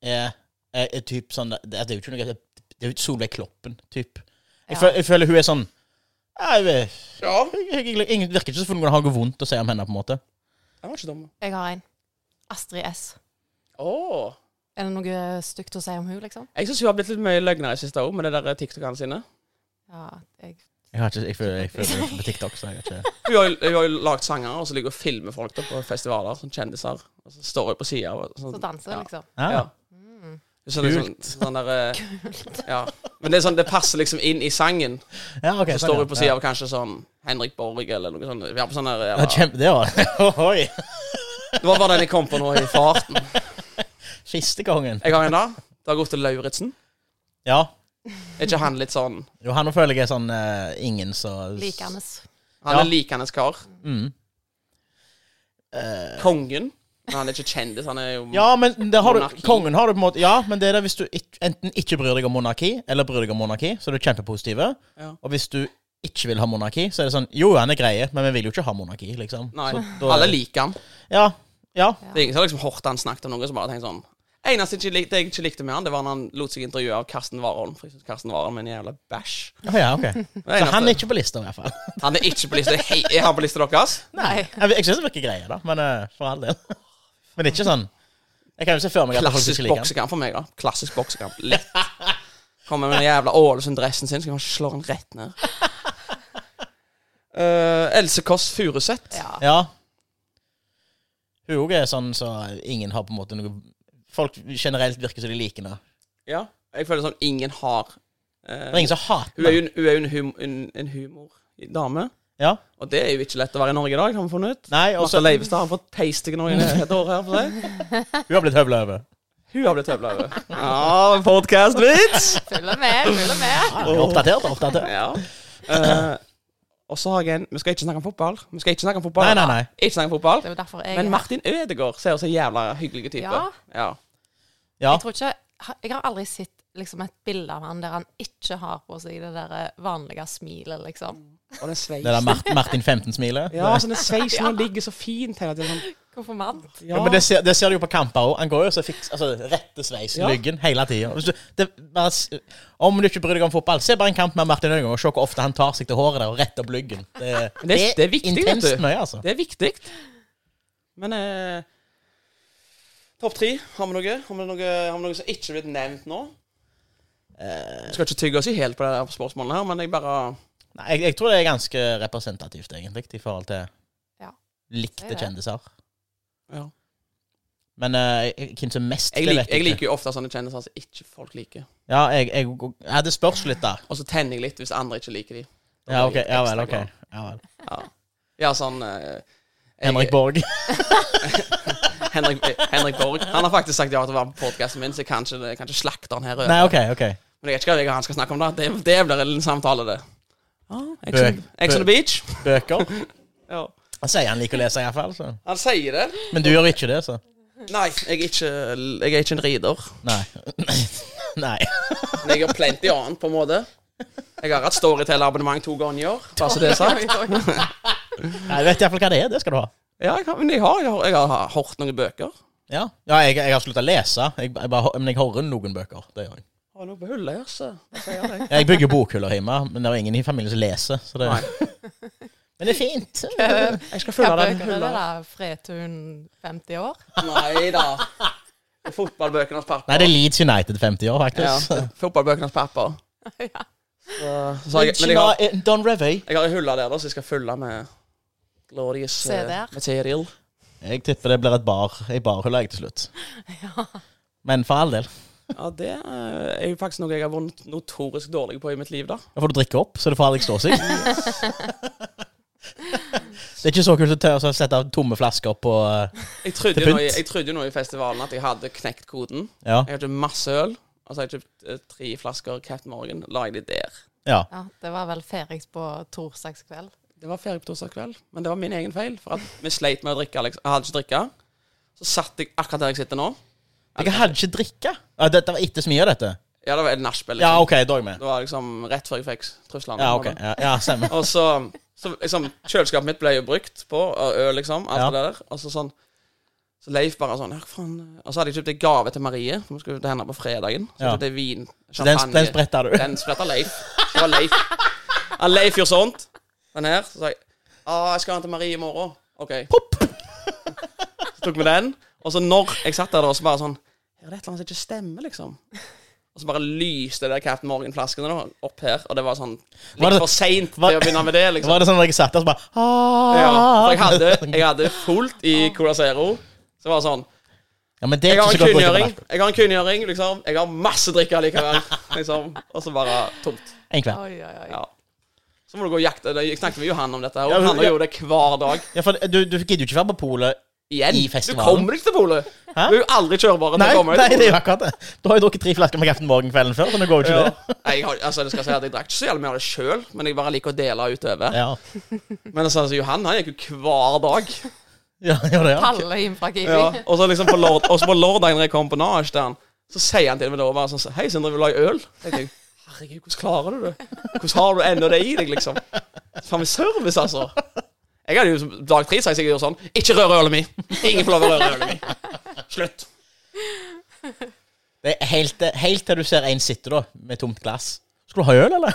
[SPEAKER 3] er, er, er typ sånn Det det er jo ikke noe Det er jo Solveig Kloppen, typ. Jeg,
[SPEAKER 4] Ja.
[SPEAKER 3] føler, jeg føler hun er sånn ja, jeg, vet-
[SPEAKER 1] Ja,
[SPEAKER 3] jeg, jeg, jeg, Ingen virker ikke som om noen har noe vondt å si om henne, på en måte.
[SPEAKER 1] den var ikke dum.
[SPEAKER 4] Jeg har en. Astrid S.
[SPEAKER 1] Åh.
[SPEAKER 4] Er det noe stygt å si om hun, liksom?
[SPEAKER 1] Jeg syns hun har blitt litt mye løgner i siste år med de der TikTokene sine.
[SPEAKER 4] Ja, jeg
[SPEAKER 3] Jeg, har ikke, jeg føler jeg føler det på TikTok, så jeg har ikke
[SPEAKER 1] Hun har, jo- hun har jo lagd sanger, og så ligger hun og filmer folk da på festivaler som kjendiser. Og så står hun på sida og sånn.
[SPEAKER 4] Så danser,
[SPEAKER 1] Ja.
[SPEAKER 4] liksom.
[SPEAKER 3] ja.
[SPEAKER 1] Ja.
[SPEAKER 4] Mm.
[SPEAKER 1] Så det er sånn, sånn der, eh, ja. Men det er sånn, det passer liksom inn i sangen.
[SPEAKER 3] ja, ok.
[SPEAKER 1] Så står hun på sida av kanskje sånn Henrik Borg eller noe sånt. Vi har på sånn der,
[SPEAKER 3] Ja,
[SPEAKER 1] eller,
[SPEAKER 3] kjempe, det var Ohoi!
[SPEAKER 1] det var bare den jeg kom på nå i farten.
[SPEAKER 3] Kistekongen.
[SPEAKER 1] Jeg har en da. Dag Otto Lauritzen.
[SPEAKER 3] Ja.
[SPEAKER 1] Er ikke han litt sånn
[SPEAKER 3] Jo, han føler jeg er sånn eh, ingen som
[SPEAKER 4] Likende.
[SPEAKER 1] Han er
[SPEAKER 3] Ja.
[SPEAKER 1] likandes kar.
[SPEAKER 3] Mm. Eh,
[SPEAKER 1] Kongen. Men han er ikke kjendis. Han er jo
[SPEAKER 3] Ja, men det har du,
[SPEAKER 1] Mm. Monarki.
[SPEAKER 3] kongen har du på en måte Ja, men det er det hvis du ikk- enten ikke bryr deg om monarki, eller bryr deg om monarki, så er du kjempepositive.
[SPEAKER 1] Ja.
[SPEAKER 3] Og hvis du ikke vil ha monarki, så er det sånn Jo, han er greie, men vi vil jo ikke ha monarki, liksom.
[SPEAKER 1] Nei.
[SPEAKER 3] Så da-
[SPEAKER 1] Alle liker han.
[SPEAKER 3] Ja. Ja.
[SPEAKER 1] Det er ingen som har liksom hørt han snakket om noe som bare tenkt sånn Eneste jeg ikke likte, det jeg ikke likte med han, det var når han lot seg intervjue av Karsten Warholm. For jeg synes Karsten Warholm er en jævla bæsj.
[SPEAKER 3] Å ja, ok.
[SPEAKER 1] Det
[SPEAKER 3] Så
[SPEAKER 1] eneste-
[SPEAKER 3] han er ikke på lista, i hvert fall.
[SPEAKER 1] han er ikke på lista. Hei, er han på lista deres?
[SPEAKER 4] Nei.
[SPEAKER 3] Jeg, jeg syns det virker greie, da, men eh, for all del. Men det er ikke sånn Jeg kan jo se for meg at folk
[SPEAKER 1] Klassisk
[SPEAKER 3] ikke liker han.
[SPEAKER 1] boksekamp for meg, da. Klassisk boksekamp. Lett. Kommer med den jævla Ålesund-dressen sin, så kan han slå den rett ned. Eh, Else Kåss Furuseth.
[SPEAKER 4] Ja.
[SPEAKER 3] Ja. Hun òg er sånn så ingen har på en måte noe Folk generelt virker som de liker henne.
[SPEAKER 1] Ja. Jeg føler sånn ingen har eh,
[SPEAKER 3] Det er ingen som hater
[SPEAKER 1] Hun er jo
[SPEAKER 3] henne.
[SPEAKER 1] en, hun er jo en, hum, en, en humordame,
[SPEAKER 3] Ja.
[SPEAKER 1] og det er jo ikke lett å være i Norge i dag, har vi funnet ut.
[SPEAKER 3] Nei, og
[SPEAKER 1] Martha
[SPEAKER 3] så Mm.
[SPEAKER 1] Leivestad har fått peisting nå i et år her. på seg.
[SPEAKER 3] Hun har blitt høvla over.
[SPEAKER 1] Hun har blitt høvla over. Ja, podkast-vits!
[SPEAKER 4] Følger med, følger med.
[SPEAKER 3] Ja, Oppdatert, oppdatert.
[SPEAKER 1] Ja. Eh, og så har jeg en Vi skal ikke snakke om fotball. Vi skal ikke snakke om fotball.
[SPEAKER 3] Nei, nei, nei.
[SPEAKER 1] Ikke snakke om fotball.
[SPEAKER 4] Det er jo derfor jeg
[SPEAKER 1] Men Martin Ødegaard ser jo så jævla hyggelig type.
[SPEAKER 4] Ja.
[SPEAKER 1] Ja.
[SPEAKER 3] Ja.
[SPEAKER 1] Ah.
[SPEAKER 4] Jeg tror ikke Jeg har aldri sett liksom et bilde av han der han ikke har på seg det der eh, vanlige smilet, liksom.
[SPEAKER 1] Og den sveisen.
[SPEAKER 3] Det der Mar Martin 15-smilet.
[SPEAKER 1] Ja, sånn den sveisen han ligger så fint hele tiden. Sånn,
[SPEAKER 4] Konfirmant.
[SPEAKER 1] ja.
[SPEAKER 3] Men det ser, det ser du jo på kamper òg. Han går jo så fiks, altså, rette sveis i
[SPEAKER 1] Ja.
[SPEAKER 3] lyggen hele tida. Om du ikke bryr deg om fotball, se bare en kamp med Martin Ødegaard og se hvor ofte han tar seg til håret der og retter opp lyggen. Det,
[SPEAKER 1] Men det, det er viktig, vet
[SPEAKER 3] intenst
[SPEAKER 1] du.
[SPEAKER 3] mye, altså.
[SPEAKER 1] Det er viktig. Men eh, Topp tre, har vi noe? Har vi noe, har vi noe som ikke er blitt nevnt nå? Vi skal ikke tygge oss i helt på det her spørsmålet her, men jeg bare
[SPEAKER 3] Eh, Nei, jeg, jeg tror det er ganske representativt, egentlig, i forhold til
[SPEAKER 4] Ja.
[SPEAKER 3] likte
[SPEAKER 4] Det er det.
[SPEAKER 3] kjendiser.
[SPEAKER 1] ja.
[SPEAKER 3] Men eh, hvem som mest
[SPEAKER 1] jeg, lik,
[SPEAKER 3] det vet
[SPEAKER 1] jeg
[SPEAKER 3] ikke.
[SPEAKER 1] liker jo ofte sånne kjendiser som ikke folk liker.
[SPEAKER 3] Ja, jeg, jeg, jeg hadde spørs litt, da.
[SPEAKER 1] Og så tenner jeg litt hvis andre ikke liker de.
[SPEAKER 3] Ja, ok, ja vel,
[SPEAKER 1] Ekstra
[SPEAKER 3] ok.
[SPEAKER 1] glad.
[SPEAKER 3] Ja, vel.
[SPEAKER 1] Ja, ja sånn eh, jeg-
[SPEAKER 3] Henrik Borg.
[SPEAKER 1] Henrik, eh, Henrik Borg. Han har faktisk sagt ja til å være med på podkasten min, så jeg kan ikke, jeg kan ikke slakte han her.
[SPEAKER 3] Nei, ok, ok.
[SPEAKER 1] Men jeg vet ikke hva han skal snakke om da. Det, det blir en samtale, det. Ja,
[SPEAKER 3] Ah.
[SPEAKER 1] Ex on-
[SPEAKER 3] Bøk.
[SPEAKER 1] Ex on the beach.
[SPEAKER 3] Bøker.
[SPEAKER 1] Ja.
[SPEAKER 3] Han sier han liker å lese, iallfall. Så.
[SPEAKER 1] Han sier det.
[SPEAKER 3] Men du gjør ikke det, så.
[SPEAKER 1] Nei, jeg er ikke, jeg er ikke en rider.
[SPEAKER 3] Nei. Nei.
[SPEAKER 1] Men jeg gjør plenty annet, på en måte. Jeg har hatt Storytel-abonnement to ganger. Bare så det er sagt.
[SPEAKER 3] Nei, Jeg vet iallfall hva det er. Det skal du ha.
[SPEAKER 1] Ja, jeg har, men jeg har, jeg har, jeg har hørt noen bøker.
[SPEAKER 3] Ja, ja jeg, jeg har slutta å lese, jeg, jeg bare, men jeg har noen bøker. Det gjør jeg.
[SPEAKER 1] Har noe på hullet, altså. Hva sier jeg?
[SPEAKER 3] Jeg bygger bokhyller hjemme, men det er ingen i familien som leser. Så det,
[SPEAKER 1] Nei.
[SPEAKER 3] men det er fint.
[SPEAKER 1] Jeg skal
[SPEAKER 4] Hva
[SPEAKER 1] følge den
[SPEAKER 4] bøker er det
[SPEAKER 1] hullet.
[SPEAKER 4] da? Fretun 50 år?
[SPEAKER 1] Nei da. Fotballbøkenes pappa.
[SPEAKER 3] Nei, det er Leeds United 50 år, faktisk.
[SPEAKER 1] Ja, fotballbøkenes pappa.
[SPEAKER 4] ja.
[SPEAKER 1] Så, så jeg, men jeg har,
[SPEAKER 3] Ja. Don Revy.
[SPEAKER 1] jeg har ei hulle der, da, så jeg skal fylle med glorious eh,
[SPEAKER 4] CD-er.
[SPEAKER 1] material.
[SPEAKER 3] Jeg tipper det blir et bar, ei barhylle jeg, til slutt. Men for all del.
[SPEAKER 1] Ja, det eh, er jo faktisk noe jeg har vært notorisk dårlig på i mitt liv, da.
[SPEAKER 3] Da får du drikke opp, så det får aldri stå seg. det er ikke så kult å tørre å sette tomme flasker på eh,
[SPEAKER 1] Jeg trodde,
[SPEAKER 3] Til
[SPEAKER 1] jo nå, i-
[SPEAKER 3] pynt.
[SPEAKER 1] jeg trodde jo nå i festivalen at jeg hadde knekt koden.
[SPEAKER 3] Ja.
[SPEAKER 1] Jeg hadde masse øl, og så har jeg kjøpt eh, tre flasker Captain Morgan. La jeg de der.
[SPEAKER 3] ja.
[SPEAKER 4] ja. Det var vel Ferix på torsdagskveld.
[SPEAKER 1] Det var ferie på torsdag kveld, men det var min egen feil. For at vi sleit med å drikke. Alex. Jeg hadde ikke drikke. Så satt jeg akkurat der jeg sitter nå.
[SPEAKER 3] Jeg hadde ikke drikke. Ja, dette var etter så mye av dette.
[SPEAKER 1] Ja, det var et nachspiel.
[SPEAKER 3] Ja,
[SPEAKER 1] Liksom.
[SPEAKER 3] OK, da er jeg med.
[SPEAKER 1] Det var liksom rett før jeg fikk truslene.
[SPEAKER 3] Ja, ok. Ja, ja stemmer.
[SPEAKER 1] Og så, så liksom, Kjøleskapet mitt ble jo brukt på, og øl, liksom. Alt
[SPEAKER 3] Ja.
[SPEAKER 1] det der. Og så sånn Så Leif bare sånn «Ja, hva faen Og så hadde jeg kjøpt en gave til Marie, for vi skulle til henne på fredagen. Så
[SPEAKER 3] Ja.
[SPEAKER 1] kjøpte jeg vin,
[SPEAKER 3] Så den, den spretta du.
[SPEAKER 1] Den spretta Leif. Det var Leif. Ja, Leif gjorde sånt. Den her. Så sa jeg Å, jeg skal ha den til Marie i morgen. OK. Så tok vi den. Og så når jeg satt der, da, så bare sånn Ja, det er et eller annet som ikke stemmer, liksom. Og så bare lyste det der Captain Morgan-flaskene da, opp her, og det var sånn litt
[SPEAKER 3] Var det-
[SPEAKER 1] for seint
[SPEAKER 3] var-
[SPEAKER 1] til å begynne med det, liksom.
[SPEAKER 3] Var det sånn at jeg satt der og så bare
[SPEAKER 1] Ja, for jeg
[SPEAKER 3] «Ah».
[SPEAKER 1] hadde, jeg hadde fullt i Colasero. Så det var sånn
[SPEAKER 3] Ja, men det er
[SPEAKER 1] Jeg
[SPEAKER 3] ikke
[SPEAKER 1] har
[SPEAKER 3] så
[SPEAKER 1] en
[SPEAKER 3] godt å drikke
[SPEAKER 1] kunngjøring,
[SPEAKER 3] på.
[SPEAKER 1] jeg har en kunngjøring, liksom. Jeg har masse drikke likevel. Liksom. Og så bare tomt.
[SPEAKER 3] En kveld.
[SPEAKER 4] Oi, oi, oi.
[SPEAKER 1] Ja. Så må du gå og jakte. Jeg snakket med Johan om dette. her,
[SPEAKER 3] Ja,
[SPEAKER 1] Og
[SPEAKER 3] men-
[SPEAKER 1] han gjør jo det hver dag.
[SPEAKER 3] Ja, for du, du gidder jo ikke være på polet
[SPEAKER 1] Igjen.
[SPEAKER 3] I
[SPEAKER 1] Du
[SPEAKER 3] festivalen.
[SPEAKER 1] kommer deg ikke til polet. Du
[SPEAKER 3] Hæ?
[SPEAKER 1] er jo aldri kjørbar til
[SPEAKER 3] Nei,
[SPEAKER 1] å komme
[SPEAKER 3] nei,
[SPEAKER 1] deg
[SPEAKER 3] det er
[SPEAKER 1] til
[SPEAKER 3] jo akkurat det. Du har jo drukket tre flasker med Captain Morgan kvelden før, så nå går jo ikke
[SPEAKER 1] Ja. Nei, Jeg, har, altså, jeg skal si at jeg drakk ikke så jævlig mye av det sjøl, men jeg bare liker å dele utover.
[SPEAKER 3] det. Ja.
[SPEAKER 1] Men altså, altså, Johan han gikk jo hver dag.
[SPEAKER 3] Ja, gjør det, ja.
[SPEAKER 4] Palle inn fra Kiwi.
[SPEAKER 1] Ja, og så liksom på, lord, og så på lørdagen når jeg kom på nach der, så sier han til meg da bare sånn Hei, Sindre, vil du ha ei øl? Jeg tenker, Herregud, hvordan klarer du det? Hvordan har du ennå det i deg, liksom? Faen meg service, altså. Jeg hadde jo som dag tre sagt sikkert sånn Ikke rør ølet mi! Ingen får lov å røre ølet mi. Slutt.
[SPEAKER 3] Det er helt, helt til du ser en sitte da, med tomt glass. Skal du ha øl, eller?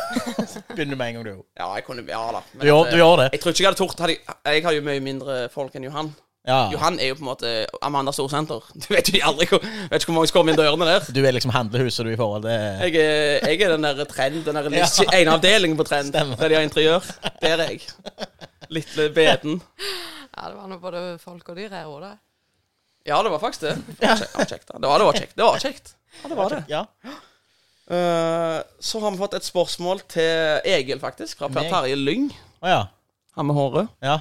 [SPEAKER 3] Så Begynner du med en gang, du.
[SPEAKER 1] Ja, jeg kunne Ja da. Men
[SPEAKER 3] Du gjør,
[SPEAKER 1] at, eh,
[SPEAKER 3] du gjør det.
[SPEAKER 1] Jeg tror ikke jeg hadde tort hadde jeg, jeg har jo mye mindre folk enn Johan.
[SPEAKER 3] Ja.
[SPEAKER 1] Johan er jo på en måte Amanda Storsenter. Du vet jo aldri hvor, vet ikke hvor mange som kommer inn dørene der.
[SPEAKER 3] Du er liksom handlehuset du i forhold til
[SPEAKER 1] Jeg er, jeg er den der trend, den der list, ene avdelingen på trend,
[SPEAKER 3] Stemmer.
[SPEAKER 1] der de har interiør. Der er jeg. Lille beden.
[SPEAKER 4] Ja, det var nå både folk og dyr her òg, da.
[SPEAKER 1] Ja, det var faktisk det. Det var kjekt, det var kjekt, da. det var, det var kjekt. Det var kjekt. Ja, det var det.
[SPEAKER 3] Ja.
[SPEAKER 1] Eh, så har vi fått et spørsmål til Egil, faktisk, fra Per
[SPEAKER 3] Meg?
[SPEAKER 1] Terje Lyng.
[SPEAKER 3] Å ja.
[SPEAKER 1] Han med håret.
[SPEAKER 3] ja.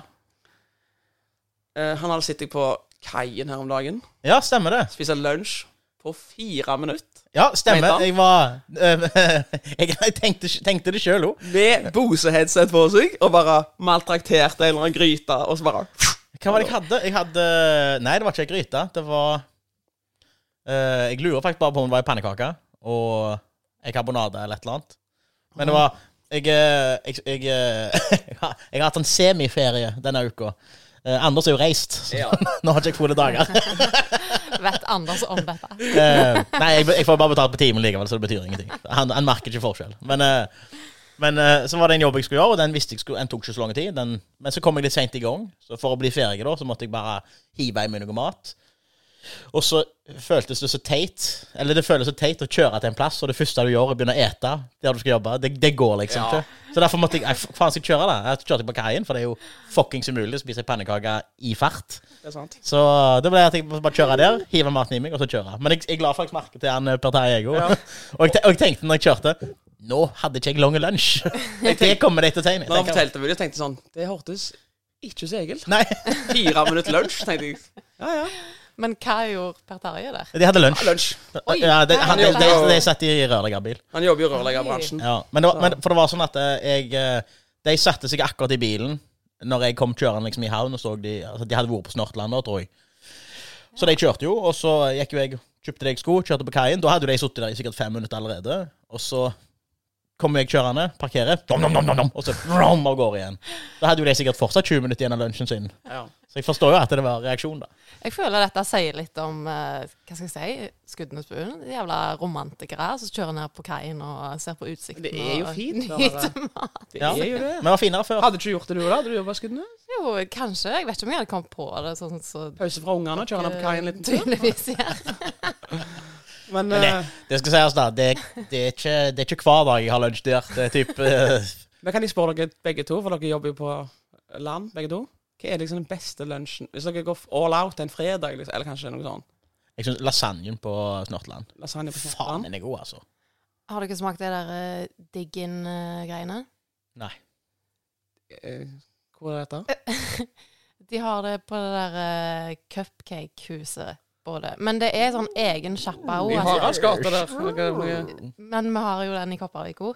[SPEAKER 1] Eh, han hadde sittet på kaien her om dagen,
[SPEAKER 3] Ja, stemmer det.
[SPEAKER 1] spist lunsj på fire minutter.
[SPEAKER 3] Ja,
[SPEAKER 1] Mente
[SPEAKER 3] stemmer.
[SPEAKER 1] han?
[SPEAKER 3] Jeg var Jeg, jeg tenkte, tenkte det sjøl òg.
[SPEAKER 1] Med Bose-headset på seg, og bare maltrakterte en eller annen gryte, og så bare
[SPEAKER 3] Hva var det jeg hadde? Jeg hadde Nei, det var ikke ei gryte. Det var eh, Jeg lurer faktisk bare på om det var ei pannekake og En karbonade eller et eller annet. Men det var Jeg, eh, jeg, jeg, eh, jeg har jeg har hatt en semiferie denne uka. Eh, Anders er jo reist, så
[SPEAKER 2] Ja.
[SPEAKER 3] nå har ikke jeg fulle dager.
[SPEAKER 4] Vet Anders om dette?
[SPEAKER 3] Eh, nei, jeg, jeg får bare betalt på timen likevel, så det betyr ingenting. Han, han merker ikke forskjell. Men, eh, men eh, så var det en jobb jeg skulle gjøre, og den visste jeg skulle, den tok ikke så lang tid. Den, men så kom jeg litt seint i gang, så for å bli ferdig da, så måtte jeg bare hive i meg noe mat. Og så føltes det så teit Eller det føles så teit å kjøre til en plass, og det første du gjør, er å begynne å ete der du skal jobbe. Det, det går liksom
[SPEAKER 2] Ja.
[SPEAKER 3] ikke. Så derfor måtte jeg Nei, f- faen skal jeg kjøre, da? Jeg kjørte på kaien, for det er jo fuckings umulig å spise pannekaker i fart.
[SPEAKER 1] Det er sant.
[SPEAKER 3] Så eh, det ble at jeg bare kjøre der, hive maten i meg, og så kjøre. Men jeg, jeg la faktisk merke til han eh, Per Terje Ego. og, jeg te- og jeg tenkte når jeg kjørte Nå hadde ikke jeg lang lunsj. Det kommer de til å si.
[SPEAKER 1] Når han
[SPEAKER 3] tenker jeg.
[SPEAKER 1] fortalte meg det, tenkte jeg sånn Det hørtes ikke så egelt.
[SPEAKER 3] Nei,
[SPEAKER 1] Fire minutter lunsj, tenkte jeg. Ja, ja.
[SPEAKER 4] Men hva gjorde Per Terje der?
[SPEAKER 3] de hadde lunsj.
[SPEAKER 1] Lunsj.
[SPEAKER 4] Oi.
[SPEAKER 3] Ja, de, han, de,
[SPEAKER 1] Han
[SPEAKER 3] de,
[SPEAKER 1] jobber-
[SPEAKER 3] de satt i rørleggerbil.
[SPEAKER 1] Han jobber jo i rørleggerbransjen.
[SPEAKER 3] Ja. Men, det var, men for det var sånn at eh, jeg eh, De satte seg akkurat i bilen Når jeg kom kjørende liksom i havn, og så de altså, De hadde vært på Snortland da, tror jeg. Så de kjørte jo, og så gikk jo jeg kjøpte det jeg skulle, kjørte på kaien. Da hadde jo de sittet der i sikkert fem minutter allerede. Og så kommer jeg kjørende, parkerer, dom, dom, dom, dom, dom, og så vroom, av gårde igjen. Da hadde jo de sikkert fortsatt 20 minutter igjen av lunsjen sin.
[SPEAKER 1] Ja.
[SPEAKER 3] Så jeg forstår jo at det var reaksjon, da.
[SPEAKER 4] Jeg føler dette sier litt om eh, hva skal jeg si, skuddene på bunnen. De jævla romantikere som kjører ned på kaien og ser på utsikten.
[SPEAKER 1] Det er jo
[SPEAKER 4] og-
[SPEAKER 1] fint, da,
[SPEAKER 4] nyter
[SPEAKER 1] Det
[SPEAKER 3] Ja.
[SPEAKER 1] er jo det.
[SPEAKER 3] Men det var finere før.
[SPEAKER 1] Hadde ikke gjort det du, da? Hadde du jobba skuddene?
[SPEAKER 4] Jo, kanskje. Jeg vet ikke om jeg hadde kommet på det sånn så
[SPEAKER 1] Pause fra ungene, kjøre ned på kaien en liten tur?
[SPEAKER 4] tydeligvis ja.
[SPEAKER 1] Men
[SPEAKER 3] Men det,
[SPEAKER 1] eh,
[SPEAKER 3] det skal sies, da. Det, det, er ikke, det er ikke hver dag jeg har lunsj der. Det er typ eh,
[SPEAKER 1] men kan jeg spørre dere begge to, for dere jobber jo på land, begge to. Hva er liksom den beste lunsjen? Hvis dere går all out en fredag, liksom, eller kanskje noe sånt.
[SPEAKER 3] Jeg syns lasagnen på Snortland
[SPEAKER 1] Lasagne på
[SPEAKER 3] Faen,
[SPEAKER 1] Snortland.
[SPEAKER 3] den er god, altså.
[SPEAKER 4] Har dere smakt det der eh, Diggin-greiene?
[SPEAKER 3] Nei.
[SPEAKER 1] Eh, Hvor er dette?
[SPEAKER 4] De har det på det der eh, cupcake-huset. både. Men det er sånn egen sjappa
[SPEAKER 1] I
[SPEAKER 4] òg.
[SPEAKER 1] Haralds
[SPEAKER 4] Altså.
[SPEAKER 1] gate der. Noe, noe.
[SPEAKER 4] Men vi har jo den i Kopervika.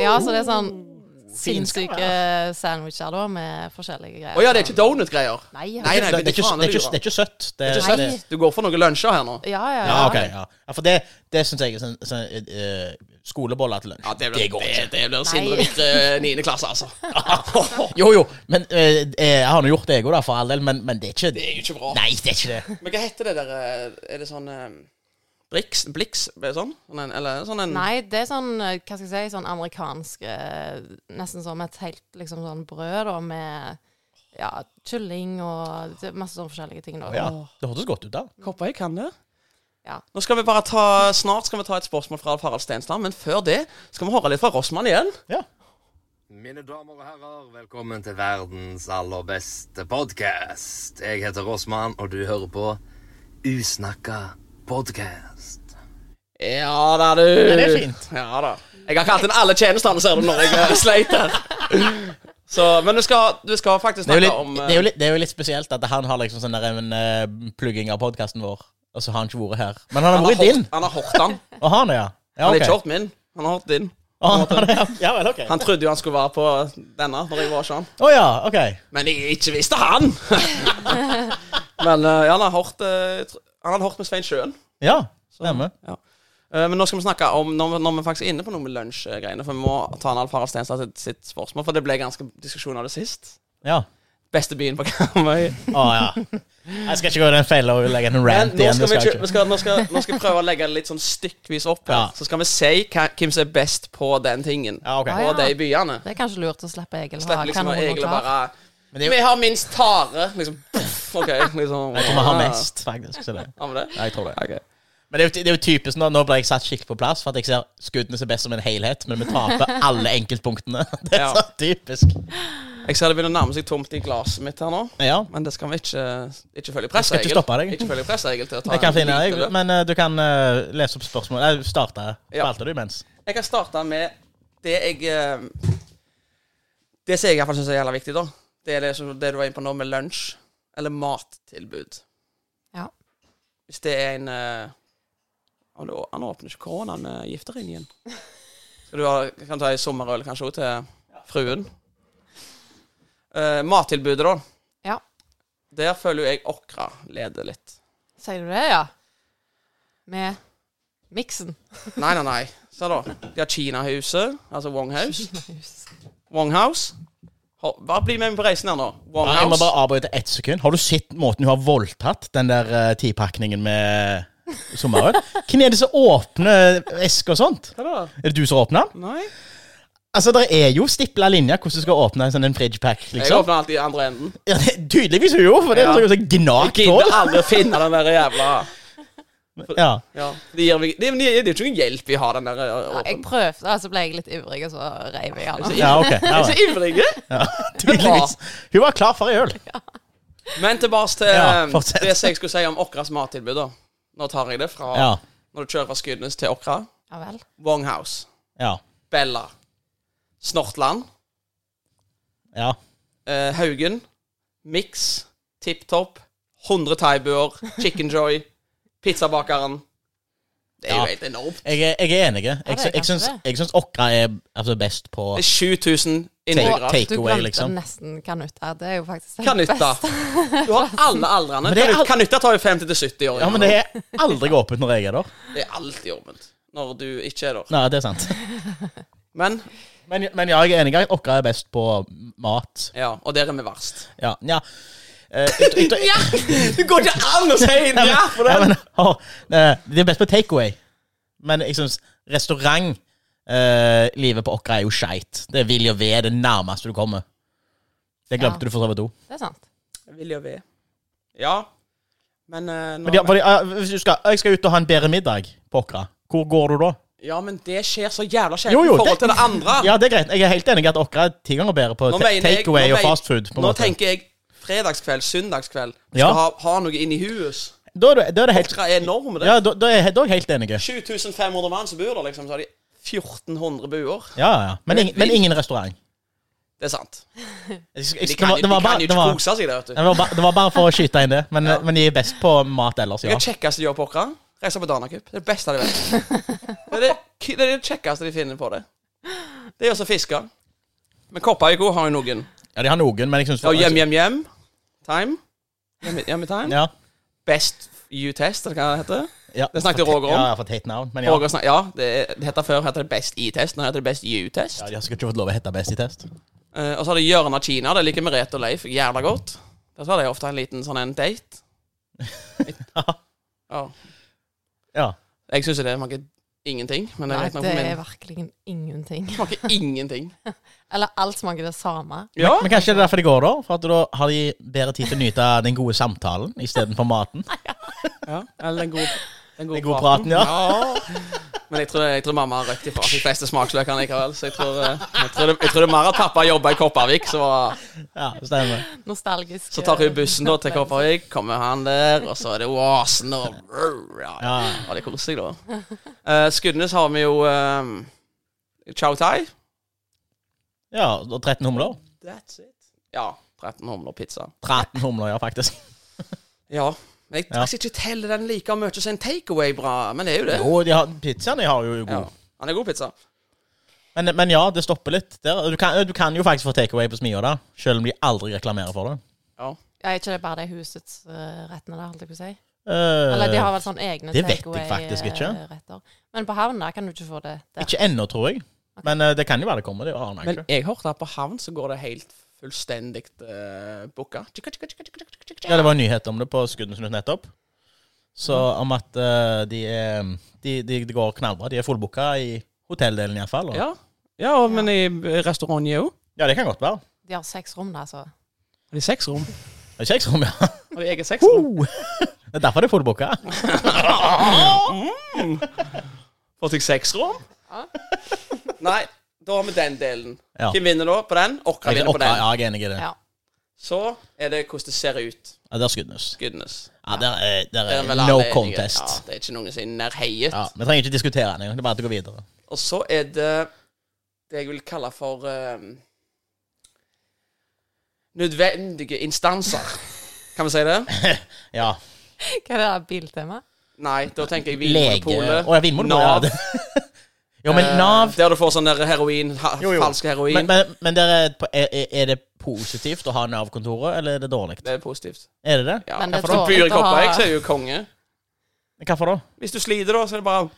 [SPEAKER 4] Ja, så det er sånn
[SPEAKER 3] Fin skal det
[SPEAKER 4] sinnssyke eh, sandwicher da, med forskjellige greier.
[SPEAKER 1] Å ja, det er ikke donut-greier.
[SPEAKER 4] Nei, ja.
[SPEAKER 1] Nei,
[SPEAKER 3] Det,
[SPEAKER 1] nei,
[SPEAKER 3] det, er
[SPEAKER 1] det
[SPEAKER 3] ikke,
[SPEAKER 1] faen
[SPEAKER 3] det,
[SPEAKER 1] er
[SPEAKER 3] er
[SPEAKER 1] du,
[SPEAKER 3] ikke, det er ikke søtt. Det,
[SPEAKER 4] ikke søtt.
[SPEAKER 3] det-
[SPEAKER 1] Du går for noen lunsjer her nå.
[SPEAKER 4] Ja, ja,
[SPEAKER 3] Ja, ok. Ja. ja for det, det syns jeg er sånn, sånn eh, Skoleboller til lunsj.
[SPEAKER 1] Ja, det, blir,
[SPEAKER 3] det går
[SPEAKER 1] det,
[SPEAKER 3] ikke.
[SPEAKER 1] det blir Sindre
[SPEAKER 4] Nei.
[SPEAKER 1] Vikre niende klasse, altså.
[SPEAKER 3] Jo, jo. Men eh, jeg har nå gjort det, jeg òg, for all del. Men, men det er ikke
[SPEAKER 1] Det er jo ikke bra.
[SPEAKER 3] Nei, det er ikke det.
[SPEAKER 1] Men hva heter det der eh, Er det sånn eh, Brix? Blix? Er det Sånn? sånn en, eller sånn en
[SPEAKER 4] Nei, det er sånn eh, hva skal jeg si, sånn amerikansk eh, Nesten som et helt liksom sånn brød da, med ja, kylling og det er masse sånne forskjellige ting. Da.
[SPEAKER 3] Ja, det hørtes godt ut, da.
[SPEAKER 1] Kopper, jeg kan det.
[SPEAKER 4] Ja.
[SPEAKER 1] Nå skal vi bare ta Snart skal vi ta et spørsmål fra Alf Harald Stensland, men før det skal vi høre litt fra Rossmann igjen.
[SPEAKER 3] Ja.
[SPEAKER 2] Mine damer og herrer, velkommen til verdens aller beste podkast. Jeg heter Rossmann, og du hører på Usnakka podkast.
[SPEAKER 1] Ja da, du.
[SPEAKER 3] det er fint.
[SPEAKER 1] Ja da. Jeg har kalt inn alle tjenestene, ser du, når jeg eh, sleit her. Så, men du skal, du skal faktisk
[SPEAKER 3] Det er, jo
[SPEAKER 1] snakke om
[SPEAKER 3] litt,
[SPEAKER 1] eh,
[SPEAKER 3] det, er jo litt, det er jo litt spesielt at han har liksom sånn der en eh, plugging av podkasten vår, og så har han ikke vært her. Men han har
[SPEAKER 1] han, har
[SPEAKER 3] vært din.
[SPEAKER 1] hørt, han har hørt han.
[SPEAKER 3] Og han, ja. ja
[SPEAKER 1] Han har
[SPEAKER 3] ok.
[SPEAKER 1] ikke hørt min. Han har hørt din.
[SPEAKER 3] Ah, ja, ja vel, ok. Å
[SPEAKER 1] Han trodde jo han skulle være på denne når jeg var sånn.
[SPEAKER 3] ja, ok.
[SPEAKER 1] Men jeg ikke visste han! men eh, han har hørt eh, tr- Han hadde hørt med Svein Sjøen.
[SPEAKER 3] Ja, stemmer.
[SPEAKER 1] Eh, men nå skal vi snakke om når, vi- når vi faktisk er inne på noe med lunsjgreiene. For vi må ta en Alf Harald Stenstad sitt, sitt spørsmål, for det ble ganske diskusjon av det sist.
[SPEAKER 3] Ja.
[SPEAKER 1] Beste byen på Karmøy.
[SPEAKER 3] Å Ah, ja. Jeg skal ikke gå i den fella og legge en
[SPEAKER 1] Men
[SPEAKER 3] rant
[SPEAKER 1] nå
[SPEAKER 3] igjen.
[SPEAKER 1] skal vi,
[SPEAKER 3] det skal jeg
[SPEAKER 1] ikke- vi
[SPEAKER 3] ikke.
[SPEAKER 1] skal, nå, skal, nå skal jeg prøve å legge det litt sånn stykkvis opp her.
[SPEAKER 3] Ja.
[SPEAKER 1] Så skal vi si hva, hvem som er best på den tingen.
[SPEAKER 3] Ja, ok.
[SPEAKER 1] På de byene.
[SPEAKER 4] Det er kanskje lurt å slippe Egil.
[SPEAKER 1] Slipper liksom å
[SPEAKER 4] kanonen
[SPEAKER 1] egentlig
[SPEAKER 4] klar.
[SPEAKER 1] bare
[SPEAKER 3] Men det er jo-
[SPEAKER 1] Vi har minst tare! Liksom. Pff, OK. Liksom.
[SPEAKER 3] Jeg tror vi har mest, faktisk. Så det.
[SPEAKER 1] Har vi det?
[SPEAKER 3] Ja, jeg tror det.
[SPEAKER 1] Ok.
[SPEAKER 3] Men det er, jo, det er jo typisk nå. Nå ble jeg satt skikkelig på plass, for at jeg ser skuddene ser best som en helhet, men vi taper alle enkeltpunktene. Det er
[SPEAKER 1] Ja.
[SPEAKER 3] så typisk.
[SPEAKER 1] Jeg ser det begynner å nærme seg tomt i glasset mitt her nå.
[SPEAKER 3] Ja.
[SPEAKER 1] Men det skal vi ikke, ikke følge presset,
[SPEAKER 3] skal ikke
[SPEAKER 1] Egil.
[SPEAKER 3] stoppe deg.
[SPEAKER 1] Ikke følge presset, Egil, til å ta
[SPEAKER 3] Jeg kan
[SPEAKER 1] en
[SPEAKER 3] finne
[SPEAKER 1] liten
[SPEAKER 3] jeg,
[SPEAKER 1] løp.
[SPEAKER 3] Men eh, du kan eh, lese opp spørsmål. Jeg starter.
[SPEAKER 1] Ja.
[SPEAKER 3] Valgte du imens?
[SPEAKER 1] Jeg kan starte med det jeg eh, Det som jeg i hvert fall syns er jævla viktig, da. Det er det, som, det du var inne på nå med lunsj. Eller mattilbud.
[SPEAKER 4] Ja.
[SPEAKER 1] Hvis det er en eh, han, å- han åpner ikke koronaen eh, med gifteringen. Skal du ha, kan ta ei sommerøl kanskje òg til fruen. Eh, mattilbudet, da.
[SPEAKER 4] Ja.
[SPEAKER 1] Der føler jo jeg Åkra leder litt.
[SPEAKER 4] Sier du det, ja? Med miksen.
[SPEAKER 1] Nei, nei, nei. Se da. De har Kinahuset, altså Wong House. Wong House. Ho- Bare bli med meg på reisen her nå. Wong
[SPEAKER 3] Jeg må
[SPEAKER 1] House.
[SPEAKER 3] bare avbryte ett sekund. Har du sett måten hun har voldtatt den der eh, tipakningen med eh, sommerøl? Hvem er det som åpner esker og sånt?
[SPEAKER 1] Hva da?
[SPEAKER 3] Er det du som åpner den?
[SPEAKER 1] Nei.
[SPEAKER 3] Altså, det er jo stipla linjer hvordan du skal åpne en sånn en fridgepack,
[SPEAKER 1] Jeg
[SPEAKER 3] liksom.
[SPEAKER 1] åpner alltid i andre enden.
[SPEAKER 3] Ja, det- tydeligvis hun gjorde, for det er
[SPEAKER 1] Ja.
[SPEAKER 3] sånn sånn
[SPEAKER 1] Jeg
[SPEAKER 3] gnagt
[SPEAKER 1] gidder
[SPEAKER 3] hull.
[SPEAKER 1] aldri å finne den der jævla
[SPEAKER 3] Ja.
[SPEAKER 1] ja. Det gir meg, det, det, det er jo ikke noen hjelp i å ha den der eh,
[SPEAKER 4] Ja, jeg
[SPEAKER 1] åpen.
[SPEAKER 4] prøvde, og så ble jeg litt ivrig, og så reiv jeg den.
[SPEAKER 3] ja, ok. Ja,
[SPEAKER 1] Så
[SPEAKER 3] vel.
[SPEAKER 1] ivrige.
[SPEAKER 3] ja. Tydeligvis. Hun var klar for ei øl.
[SPEAKER 1] Men tilbake til
[SPEAKER 3] Ja,
[SPEAKER 1] eh,
[SPEAKER 3] fortsett.
[SPEAKER 1] det som jeg skulle si om Åkras mattilbud. da Nå tar jeg det fra
[SPEAKER 3] Ja.
[SPEAKER 1] Når du kjører fra Skudenes til Åkra.
[SPEAKER 4] Ja vel.
[SPEAKER 1] Wong House.
[SPEAKER 3] Ja.
[SPEAKER 1] Bella. Snortland.
[SPEAKER 3] Ja.
[SPEAKER 1] eh, Haugen. Mix. Tipp Topp. 100 thaibuer. Chicken Joy. Pizzabakeren. Det er jo
[SPEAKER 3] Ja.
[SPEAKER 1] helt enormt.
[SPEAKER 3] Jeg er, jeg er enig. Jeg,
[SPEAKER 4] det er
[SPEAKER 3] sy- jeg,
[SPEAKER 4] kanskje
[SPEAKER 3] syns,
[SPEAKER 4] det.
[SPEAKER 3] jeg syns okra er altså, best på
[SPEAKER 1] Det er 7000
[SPEAKER 3] Take-
[SPEAKER 1] innbyggere.
[SPEAKER 3] take
[SPEAKER 4] du
[SPEAKER 3] away,
[SPEAKER 4] glemte
[SPEAKER 3] liksom.
[SPEAKER 4] nesten kanutter. Det er jo faktisk den
[SPEAKER 1] Kanutta.
[SPEAKER 4] beste.
[SPEAKER 1] Du har alle aldrene.
[SPEAKER 3] Men det er
[SPEAKER 1] Kanut-
[SPEAKER 3] al-
[SPEAKER 1] Kanutta tar jo 50 til 70 år.
[SPEAKER 3] Ja, men det er aldri åpent når jeg er der.
[SPEAKER 1] Det er alltid åpent når du ikke er der.
[SPEAKER 3] Nei, det er sant.
[SPEAKER 1] Men
[SPEAKER 3] Men, men ja, jeg er enig i at okra er best på mat.
[SPEAKER 1] ja, og der er vi verst.
[SPEAKER 3] Ja. ja. Eh, jeg- jeg- jeg-
[SPEAKER 1] Det går ikke an å si ja på
[SPEAKER 3] Ja,
[SPEAKER 1] den!
[SPEAKER 3] men, å, eh, det er best på takeaway. Men jeg syns restaurant eh, Livet på Åkra er jo skeit. Det er vilje og ved det nærmeste du kommer. Det glemte
[SPEAKER 4] Ja.
[SPEAKER 3] du for så vidt òg.
[SPEAKER 4] Det er sant.
[SPEAKER 1] Vilje og ved. Ja, men eh, nå-
[SPEAKER 3] Men ja, fordi, eh, hvis du skal, jeg skal ut og ha en bedre middag på Åkra. Hvor går du da?
[SPEAKER 1] Ja, men det skjer så jævla sjelden
[SPEAKER 3] Jo, jo,
[SPEAKER 1] i forhold til
[SPEAKER 3] det-
[SPEAKER 1] det andre.
[SPEAKER 3] Ja, det er greit. Jeg er helt enig i at Åkra er ti ganger bedre på
[SPEAKER 1] Nå
[SPEAKER 3] ta-
[SPEAKER 1] mener jeg-
[SPEAKER 3] takeaway
[SPEAKER 1] nå
[SPEAKER 3] og
[SPEAKER 1] mener-
[SPEAKER 3] fastfood. på en
[SPEAKER 1] Nå
[SPEAKER 3] måte.
[SPEAKER 1] tenker jeg fredagskveld, søndagskveld. Du
[SPEAKER 3] Ja.
[SPEAKER 1] skal ha, ha noe inni huet.
[SPEAKER 3] Da er du- da er det helt
[SPEAKER 1] Åkra er enorm. Det.
[SPEAKER 3] Ja, da, da er jeg da er jeg helt enig.
[SPEAKER 1] 7500 mann som bor der, liksom. Så har de 1400 buer.
[SPEAKER 3] Ja, ja. Men, ingen- men ingen restaurant.
[SPEAKER 1] Det er sant.
[SPEAKER 3] Jeg skal- jeg
[SPEAKER 1] De
[SPEAKER 3] skal-
[SPEAKER 1] kan, jo-
[SPEAKER 3] det var
[SPEAKER 1] de
[SPEAKER 3] bare-
[SPEAKER 1] kan jo
[SPEAKER 3] det
[SPEAKER 1] ikke
[SPEAKER 3] var-
[SPEAKER 1] kose seg der, vet du.
[SPEAKER 3] det var bare- det var bare for å skyte inn det. Men,
[SPEAKER 1] Ja.
[SPEAKER 3] men de er best på mat ellers,
[SPEAKER 1] Det
[SPEAKER 3] ja.
[SPEAKER 1] er det kjekkeste de gjør på Åkra. Reise på Danacup. Det er det beste de vet. Det er det, det, er det kjekkeste de finner på det. Det er også fiske. Men Koppaiko har jo noen.
[SPEAKER 3] Ja, De har noen, men jeg syns
[SPEAKER 1] Det er jo hjem, hjem, hjem. Time. Hjem, hjem i time.
[SPEAKER 3] Ja.
[SPEAKER 1] Best you test, eller hva det heter.
[SPEAKER 3] Ja.
[SPEAKER 1] Det snakket Roger om.
[SPEAKER 3] Ja, ja, for et hate navn. Men ja.
[SPEAKER 1] Roger snak- ja, det, det heter før heter det Best E-test. Nå heter det Best You-test.
[SPEAKER 3] ja, de har sikkert ikke fått lov å hete Best i test.
[SPEAKER 1] Eh, og så har det Hjørnet av Kina. Det liker Merete og Leif jævla godt. Der så har de ofte en liten sånn en date. Ja.
[SPEAKER 3] Ja.
[SPEAKER 1] Jeg syns det smaker ingenting, men det
[SPEAKER 4] Nei,
[SPEAKER 1] er greit nok
[SPEAKER 4] det
[SPEAKER 1] for
[SPEAKER 4] er
[SPEAKER 1] min.
[SPEAKER 4] virkelig ingenting.
[SPEAKER 1] Det smaker ingenting.
[SPEAKER 4] Eller alt smaker det samme.
[SPEAKER 1] Ja.
[SPEAKER 3] Men kanskje det er derfor de går, da? For at da har de bedre tid til å nyte den gode samtalen istedenfor maten?
[SPEAKER 1] Ja, eller den gode, den gode,
[SPEAKER 3] Den gode praten, ja.
[SPEAKER 1] Men jeg tror, jeg tror mamma har røkt ifra de fleste smaksløkene likevel. Så jeg tror, eh, jeg tror, det, jeg tror det er mer at pappa jobba i Kopervik, så,
[SPEAKER 3] Ja, stemmer.
[SPEAKER 4] Nostalgisk. eh,
[SPEAKER 1] så tar hun bussen da til Kopervik, kommer han der, og så er det oasen og Ja,
[SPEAKER 3] Ja.
[SPEAKER 1] det er koselig, da. Eh, Skudenes har vi jo um, Chow Tai.
[SPEAKER 3] ja, og 13 humler.
[SPEAKER 1] That's it. Ja. 13 humler pizza.
[SPEAKER 3] 13 humler, ja, faktisk.
[SPEAKER 1] Ja. Men jeg
[SPEAKER 3] Ja.
[SPEAKER 1] skal ikke telle den like mye som en takeaway bra, men det er jo det.
[SPEAKER 3] Jo, de har, pizzaen de har jo god.
[SPEAKER 1] Ja. Han er god pizza.
[SPEAKER 3] Men, men ja, det stopper litt der. Du kan, du kan jo faktisk få takeaway på Smia, da. Selv om de aldri reklamerer for det.
[SPEAKER 1] Ja.
[SPEAKER 4] Ja, er ikke det bare de husets eh, rettene der, holdt jeg på å si?
[SPEAKER 3] Eh,
[SPEAKER 4] Eller de har vel sånn egne
[SPEAKER 3] det vet jeg faktisk ikke.
[SPEAKER 4] takeaway-retter. Men på havna kan du ikke få det der.
[SPEAKER 3] Ikke ennå, tror jeg. Men eh, det kan jo være det kommer. Det aner jeg
[SPEAKER 1] Men
[SPEAKER 3] ikke.
[SPEAKER 1] jeg hørte at på havn så går det helt fullstendig uh, booka.
[SPEAKER 3] Ja, det var en nyhet om det på Skudenesnytt nettopp. Så om at eh, de, er, de, de, de går knallbra. De er fullbooka i hotelldelen iallfall. Ja.
[SPEAKER 1] Ja, ja og- men i restauranten er jo
[SPEAKER 3] ja, det kan godt være.
[SPEAKER 4] De har seks rom der, så.
[SPEAKER 1] Har de seks rom?
[SPEAKER 3] Det er kjeksrom, ja.
[SPEAKER 1] Har de eget seksrom?
[SPEAKER 3] Det er derfor de er fullbooka.
[SPEAKER 1] Fått seg seks rom?
[SPEAKER 4] Ja.
[SPEAKER 1] Nei, da har vi den delen.
[SPEAKER 3] Ja.
[SPEAKER 1] Hvem vinner da på den? Åkra
[SPEAKER 3] Jeg
[SPEAKER 1] vinner på den.
[SPEAKER 3] ja, jeg er enig i det.
[SPEAKER 4] Ja.
[SPEAKER 1] Så er det hvordan det ser ut.
[SPEAKER 3] Ja, der er Skudenes.
[SPEAKER 1] Goodness.
[SPEAKER 3] Ja, der er, der
[SPEAKER 1] Det er
[SPEAKER 3] er
[SPEAKER 1] vel
[SPEAKER 3] no
[SPEAKER 1] alle enige.
[SPEAKER 3] contest.
[SPEAKER 1] Ja, det er ikke noen som er nærheiet.
[SPEAKER 3] Ja, Vi trenger ikke diskutere den engang. Det er bare at det går videre.
[SPEAKER 1] Og så er det det jeg vil kalle for eh, Nødvendige instanser. Kan vi si det?
[SPEAKER 3] Ja.
[SPEAKER 4] Hva er det der biltema?
[SPEAKER 1] Nei, da tenker jeg
[SPEAKER 3] Lege
[SPEAKER 1] Vinmonopolet.
[SPEAKER 3] Å ja, Vinmonopolet. Ja.
[SPEAKER 1] Nav.
[SPEAKER 3] det- Jo, men Nav
[SPEAKER 1] Eh, Der du får sånn der heroin, ha,
[SPEAKER 3] Jo, jo.
[SPEAKER 1] falsk heroin.
[SPEAKER 3] Men, men, men der er, er, er det positivt å ha Nav-kontoret, eller er det dårlig?
[SPEAKER 1] det er positivt.
[SPEAKER 3] Er det det?
[SPEAKER 1] Ja.
[SPEAKER 4] Men det
[SPEAKER 1] Hvis du
[SPEAKER 4] tror jeg
[SPEAKER 1] byr i
[SPEAKER 4] ikke
[SPEAKER 1] kopper,
[SPEAKER 4] har-
[SPEAKER 1] jeg, så er du jo konge.
[SPEAKER 3] Hvorfor da?
[SPEAKER 1] Hvis du sliter, da, så er det bare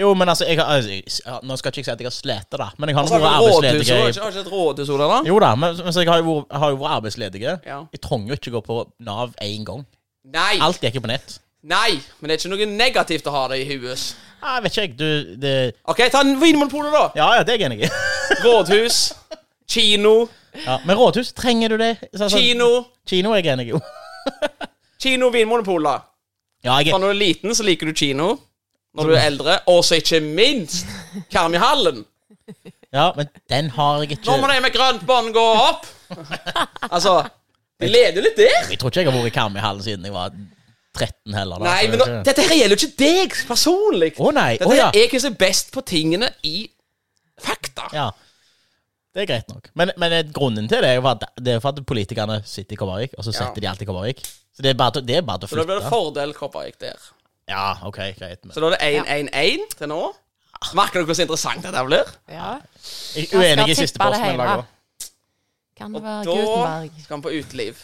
[SPEAKER 3] Jo, men altså, jeg har, altså, jeg, ja, Nå skal ikke jeg si at jeg har slitt, da, men jeg har nå
[SPEAKER 1] Altså,
[SPEAKER 3] vært
[SPEAKER 1] har du rådhus, har du
[SPEAKER 3] arbeidsledig. i-
[SPEAKER 1] ikke- har du ikke et rådhus, Ola, da?
[SPEAKER 3] Jo da, men men så jeg har jo vært- har jo vært arbeidsledig.
[SPEAKER 1] Ja.
[SPEAKER 3] Jeg trenger jo ikke gå på Nav én gang.
[SPEAKER 1] Nei,
[SPEAKER 3] Alt gikk jo på nett.
[SPEAKER 1] nei, men det er ikke noe negativt å ha det i huet.
[SPEAKER 3] Ja, Jeg vet ikke, jeg. Du det,
[SPEAKER 1] OK, ta en Vinmonopolet, da.
[SPEAKER 3] Ja, ja, det er jeg enig i.
[SPEAKER 1] Rådhus, kino,
[SPEAKER 3] Ja, men rådhus, trenger du det? Så- så-
[SPEAKER 1] kino,
[SPEAKER 3] Kino er jeg enig i. jo.
[SPEAKER 1] kino, Vinmonopol, da.
[SPEAKER 3] Ja, jeg,
[SPEAKER 1] Fra når du er liten, så liker du kino. Når du er eldre, og så ikke minst Karmihallen.
[SPEAKER 3] ja, men den har jeg ikke
[SPEAKER 1] Nå må de med grønt bånd gå opp! Altså De leder jo litt der.
[SPEAKER 3] Jeg tror ikke jeg har vært i Karmihallen siden jeg var 13 heller. Da.
[SPEAKER 1] Nei,
[SPEAKER 3] så
[SPEAKER 1] men
[SPEAKER 3] det
[SPEAKER 1] nå,
[SPEAKER 3] er ikke-
[SPEAKER 1] dette her gjelder jo ikke deg personlig.
[SPEAKER 3] Å nei.
[SPEAKER 1] Dette
[SPEAKER 3] Å ja.
[SPEAKER 1] her er hva som er best på tingene i fakta.
[SPEAKER 3] ja. Det er greit nok. Men, men eh, grunnen til det er jo for at, det er for at politikerne sitter i Kopervik, og så setter de alt i Kopervik. Så det er bare til- det er bare til å
[SPEAKER 1] Så da blir det
[SPEAKER 3] flytte.
[SPEAKER 1] fordel Kopervik der.
[SPEAKER 3] Ja, OK, greit. Men
[SPEAKER 1] Så da er det 1-1-1 til nå. Merker dere hvor interessant dette blir?
[SPEAKER 4] Ja.
[SPEAKER 3] jeg er
[SPEAKER 4] skal
[SPEAKER 3] uenig i siste
[SPEAKER 4] tippe det
[SPEAKER 3] posten jeg
[SPEAKER 4] hele.
[SPEAKER 3] lager.
[SPEAKER 4] Kan
[SPEAKER 1] Og
[SPEAKER 4] det være
[SPEAKER 1] da
[SPEAKER 4] Gutenberg?
[SPEAKER 1] skal vi på uteliv.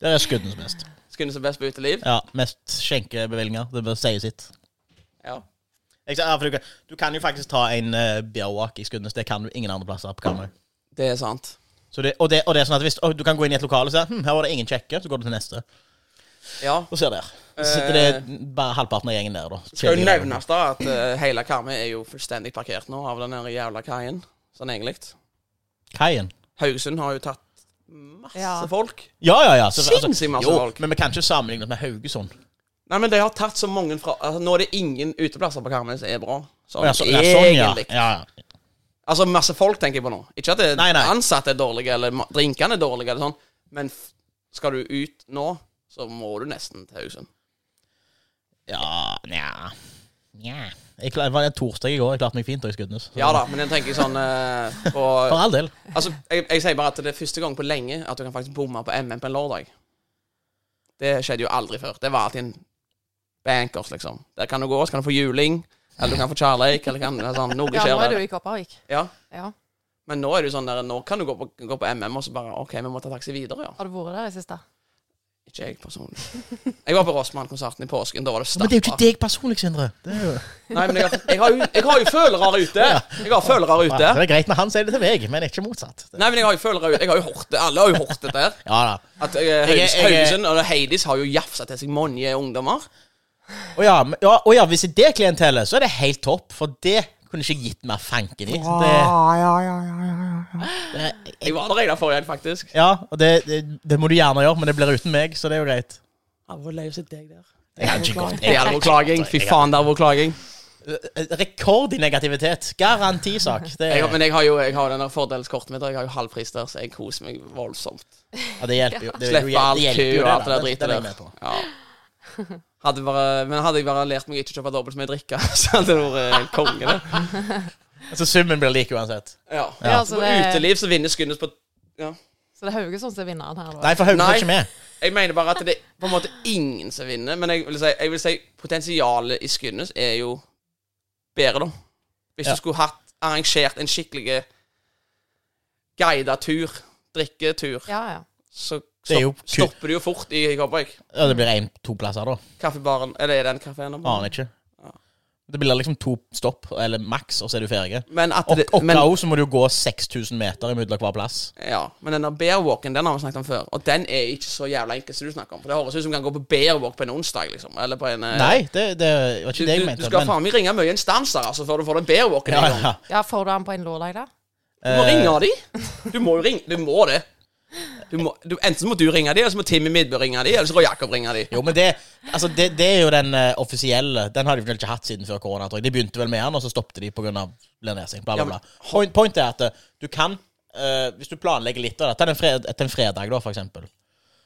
[SPEAKER 3] Der er skuddens best.
[SPEAKER 1] Skulle som best på uteliv.
[SPEAKER 3] Ja, Mest skjenkebevilgninger. Det bør si sitt.
[SPEAKER 1] Ja.
[SPEAKER 3] Jeg sa, ja, for du, kan, du kan jo faktisk ta en uh, beerwalk i Skudenes. Det kan du ingen andre plasser på Karmøy.
[SPEAKER 1] Det er sant.
[SPEAKER 3] Så det, og, det, og det er sånn at hvis å, du kan gå inn i et lokale og se hm, her var det ingen kjekke, så går du til neste. Eh.
[SPEAKER 1] Ja.
[SPEAKER 3] Og ser der. Så sitter det bare halvparten av gjengen der, da.
[SPEAKER 1] Skal jo
[SPEAKER 3] Kjedelige der.
[SPEAKER 1] nevnes da at eh, hele Karmøy er jo fullstendig parkert nå av den der jævla kaien. Sånn egentlig.
[SPEAKER 3] Kaien.
[SPEAKER 1] Haugesund har jo tatt masse
[SPEAKER 4] Ja.
[SPEAKER 1] folk.
[SPEAKER 3] Ja, ja, ja. så-
[SPEAKER 1] Sinnssykt masse
[SPEAKER 3] jo,
[SPEAKER 1] folk.
[SPEAKER 3] Men vi kan ikke sammenligne det med Haugesund.
[SPEAKER 1] Nei, men de har tatt så mange fra altså, Nå er det ingen uteplasser på Karmøy som er bra. Sånn,
[SPEAKER 3] Å, ja, så, ja, sånn, ja.
[SPEAKER 1] egentlig.
[SPEAKER 3] ja. ja.
[SPEAKER 1] Altså masse folk tenker jeg på nå. Ikke at det
[SPEAKER 3] Nei, nei.
[SPEAKER 1] ansatte er dårlige, eller ma- drinkene er dårlige, eller sånn. Men f skal du ut nå, så må du nesten til Haugesund.
[SPEAKER 3] Ja, nja Nja. Jeg klar, det var en torsdag i går. Jeg klarte meg fint da i Skudenes. Så-
[SPEAKER 1] Ja da, men jeg tenker sånn eh, på
[SPEAKER 3] For all del.
[SPEAKER 1] Altså, jeg, jeg sier bare at det er første gang på lenge at du kan faktisk bomme på MM på en lørdag. Det skjedde jo aldri før. Det var alltid en bankers, liksom. Der kan du gå, så kan du få juling, eller du kan få kjærleik, eller kan, sånn, noe
[SPEAKER 4] Ja, nå
[SPEAKER 1] skjer
[SPEAKER 4] er du
[SPEAKER 1] der.
[SPEAKER 4] i Kopervik.
[SPEAKER 1] Ja.
[SPEAKER 4] Ja.
[SPEAKER 1] Men nå er det jo sånn der, nå kan du gå på, gå på MM, og så bare OK, vi må ta taxi videre, ja.
[SPEAKER 4] Har du vært der i siste?
[SPEAKER 1] Ikke jeg personlig. Jeg var på Rossmann-konserten i påsken. Da var det
[SPEAKER 3] Men det er jo ikke
[SPEAKER 1] stappa.
[SPEAKER 3] deg personlig, Sindre. Det er jo...
[SPEAKER 1] Nei, men jeg har, jeg har, jo, jeg har jo følere ute. Jeg har følere ute.
[SPEAKER 3] Ja, det er greit når han sier det til meg, men ikke motsatt.
[SPEAKER 1] Nei, men jeg har jo følere ute. Jeg har jo hørt det. Alle har jo hørt det der.
[SPEAKER 3] Ja da.
[SPEAKER 1] At eh,
[SPEAKER 3] Jeg er-
[SPEAKER 1] Hauges-
[SPEAKER 3] jeg er-
[SPEAKER 1] Haugesund og Heidis har jo jafsa til seg mange ungdommer.
[SPEAKER 3] Å ja, men- ja, å ja, hvis det er klientellet, så er det helt topp. For det kunne ikke gitt mer fanken i. Så Det,
[SPEAKER 1] Jeg var der en av forrige helg, faktisk.
[SPEAKER 3] ja, og det, det, det må du gjerne gjøre, men det blir uten meg, så det er jo greit. Jeg hadde ikke gått.
[SPEAKER 1] Det hadde vært klaging. Fy faen, det hadde vært klaging.
[SPEAKER 3] Eh, Rekord i negativitet. Garantisak. Det,
[SPEAKER 1] Jeg, har-
[SPEAKER 3] ja,
[SPEAKER 1] men jeg har jo jeg har jo den der fordelskortet mitt, og jeg har jo halvpris der, så jeg koser meg voldsomt.
[SPEAKER 3] det hjelper jo. Det, det
[SPEAKER 1] Slippe alt
[SPEAKER 3] hjelper
[SPEAKER 1] kø
[SPEAKER 3] jo
[SPEAKER 1] og alt det
[SPEAKER 3] da.
[SPEAKER 1] der dritet
[SPEAKER 3] Den er jeg
[SPEAKER 1] der.
[SPEAKER 3] med på.
[SPEAKER 1] Ja. Hadde bare, men hadde jeg bare lært meg ikke å kjøpe dobbelt så mye drikke, så hadde det vært eh, konge, det.
[SPEAKER 3] Så Altså, summen blir lik uansett.
[SPEAKER 1] Ja.
[SPEAKER 4] Ja, altså
[SPEAKER 1] Så på
[SPEAKER 4] det-
[SPEAKER 1] uteliv så vinner Skyndes på ja.
[SPEAKER 4] Så det er Haugesund som er vinneren her, da?
[SPEAKER 3] Nei, for Haugen
[SPEAKER 1] Nei.
[SPEAKER 3] er ikke med.
[SPEAKER 1] Jeg mener bare at det er på en måte ingen som vinner, men jeg vil si, jeg vil si potensialet i Skyndes er jo bedre, da. Hvis
[SPEAKER 3] Ja.
[SPEAKER 1] du skulle hatt arrangert en skikkelig guidet tur, drikketur,
[SPEAKER 4] Ja, ja.
[SPEAKER 1] så
[SPEAKER 3] Det er jo
[SPEAKER 1] stopp,
[SPEAKER 3] ku-
[SPEAKER 1] stopper du jo fort i Kopervik.
[SPEAKER 3] Ja, det blir en, to plasser, da.
[SPEAKER 1] Kaffebaren Eller er det en kafé nå?
[SPEAKER 3] Aner ikke. Det blir liksom to stopp, eller maks, og så er du ferdig.
[SPEAKER 1] Men at
[SPEAKER 3] Og,
[SPEAKER 1] det,
[SPEAKER 3] og
[SPEAKER 1] men,
[SPEAKER 3] Kao, så må du jo gå 6000 meter imellom hver plass.
[SPEAKER 1] ja, men den der bearwalken, den har vi snakket om før, og den er ikke så jævla enkel som du snakker om. For det høres ut som du kan gå på bearwalk på en onsdag, liksom. Eller på en eh,
[SPEAKER 3] Nei, det, det var
[SPEAKER 1] Du,
[SPEAKER 3] ikke det jeg
[SPEAKER 1] du, du
[SPEAKER 3] mente.
[SPEAKER 1] skal
[SPEAKER 3] men-
[SPEAKER 1] faen meg ringe mye instanser altså, før du får den bearwalken.
[SPEAKER 3] ja,
[SPEAKER 1] i gang.
[SPEAKER 3] ja.
[SPEAKER 4] ja får du den på en lørdag, da?
[SPEAKER 1] Du må
[SPEAKER 3] Eh,
[SPEAKER 1] ringe de. Du må jo ringe Du må det. Du må, du, enten så må du ringe de, eller så må Timmy Midbø ringe de, eller så må Jakob ringe de.
[SPEAKER 3] Jo, men det, altså det, det er jo den eh, offisielle. Den har de vel ikke hatt siden før korona. tror jeg. De begynte vel med den, og så stoppet de pga. lenesing. Bla,
[SPEAKER 1] Ja,
[SPEAKER 3] bla,
[SPEAKER 1] men-
[SPEAKER 3] bla. Point, point er at eh, du kan, eh, hvis du planlegger litt av det til en, fred, til en fredag, da, for eksempel,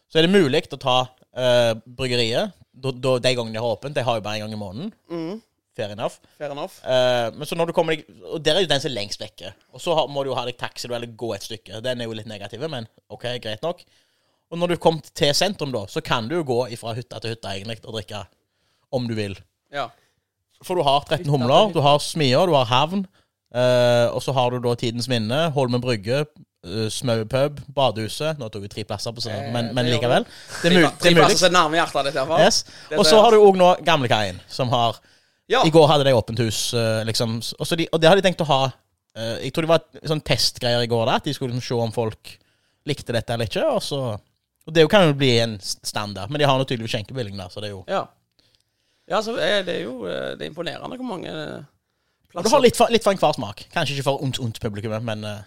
[SPEAKER 3] så er det mulig å ta eh, bryggeriet da, da, de gangene de har åpent. De har jo bare en gang i måneden.
[SPEAKER 1] Mm.
[SPEAKER 3] Fair enough.
[SPEAKER 1] Fair enough.
[SPEAKER 3] Eh, men så når du kommer deg Og der er jo den som er lengst vekke. Og så har, må du jo ha deg taxi eller gå et stykke. Den er jo litt negativ, men OK, greit nok. Og når du kom til sentrum, da, så kan du jo gå fra hytta til hytta egentlig og drikke om du vil.
[SPEAKER 1] Ja.
[SPEAKER 3] For du har 13 humler, du har smia, du har havn. eh, og så har du da Tidens Minne, Holmen Brygge, uh, Smau pub, Badehuset. Nå tok vi tre plasser, på sånn, men, men
[SPEAKER 1] Eh, det gjør
[SPEAKER 3] likevel. Det er, mul
[SPEAKER 1] Tre
[SPEAKER 3] det er mulig.
[SPEAKER 1] plasser som er nærme hjertet ditt, iallfall.
[SPEAKER 3] Yes. Og så har du òg nå Gamlekaien, som har
[SPEAKER 1] Ja.
[SPEAKER 3] I går hadde de åpent hus, eh, liksom. s- Og, så de, og det hadde de tenkt å ha eh, Jeg tror det var et sånn testgreier i går, da, at de skulle liksom se om folk likte dette eller ikke. Og, så, og det jo kan jo bli en s- standard, men de har nå tydeligvis skjenkebevilling der, så det er jo
[SPEAKER 1] Ja. ja, så er det er jo eh, Det er imponerende hvor mange eh,
[SPEAKER 3] Du har litt for, litt for enhver smak. Kanskje ikke for ondt, ondt publikum, men eh,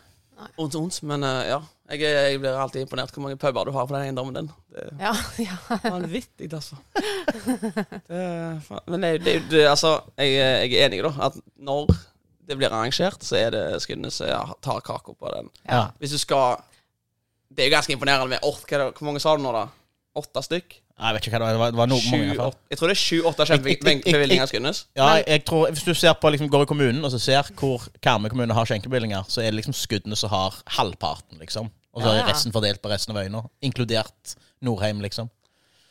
[SPEAKER 1] Ondt, ondt, men eh, ja. Jeg, er- jeg blir alltid imponert hvor mange puber du har på den eiendommen din. Det er
[SPEAKER 4] Ja, ja.
[SPEAKER 1] vanvittig, altså. Det er, faen- men det, er jo- det, er jo- det, er- altså, jeg, er- jeg er enig, da. At når det blir arrangert, så er det Skudenes som tar kaka på den.
[SPEAKER 3] ja.
[SPEAKER 1] Hvis du skal Det er jo ganske imponerende med åt, hva, er det- Hvor mange sa du nå, da? Åtte stykk?
[SPEAKER 3] Jeg vet ikke hva det var. Det var, det var noe, mange, i
[SPEAKER 1] Sju,
[SPEAKER 3] hvert fall.
[SPEAKER 1] åtte- jeg tror det er sju-åtte
[SPEAKER 3] Jeg- jeg- jeg-
[SPEAKER 1] skjenkebevillinger
[SPEAKER 3] jeg-
[SPEAKER 1] Skudenes.
[SPEAKER 3] Ja, jeg, jeg tror, Hvis du ser på, liksom, går i kommunen og så ser hvor Karmøy kommune har skjenkebevillinger, så er det liksom skuddene som har halvparten, liksom. Og så
[SPEAKER 4] Ja,
[SPEAKER 3] er
[SPEAKER 4] ja.
[SPEAKER 3] resten fordelt på resten av øyene, inkludert Norheim, liksom.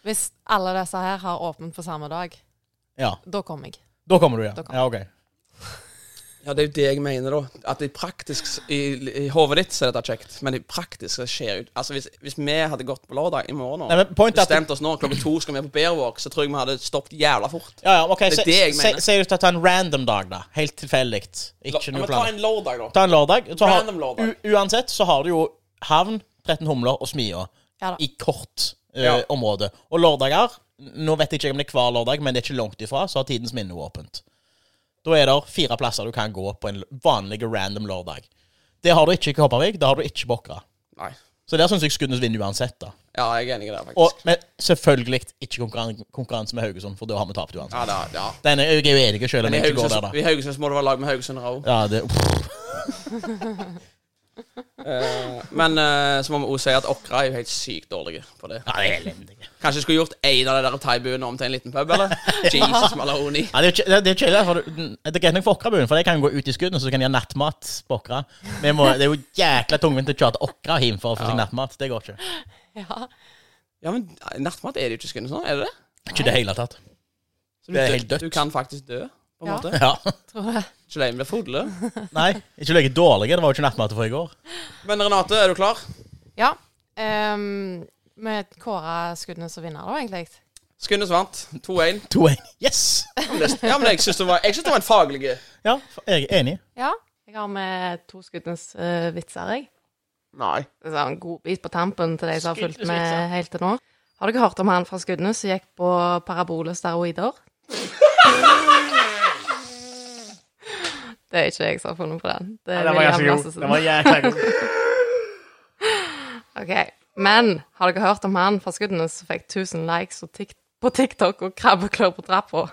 [SPEAKER 4] Hvis alle disse her har åpent på samme dag,
[SPEAKER 3] Ja,
[SPEAKER 4] da kommer jeg.
[SPEAKER 3] Da kommer du, ja.
[SPEAKER 4] Da kommer
[SPEAKER 3] Ja, ok.
[SPEAKER 1] Ja, det er jo det jeg mener, da. At i praktisk I, i hodet ditt så er dette kjekt, men i praktisk så skjer jo Altså, hvis, hvis vi hadde gått på lørdag i morgen
[SPEAKER 3] Nei,
[SPEAKER 1] og
[SPEAKER 3] men pointet er at-
[SPEAKER 1] bestemt oss nå klokka to skal vi på Bearwalk, så tror jeg vi hadde stoppet jævla fort.
[SPEAKER 3] Ja, ja, ok.
[SPEAKER 1] er
[SPEAKER 3] Se-
[SPEAKER 1] det jeg
[SPEAKER 3] se-
[SPEAKER 1] mener.
[SPEAKER 3] Sier du til å ta en random dag, da. Helt tilfeldig. Ikke
[SPEAKER 1] ja,
[SPEAKER 3] noe
[SPEAKER 1] men ta
[SPEAKER 3] plan.
[SPEAKER 1] en lørdag, da.
[SPEAKER 3] Ta en lørdag. Så har,
[SPEAKER 1] Random lørdag.
[SPEAKER 3] U uansett så har du jo havn, 13 humler og smia
[SPEAKER 4] Ja da.
[SPEAKER 3] i kort eh,
[SPEAKER 1] Ja.
[SPEAKER 3] område. Og lørdager Nå vet jeg ikke om det er hver lørdag, men det er ikke langt ifra, så har Tidens Minne åpent. Da er det fire plasser du kan gå på en l- vanlig random lørdag. Det har du ikke i Kopervik, det har du ikke i Bokra.
[SPEAKER 1] Nei.
[SPEAKER 3] Så der syns jeg Skudenes vinner uansett, da.
[SPEAKER 1] Ja, jeg er enig i det, faktisk.
[SPEAKER 3] Og, men selvfølgelig ikke konkurran konkurranse med Haugesund, for da har vi tapt uansett.
[SPEAKER 1] ja, da, ja.
[SPEAKER 3] Den er, jeg er jo enig selv om
[SPEAKER 1] Men i
[SPEAKER 3] jeg ikke går der,
[SPEAKER 1] Haugesund,
[SPEAKER 3] da.
[SPEAKER 1] i Haugesund så må det være lag med Haugesundere òg.
[SPEAKER 3] Ja, det,
[SPEAKER 1] Men eh, så må vi òg si at Åkra er jo helt sykt dårlige på det.
[SPEAKER 3] ja, det er elendig.
[SPEAKER 1] Kanskje jeg skulle gjort en av de der thaibuene om til en liten pub, eller? Jesus Maloney.
[SPEAKER 3] Ja, det er jo ikke- det er jo kjedelig, for du- det er greit nok for Åkrabuen, for de kan jo gå ut i skuddene, så de kan de ha nattmat på Åkra. Vi må- Det er jo jækla tungvint å kjøre til Åkra hjem for å få seg nattmat. Det går ikke.
[SPEAKER 4] Ja.
[SPEAKER 1] Ja, men nattmat er det jo ikke skummelt sånn, er det det?
[SPEAKER 3] Ikke i det hele tatt.
[SPEAKER 1] Så
[SPEAKER 3] Det er
[SPEAKER 1] dø-
[SPEAKER 3] helt dødt.
[SPEAKER 1] Du kan faktisk dø, på en
[SPEAKER 4] Ja.
[SPEAKER 1] måte.
[SPEAKER 3] Ja.
[SPEAKER 4] Tror jeg.
[SPEAKER 1] Ikke lei meg blir fulle.
[SPEAKER 3] Nei, ikke like dårlige. Det var jo ikke nattmat for i går.
[SPEAKER 1] Men Renate, er du klar?
[SPEAKER 4] Ja. Um, vi kårer skuddene som vinner, da, egentlig.
[SPEAKER 1] Skundes vant 2-1.
[SPEAKER 3] 2-1. Yes!
[SPEAKER 1] Ja, men jeg syns det, var- jeg synes det var en faglig
[SPEAKER 3] Ja, jeg er enig.
[SPEAKER 4] Ja. Jeg har med to skuddens eh, vitser, jeg.
[SPEAKER 1] Nei.
[SPEAKER 4] Det er en god bit på tampen til de som har fulgt med helt til nå. Har dere hørt om han fra Skudenes som gikk på parabole steroider? Det er ikke jeg som har funnet på den. Det er William Lassesen.
[SPEAKER 3] jækla god.
[SPEAKER 4] Ok, Men har dere hørt om han fra Skudenes som fikk 1000 likes og tik på TikTok og krabbeklør på trappa?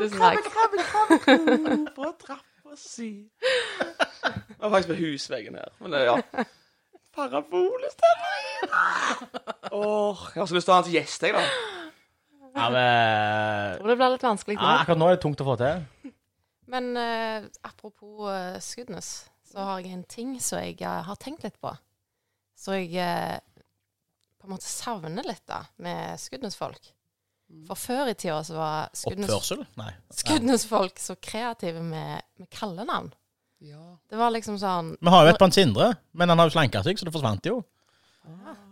[SPEAKER 4] Tusen likes.
[SPEAKER 1] På trappa si Det var faktisk på husveggen her. Men det, ja. Parabolestemmer! Åh, jeg har så lyst til å ha han til gjest, jeg, da.
[SPEAKER 3] Ja, men...
[SPEAKER 4] Og det blir litt vanskelig nå.
[SPEAKER 3] Ja, akkurat nå er det tungt å få til.
[SPEAKER 4] Men eh, apropos uh, Skudenes, så har jeg en ting som jeg eh, har tenkt litt på. Så jeg eh, på en måte savner litt da, med Skudenes-folk. For før i tida så var Skudenes-
[SPEAKER 3] Oppførsel? Nei.
[SPEAKER 4] Skudenes-folk så kreative med, med kallenavn. Det var liksom sånn
[SPEAKER 3] Vi har jo et på en Sindre, men han har jo slanka seg, så det forsvant jo.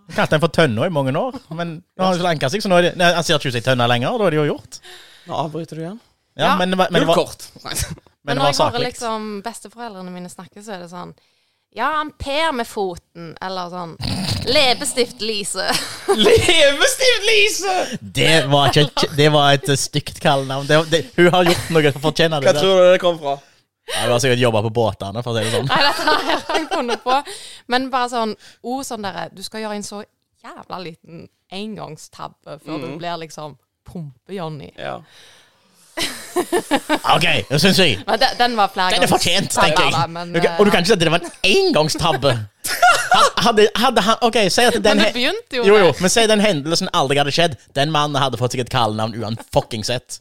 [SPEAKER 3] Vi kalte han for Tønna i mange år, men nå har han slanka seg, så nå er det, nei, han sier ikke seg Tønna lenger, og da er det jo gjort.
[SPEAKER 1] Nå avbryter du igjen.
[SPEAKER 3] Ja,
[SPEAKER 4] Ja.
[SPEAKER 3] men, det var- men det var,
[SPEAKER 1] kort.
[SPEAKER 3] men
[SPEAKER 4] Men
[SPEAKER 3] det
[SPEAKER 4] når
[SPEAKER 3] var
[SPEAKER 4] jeg hører
[SPEAKER 3] saklig.
[SPEAKER 4] liksom besteforeldrene mine snakke, så er det sånn Ja, han per med foten. Eller sånn Leppestift-Lise.
[SPEAKER 1] Levestivt, Lise!
[SPEAKER 3] Det var, ikke, et- det var et eh, stygt kallenavn. Det, det, hun har gjort noe for å fortjene
[SPEAKER 1] Hva
[SPEAKER 3] det. der.
[SPEAKER 1] tror du det kom fra?
[SPEAKER 3] Ja, Hun har sikkert jobba på båtene, for å si det sånn.
[SPEAKER 4] Nei, dette har jeg aldri funnet på. Men bare sånn ord sånn derre Du skal gjøre en så jævla liten engangstabbe før
[SPEAKER 3] Mm.
[SPEAKER 4] du blir liksom Pumpe-Johnny.
[SPEAKER 1] Ja.
[SPEAKER 3] OK, det syns jeg.
[SPEAKER 4] Men den, den var flere
[SPEAKER 3] Den er fortjent, tenker
[SPEAKER 4] da,
[SPEAKER 3] jeg.
[SPEAKER 4] men,
[SPEAKER 3] Du kan- Og du
[SPEAKER 4] eh,
[SPEAKER 3] kan ikke si at det var en engangstabbe. Had- Hadde, hadde han OK, si at den
[SPEAKER 4] Men det
[SPEAKER 3] he-
[SPEAKER 4] begynte jo
[SPEAKER 3] Jo, jo,
[SPEAKER 4] med-
[SPEAKER 3] men si den hendelsen aldri hadde skjedd. Den mannen hadde fått seg et kallenavn uanfuckings sett.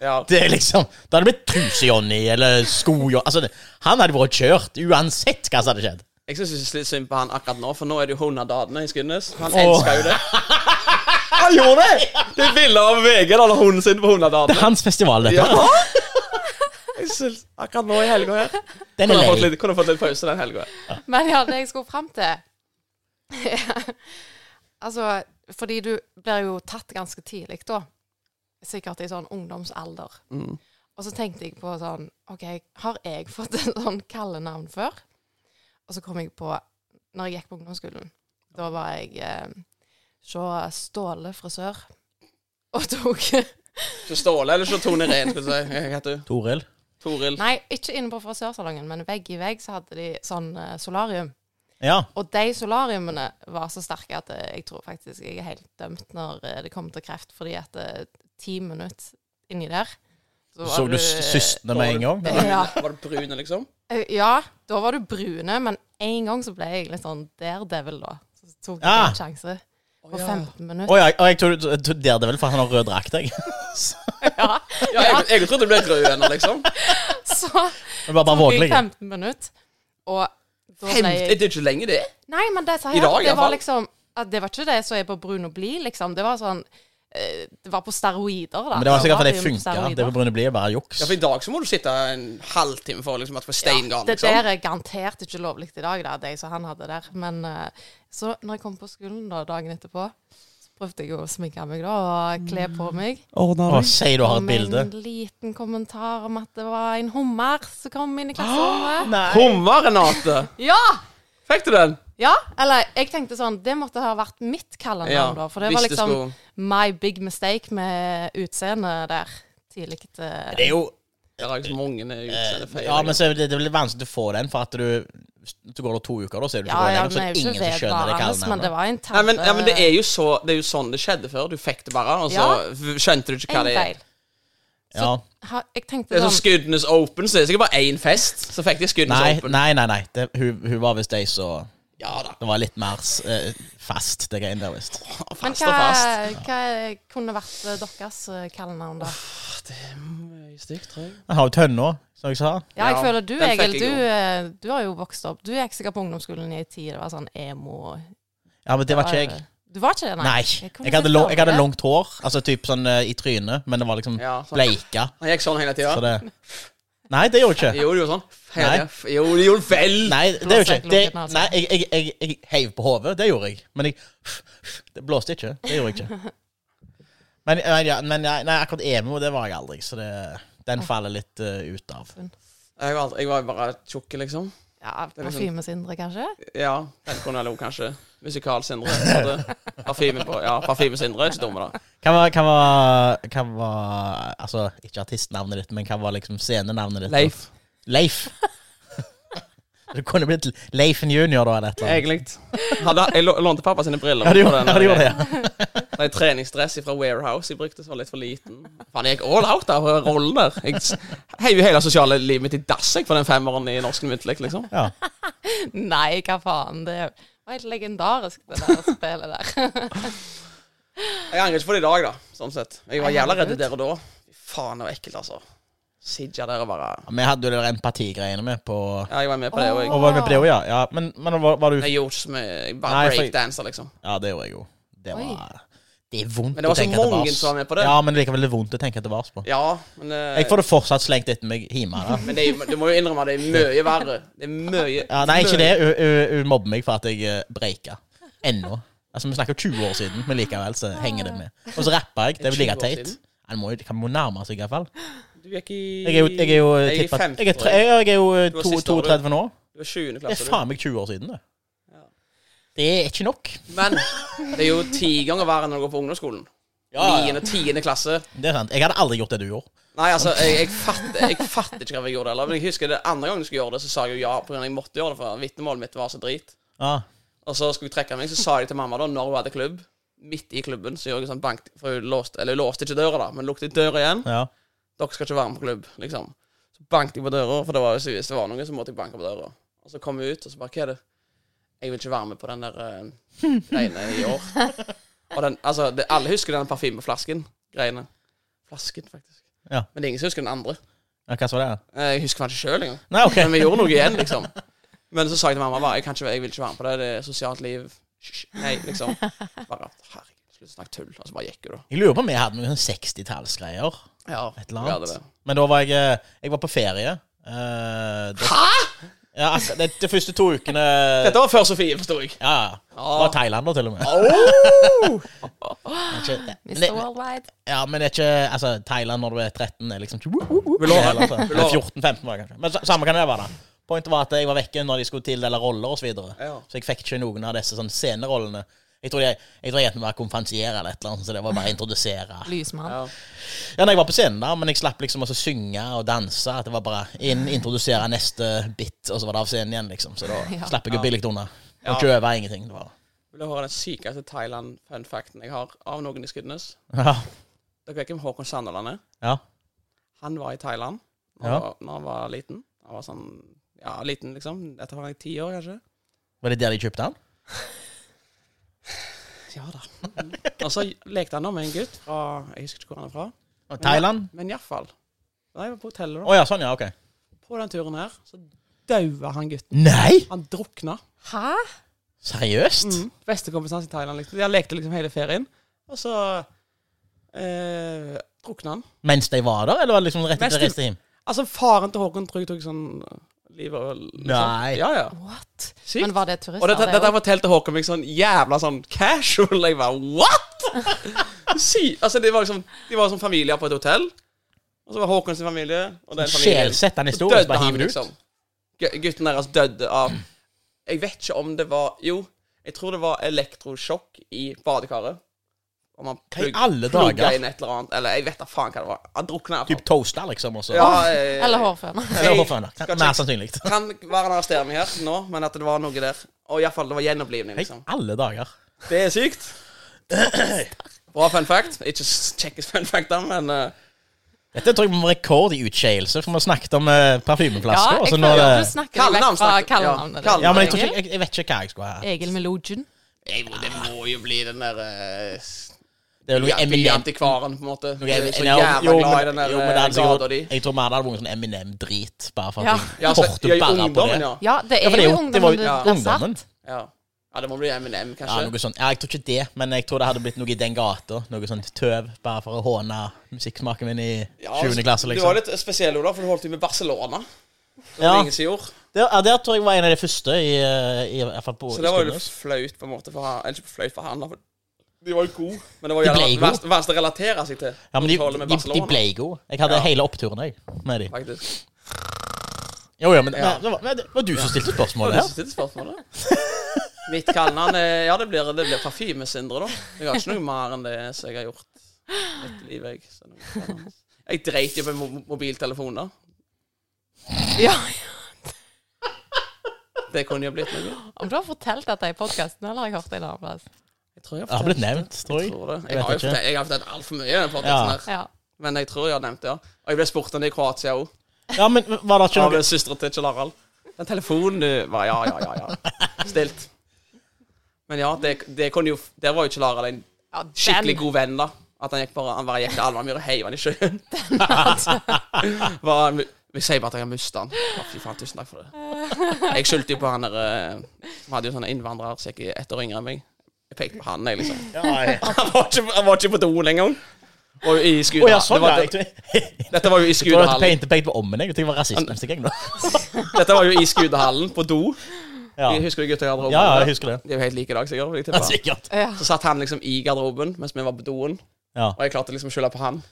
[SPEAKER 1] ja.
[SPEAKER 3] Det er liksom Det hadde blitt Truse-Johnny eller Sko-Johnny altså, det- Han hadde vært kjørt uansett hva som hadde skjedd.
[SPEAKER 1] Jeg syns ikke litt synd på han akkurat nå, for nå er det jo hundadadene i Skudenes. Han
[SPEAKER 3] Åh.
[SPEAKER 1] elsker jo det. Han gjorde det! Det er bilder av VG da, når hunden sin på
[SPEAKER 3] Det er
[SPEAKER 1] hundadadene.
[SPEAKER 3] hans festival, dette.
[SPEAKER 1] Ja. Jeg synes, akkurat nå i helga her
[SPEAKER 3] Den er
[SPEAKER 1] Kunne fått
[SPEAKER 3] lei.
[SPEAKER 1] litt, kunne fått litt pause den helga.
[SPEAKER 4] Men ja, det jeg skulle fram til Altså, fordi du blir jo tatt ganske tidlig, da. sikkert i sånn ungdomsalder.
[SPEAKER 1] Mm.
[SPEAKER 4] Og så tenkte jeg på sånn OK, har jeg fått et sånn kallenavn før? Og så kom jeg på Når jeg gikk på ungdomsskolen, da var jeg eh, så Ståle frisør. Og tok
[SPEAKER 1] Ikke Ståle eller ikke Tone Rehn, skulle jeg si. Hva heter du?
[SPEAKER 3] Toril.
[SPEAKER 1] Toril.
[SPEAKER 4] Nei, ikke inne på frisørsalongen, men vegg i vegg så hadde de sånn eh, solarium.
[SPEAKER 3] Ja.
[SPEAKER 4] Og de solariumene var så sterke at eh, jeg tror faktisk jeg er helt dømt når eh, det kommer til kreft, fordi at eh, ti minutter inni der så
[SPEAKER 3] Så du systene med en gang? eller?
[SPEAKER 4] Ja.
[SPEAKER 1] Var det brune, liksom?
[SPEAKER 4] Eh, ja, da var du brune, men en gang så ble jeg litt sånn daredevil, da. Så tok jeg
[SPEAKER 3] Ja.
[SPEAKER 4] en sjanse på 15
[SPEAKER 3] Ah! Å
[SPEAKER 4] minutter.
[SPEAKER 3] ja, og jeg tror du- du- der det vel, for han har rød drakt, jeg.
[SPEAKER 4] Ja.
[SPEAKER 1] Ja, jeg, jeg trodde det ble grønn ennå, liksom.
[SPEAKER 4] Så
[SPEAKER 3] Det var bare
[SPEAKER 4] tok jeg
[SPEAKER 3] vågelig.
[SPEAKER 4] 15 minutter, og da ble
[SPEAKER 1] Femte,
[SPEAKER 4] jeg
[SPEAKER 1] det er ikke lenge, det.
[SPEAKER 4] Nei, men det sa
[SPEAKER 1] I
[SPEAKER 4] jeg.
[SPEAKER 1] dag, i
[SPEAKER 4] det
[SPEAKER 1] hvert fall.
[SPEAKER 4] var liksom at Det var ikke det som er på brun og blid, liksom. Det var sånn eh, Det var på steroider, da.
[SPEAKER 3] Men det var sikkert fordi
[SPEAKER 4] jo
[SPEAKER 3] det
[SPEAKER 4] på
[SPEAKER 3] funka.
[SPEAKER 4] steroider.
[SPEAKER 3] Det med brune blir bare juks.
[SPEAKER 1] Ja, for I dag så må du sitte en halvtime for liksom, at for steingarn,
[SPEAKER 4] Det
[SPEAKER 1] liksom.
[SPEAKER 4] der er garantert ikke lovlig i dag, da, det som han hadde der. Men eh, så når jeg kom på skolen da, dagen etterpå, så prøvde jeg å sminke meg da, og kle på
[SPEAKER 1] Mm.
[SPEAKER 4] meg.
[SPEAKER 3] Å, si du har et
[SPEAKER 4] Kom med
[SPEAKER 3] bilde.
[SPEAKER 4] en liten kommentar om at det var en hummer som kom inn i klasserommet.
[SPEAKER 1] Hummer, Renate!
[SPEAKER 4] Ja!
[SPEAKER 1] Fikk du den?
[SPEAKER 4] Ja, eller jeg tenkte sånn Det måtte ha vært mitt kallenavn,
[SPEAKER 1] Ja,
[SPEAKER 4] da. For det
[SPEAKER 1] hvis
[SPEAKER 4] var
[SPEAKER 1] det
[SPEAKER 4] liksom
[SPEAKER 1] skulle-
[SPEAKER 4] my big mistake med utseendet der tidlig. eh.
[SPEAKER 3] Det er jo
[SPEAKER 1] Jeg har ikke så mange eh, utseende feil.
[SPEAKER 3] Ja, men så er det, det er veldig vanskelig å få den, for at du Så går det to uker, da, så er du ikke
[SPEAKER 4] Ja,
[SPEAKER 3] grønn
[SPEAKER 4] ja,
[SPEAKER 3] lenger. Så
[SPEAKER 4] den
[SPEAKER 3] er
[SPEAKER 4] er
[SPEAKER 3] det
[SPEAKER 4] jo
[SPEAKER 3] ingen
[SPEAKER 4] ikke
[SPEAKER 3] som skjønner det
[SPEAKER 4] vedvarende, men det
[SPEAKER 3] kallenavnet.
[SPEAKER 4] var en
[SPEAKER 1] Nei, men, ja, men det,
[SPEAKER 4] tabbe.
[SPEAKER 1] er jo så, det er jo sånn det skjedde før. Du fikk det bare, og så
[SPEAKER 4] Eh. Ja.
[SPEAKER 1] f- skjønte du ikke hva
[SPEAKER 4] En
[SPEAKER 1] det er.
[SPEAKER 4] feil.
[SPEAKER 3] Ja.
[SPEAKER 4] Ha, jeg
[SPEAKER 1] Det
[SPEAKER 4] tenkte
[SPEAKER 1] er sånn
[SPEAKER 4] sånn
[SPEAKER 1] Skudenes Open, så det er sikkert bare én fest. Så fikk de Skudenes
[SPEAKER 3] Nei,
[SPEAKER 1] Open.
[SPEAKER 3] nei, nei. nei. Det, hun, hun var visst ei som
[SPEAKER 1] Ja da.
[SPEAKER 3] Det var litt mer eh, fast, det greiene der, visst.
[SPEAKER 4] Men
[SPEAKER 1] Fast
[SPEAKER 4] hva,
[SPEAKER 1] og fast.
[SPEAKER 4] hva kunne vært eh, deres eh, kallenavn, da?
[SPEAKER 1] Stygt, tror jeg.
[SPEAKER 3] Jeg har jo tønna, som jeg sa.
[SPEAKER 4] Ja, jeg
[SPEAKER 1] Ja,
[SPEAKER 4] føler du,
[SPEAKER 1] den fikk
[SPEAKER 4] Egil,
[SPEAKER 1] jeg
[SPEAKER 4] du,
[SPEAKER 1] jo.
[SPEAKER 4] eh, du har jo vokst opp. Du gikk sikkert på ungdomsskolen i ei tid det var sånn emo
[SPEAKER 3] Ja, men det var ikke jeg.
[SPEAKER 4] Du var ikke det, nei?
[SPEAKER 3] Nei.
[SPEAKER 4] kunne
[SPEAKER 3] Jeg hadde,
[SPEAKER 4] ikke
[SPEAKER 3] lo-
[SPEAKER 4] spørre
[SPEAKER 3] jeg hadde
[SPEAKER 4] det. altså.
[SPEAKER 3] langt hår, altså typ sånn eh, i trynet, men det var liksom
[SPEAKER 1] Ja, sånn.
[SPEAKER 3] bleika.
[SPEAKER 1] Han gikk sånn hele
[SPEAKER 3] Så
[SPEAKER 1] tida.
[SPEAKER 3] det Nei, det gjorde jeg ikke.
[SPEAKER 1] Jo, det gjorde sånn. Hele
[SPEAKER 3] Nei.
[SPEAKER 1] tiden. F- Jo, det gjorde vel.
[SPEAKER 3] Nei, det gjorde
[SPEAKER 4] Blåste
[SPEAKER 3] jeg ikke. Det,
[SPEAKER 4] ikke lunken, altså.
[SPEAKER 3] nei, jeg, jeg, jeg, jeg heiv på hodet, det gjorde jeg. Men jeg Det blåste ikke. Det gjorde jeg ikke. Men, men, ja, men nei, nei, akkurat emo, det var jeg aldri, så det, den faller litt eh, ut av.
[SPEAKER 1] Jeg var, aldri- jeg var bare tjukk, liksom.
[SPEAKER 4] Ja,
[SPEAKER 1] er liksom-
[SPEAKER 4] Parfymesindre, kanskje?
[SPEAKER 1] Ja, den kunne jeg lo, kanskje. Musikal Sindre. hadde Parfyme på Ja, Parfyme Sindre er ikke dumme, da.
[SPEAKER 3] Hva var, hva var, hva var Altså, ikke artistnavnet ditt, men hva var liksom scenenavnet ditt?
[SPEAKER 1] Leif.
[SPEAKER 3] Leif. Du kunne blitt Leifen junior, da, eller et eller annet.
[SPEAKER 1] Egentlig. Hadde, jeg lå- lånte pappa sine briller.
[SPEAKER 3] Ja, du gjorde,
[SPEAKER 1] på den
[SPEAKER 3] ja,
[SPEAKER 1] der-
[SPEAKER 3] du gjorde det, ja.
[SPEAKER 1] Det er treningsdress fra Warehouse jeg brukte, som var litt for liten. Faen, jeg gikk all out av rollen der. Jeg s- heiv jo hele sosiale livet mitt i dass jeg, for den femmeren i norsk muntlig, liksom.
[SPEAKER 3] ja.
[SPEAKER 4] Nei, hva faen. Det var helt legendarisk, det der spillet der.
[SPEAKER 1] Jeg angrer ikke på det i dag, da, sånn sett. Jeg var
[SPEAKER 4] Nei,
[SPEAKER 1] jævla redd
[SPEAKER 4] herregud.
[SPEAKER 1] der og da. Fy Faen, det var ekkelt, altså. Sidja der og bare
[SPEAKER 3] Vi hadde jo det der empatigreiene med på
[SPEAKER 1] Ja, jeg var med på det, og jeg,
[SPEAKER 3] Og var du med på det òg, ja? ja? Men, men var, var du
[SPEAKER 1] jeg gjorde ikke så mye. Jeg
[SPEAKER 3] Nei,
[SPEAKER 1] bare
[SPEAKER 3] for-
[SPEAKER 1] breakdanser, liksom.
[SPEAKER 3] Ja, det gjorde jeg jo. Det
[SPEAKER 4] Oi.
[SPEAKER 3] var Det er vondt
[SPEAKER 1] Men det var
[SPEAKER 3] å
[SPEAKER 1] så
[SPEAKER 3] tenke tilbake
[SPEAKER 1] mange som var med på det.
[SPEAKER 3] Ja, men likevel det er vondt å tenke tilbake på.
[SPEAKER 1] Ja, men eh,
[SPEAKER 3] Jeg får det fortsatt slengt etter meg hjemme. Da.
[SPEAKER 1] Men det, er jo- du må jo innrømme at det er mye verre. Det er mye
[SPEAKER 3] Ja, nei, ikke
[SPEAKER 1] mye-
[SPEAKER 3] det. Hun- Hun hun mobber meg for at jeg eh, breika. Ennå. Altså, Vi snakker 20 år siden, men likevel så henger det med. Og så rapper jeg. Det er jo
[SPEAKER 1] 20
[SPEAKER 3] like
[SPEAKER 1] år
[SPEAKER 3] teit.
[SPEAKER 1] siden?
[SPEAKER 3] Han må, jo- han må nærme seg, iallfall.
[SPEAKER 1] Du gikk i
[SPEAKER 3] Jeg er jo, jeg er jo
[SPEAKER 1] Jeg er i
[SPEAKER 3] tippa-
[SPEAKER 1] femte,
[SPEAKER 3] jeg er,
[SPEAKER 1] tror
[SPEAKER 3] tre-
[SPEAKER 1] jeg.
[SPEAKER 3] jeg er jo eh,
[SPEAKER 1] Du var
[SPEAKER 3] to-
[SPEAKER 1] siste året.
[SPEAKER 3] 32 nå.
[SPEAKER 1] Du var 20.
[SPEAKER 3] Det er
[SPEAKER 1] klasse, du.
[SPEAKER 3] faen meg 20 år siden, det. Det er ikke nok.
[SPEAKER 1] Men det er jo ti ganger verre enn når du går på ungdomsskolen. Niende, tiende klasse.
[SPEAKER 3] Det er sant. Jeg hadde aldri gjort det du gjorde.
[SPEAKER 1] Nei, altså, jeg, jeg, fatter, jeg fatter ikke hva jeg gjorde heller. Men jeg husker det andre gangen jeg skulle gjøre det, så sa jeg jo ja pga. jeg måtte gjøre det, for vitnemålet mitt var så drit.
[SPEAKER 3] Ja.
[SPEAKER 1] Og så skulle jeg trekke meg, så sa jeg til mamma da, når hun hadde klubb, midt i klubben, så gjorde jeg sånn bank For hun låste, eller hun låste ikke døra, da, men lukket døra igjen.
[SPEAKER 3] ja.
[SPEAKER 1] Dere skal ikke være med på klubb, liksom. Så banket jeg på døra, for det var, jo- hvis det var noen, så måtte jeg banke på døra. Og så kom jeg ut, og så bare Hva er det? Jeg vil ikke være med på den der eh, greiene i år. Og den, altså, det, alle husker den parfymeflasken-greiene. Flasken, faktisk.
[SPEAKER 3] Ja.
[SPEAKER 1] Men det er ingen som husker den andre.
[SPEAKER 3] ja hva så var det?
[SPEAKER 1] Eh, Jeg husker faen ikke sjøl engang.
[SPEAKER 3] Nei, OK.
[SPEAKER 1] Men vi gjorde noe igjen, liksom. Men så sa jeg til mamma bare, jeg, kan ikke, jeg vil ikke være med på det, det er sosialt liv. Hysj, Nei, liksom. Bare, herregud, slutt å snakke tull. Og så bare gikk hun, da.
[SPEAKER 3] Jeg lurer på om vi hadde noen sånn 60-tallsgreier.
[SPEAKER 1] Ja,
[SPEAKER 3] Et eller
[SPEAKER 1] vi hadde
[SPEAKER 3] annet.
[SPEAKER 1] det.
[SPEAKER 3] Men da var jeg eh, Jeg var på ferie. eh, da, Hæ?! Ja, akkurat de, de første to ukene
[SPEAKER 1] Dette var før Sofie, forsto jeg.
[SPEAKER 3] Ja, ja. Det
[SPEAKER 1] Ah.
[SPEAKER 3] var Thailand da, til og med. Men ikke- men
[SPEAKER 4] Mr.
[SPEAKER 3] det-
[SPEAKER 4] Worldwide.
[SPEAKER 3] Ja, men det er ikke Altså, Thailand når du er 13, er liksom ikke woop, woop, woop.
[SPEAKER 1] Vil du ha det?
[SPEAKER 3] Eller så-
[SPEAKER 1] Vil du ha det?
[SPEAKER 3] 14-15 var det kanskje. Men så- samme kan det være, da. Pointet var at jeg var vekke når de skulle tildele roller osv. Så, videre.
[SPEAKER 1] Ja.
[SPEAKER 3] så jeg fikk ikke noen av disse sånne scenerollene. Jeg tror jeg, jeg, tror jeg var konferansier eller et eller annet, så det var bare å introdusere.
[SPEAKER 4] Lysmann.
[SPEAKER 1] Ja.
[SPEAKER 3] Ja, nei, jeg var på scenen der, men jeg slapp liksom også synge og danse. At det var bare inn, introdusere neste bit, og så var det av scenen igjen, liksom. Så da
[SPEAKER 4] Ja.
[SPEAKER 3] slapp jeg jo billig unna.
[SPEAKER 1] Ja.
[SPEAKER 3] Og ikke over ingenting. Det var.
[SPEAKER 1] Vil du høre den sykeste Thailand-funfacten jeg har av noen i Skudenes?
[SPEAKER 3] Ja.
[SPEAKER 1] Dere vet hvem Håkon Sandeland er?
[SPEAKER 3] ja.
[SPEAKER 1] Han var i Thailand når,
[SPEAKER 3] Ja.
[SPEAKER 1] han var- når han var liten. Han var sånn Ja, liten, liksom. Dette var jeg ti år, kanskje.
[SPEAKER 3] Var det der de kjøpte den?
[SPEAKER 1] Ja da. Mm. Og så lekte han da med en gutt fra Jeg husker ikke hvor han er fra.
[SPEAKER 3] Og Thailand?
[SPEAKER 1] Men iallfall. Da jeg var på hotellet,
[SPEAKER 3] Å
[SPEAKER 1] da,
[SPEAKER 3] ja, sånn, ja. Ok.
[SPEAKER 1] på den turen her, så daua han gutten.
[SPEAKER 3] Nei!
[SPEAKER 1] Han drukna.
[SPEAKER 4] Hæ?
[SPEAKER 3] Seriøst?
[SPEAKER 1] Mm. Bestekompisen hans i Thailand. Liksom. De lekte liksom hele ferien. Og så eh, drukna han.
[SPEAKER 3] Mens de var der, eller var det liksom rett
[SPEAKER 1] Mens
[SPEAKER 3] etter
[SPEAKER 1] de-
[SPEAKER 3] reiste hjem?
[SPEAKER 1] Altså, faren til Håkon tror jeg tok sånn livet og liksom.
[SPEAKER 3] Nei.
[SPEAKER 1] Ja, ja.
[SPEAKER 4] What?
[SPEAKER 1] Sykt.
[SPEAKER 4] Men var det turister?
[SPEAKER 1] Og dette,
[SPEAKER 4] det
[SPEAKER 1] dette
[SPEAKER 4] også?
[SPEAKER 1] fortalte Håkon meg sånn jævla sånn casual. Jeg bare what?! Sy altså, det var liksom, de var som familier på et hotell. Og så var Håkon sin familie og den familien.
[SPEAKER 3] Sjelsettende
[SPEAKER 1] Så
[SPEAKER 3] historie.
[SPEAKER 1] døde
[SPEAKER 3] Bare
[SPEAKER 1] han,
[SPEAKER 3] hiver det ut.
[SPEAKER 1] liksom. Gu- Gutten deres døde av Jeg vet ikke om det var Jo, jeg tror det var elektrosjokk i badekaret. Om han
[SPEAKER 3] Hva i alle dager?
[SPEAKER 1] inn et eller annet. Eller jeg vet da faen hva det var. Han drukna. i hvert
[SPEAKER 3] Typ
[SPEAKER 1] fall.
[SPEAKER 3] toaster, liksom. Og så.
[SPEAKER 1] Ja, eh,
[SPEAKER 4] Eller hårføner.
[SPEAKER 3] Eller hvorfor ennå?
[SPEAKER 1] Skal
[SPEAKER 3] Mer
[SPEAKER 1] ikke-
[SPEAKER 3] sannsynlig.
[SPEAKER 1] Kan være han arresterer meg her nå, men at det var noe der. Og iallfall, det var gjenopplivning,
[SPEAKER 3] Hei,
[SPEAKER 1] liksom.
[SPEAKER 3] alle dager.
[SPEAKER 1] Det er sykt. Bra fun fact. Ikke s- kjekkest fun fact, da, men eh,
[SPEAKER 3] Dette tror jeg må være rekord i utskeielse, for vi har snakket om uh,
[SPEAKER 4] Ja,
[SPEAKER 3] parfymeflasker. og
[SPEAKER 4] jeg
[SPEAKER 3] så nå er
[SPEAKER 4] føler
[SPEAKER 3] det-
[SPEAKER 4] at du snakker deg
[SPEAKER 1] Kallenavn
[SPEAKER 4] vekk fra
[SPEAKER 1] snakker- ja,
[SPEAKER 4] kallenavnet.
[SPEAKER 1] kallenavn.
[SPEAKER 4] ditt,
[SPEAKER 3] ja, men jeg, tror ikke,
[SPEAKER 4] Egil.
[SPEAKER 3] jeg, jeg vet ikke hva jeg skulle ha.
[SPEAKER 4] Egil med Lodgen.
[SPEAKER 1] jeg må- det må jo bli den der eh, s-
[SPEAKER 3] Det er vel noe
[SPEAKER 1] ja,
[SPEAKER 3] Eminem
[SPEAKER 1] byantikvaren, på en måte.
[SPEAKER 3] noe
[SPEAKER 1] Jeg er
[SPEAKER 3] Eminem-
[SPEAKER 1] så
[SPEAKER 3] Jo,
[SPEAKER 1] jævla
[SPEAKER 3] jo,
[SPEAKER 1] glad i
[SPEAKER 3] men-
[SPEAKER 1] den der
[SPEAKER 3] jo, men det hadde
[SPEAKER 1] eh, gata di.
[SPEAKER 3] sikkert- Jeg tror mer det hadde vært sånn Eminem-drit. Bare for
[SPEAKER 4] Ja.
[SPEAKER 3] at
[SPEAKER 1] Ja,
[SPEAKER 3] jeg
[SPEAKER 1] så,
[SPEAKER 3] torde
[SPEAKER 1] ja, i
[SPEAKER 3] bære på det.
[SPEAKER 1] ungdommen, ja.
[SPEAKER 4] Ja, det
[SPEAKER 3] Ja, for
[SPEAKER 4] er
[SPEAKER 3] det er
[SPEAKER 4] jo
[SPEAKER 3] jo- det var
[SPEAKER 4] ungdommen
[SPEAKER 3] jo-
[SPEAKER 4] du
[SPEAKER 3] ja,
[SPEAKER 4] blir
[SPEAKER 3] ungdommen.
[SPEAKER 4] satt.
[SPEAKER 1] ja. Ja, det må bli M&M,
[SPEAKER 3] Ja,
[SPEAKER 1] kanskje.
[SPEAKER 3] noe sånn, ja, jeg tror ikke det, men jeg tror det hadde blitt noe i den gata. Noe sånt tøv, bare for å håne musikksmaken min i 7. klasse,
[SPEAKER 1] altså, Du var
[SPEAKER 3] liksom.
[SPEAKER 1] litt spesiell, Ola, for du holdt jo med Barcelona. Det var
[SPEAKER 3] Ja.
[SPEAKER 1] ingen som gjorde.
[SPEAKER 3] Der, ja, der tror jeg var en av de første i, eh, i, i hvert fall på
[SPEAKER 1] Så det var jo
[SPEAKER 3] Skudenes.
[SPEAKER 1] litt flaut på en måte for han, eller ikke flaut for han, da, for de var jo gode. Men det var
[SPEAKER 3] De
[SPEAKER 1] jo
[SPEAKER 3] ble
[SPEAKER 1] gjerne
[SPEAKER 3] gode.
[SPEAKER 1] verst- verst å relatere seg til.
[SPEAKER 3] Ja, men de,
[SPEAKER 1] Holde med
[SPEAKER 3] de, de
[SPEAKER 1] Barcelona.
[SPEAKER 3] ble gode. Jeg hadde
[SPEAKER 1] Ja.
[SPEAKER 3] hele oppturen jeg, med de.
[SPEAKER 1] faktisk.
[SPEAKER 3] Jo, jo, men,
[SPEAKER 1] Ja.
[SPEAKER 3] men det, var, men det var du som stilte
[SPEAKER 1] Har
[SPEAKER 3] spørsmålet
[SPEAKER 1] du
[SPEAKER 3] her.
[SPEAKER 1] lyst til spørsmålet? Mitt kallenavn er Ja, det blir, det blir parfymesyndere, da. Jeg har ikke noe mer enn det som jeg har gjort i mitt liv. Jeg, Så noe kallenavn. jeg dreit jo på mo- mobiltelefoner.
[SPEAKER 4] Ja,
[SPEAKER 1] Det kunne jo blitt noe.
[SPEAKER 4] Om du har fortalt dette i altså. podkasten, eller har jeg hørt det en annen plass?
[SPEAKER 1] Jeg tror jeg
[SPEAKER 3] Det har blitt nevnt, tror jeg.
[SPEAKER 1] Jeg, tror det.
[SPEAKER 3] Jeg
[SPEAKER 1] jeg, har,
[SPEAKER 3] vet
[SPEAKER 1] jo
[SPEAKER 3] ikke.
[SPEAKER 1] fortalt, jeg har fortalt altfor mye i den podcasten
[SPEAKER 3] Ja.
[SPEAKER 1] her.
[SPEAKER 4] Ja.
[SPEAKER 1] Men jeg tror jeg har nevnt det, ja. Og jeg ble spurt om det i Kroatia òg.
[SPEAKER 3] Ja, men var det ikke
[SPEAKER 1] Av
[SPEAKER 3] noe
[SPEAKER 1] søstera til Kjell Harald. Den telefonen du var Ja, ja, ja. ja. Stilt. Men ja, det, det kunne jo Der var jo Kjell Harald en
[SPEAKER 4] Ja,
[SPEAKER 1] skikkelig
[SPEAKER 4] den-
[SPEAKER 1] god venn, da. At han gikk bare Han bare gikk til Alvamyr og heiv han i sjøen. Var en- vi sier bare at jeg har mista han. Å, Fy faen, tusen takk for det. Jeg skyldte jo på han der eh, Vi hadde jo sånne innvandrere som gikk i ett år yngre enn meg. Jeg pekte på han, jeg, liksom. Han var ikke, han var ikke på doen engang. Og i
[SPEAKER 3] Å
[SPEAKER 1] skuta.
[SPEAKER 3] ja, sånn,
[SPEAKER 1] Det var-
[SPEAKER 3] ja. Jeg tror- jeg
[SPEAKER 1] Dette var jo i
[SPEAKER 3] tror jeg
[SPEAKER 1] skudehallen.
[SPEAKER 3] pekte pekte på ommen, jeg. Jeg tenkte det var rasistisk, jeg, nå.
[SPEAKER 1] Dette var jo i skudehallen, på do.
[SPEAKER 3] Ja.
[SPEAKER 1] Jeg husker du gutta i garderoben?
[SPEAKER 3] ja, jeg husker det.
[SPEAKER 1] De er jo helt like i dag, sikkert. vil jeg
[SPEAKER 3] Ja,
[SPEAKER 1] tippe.
[SPEAKER 3] sikkert.
[SPEAKER 4] Ja.
[SPEAKER 1] Så satt han liksom i garderoben mens vi var på doen,
[SPEAKER 3] Ja.
[SPEAKER 1] og jeg klarte liksom å skylde på han.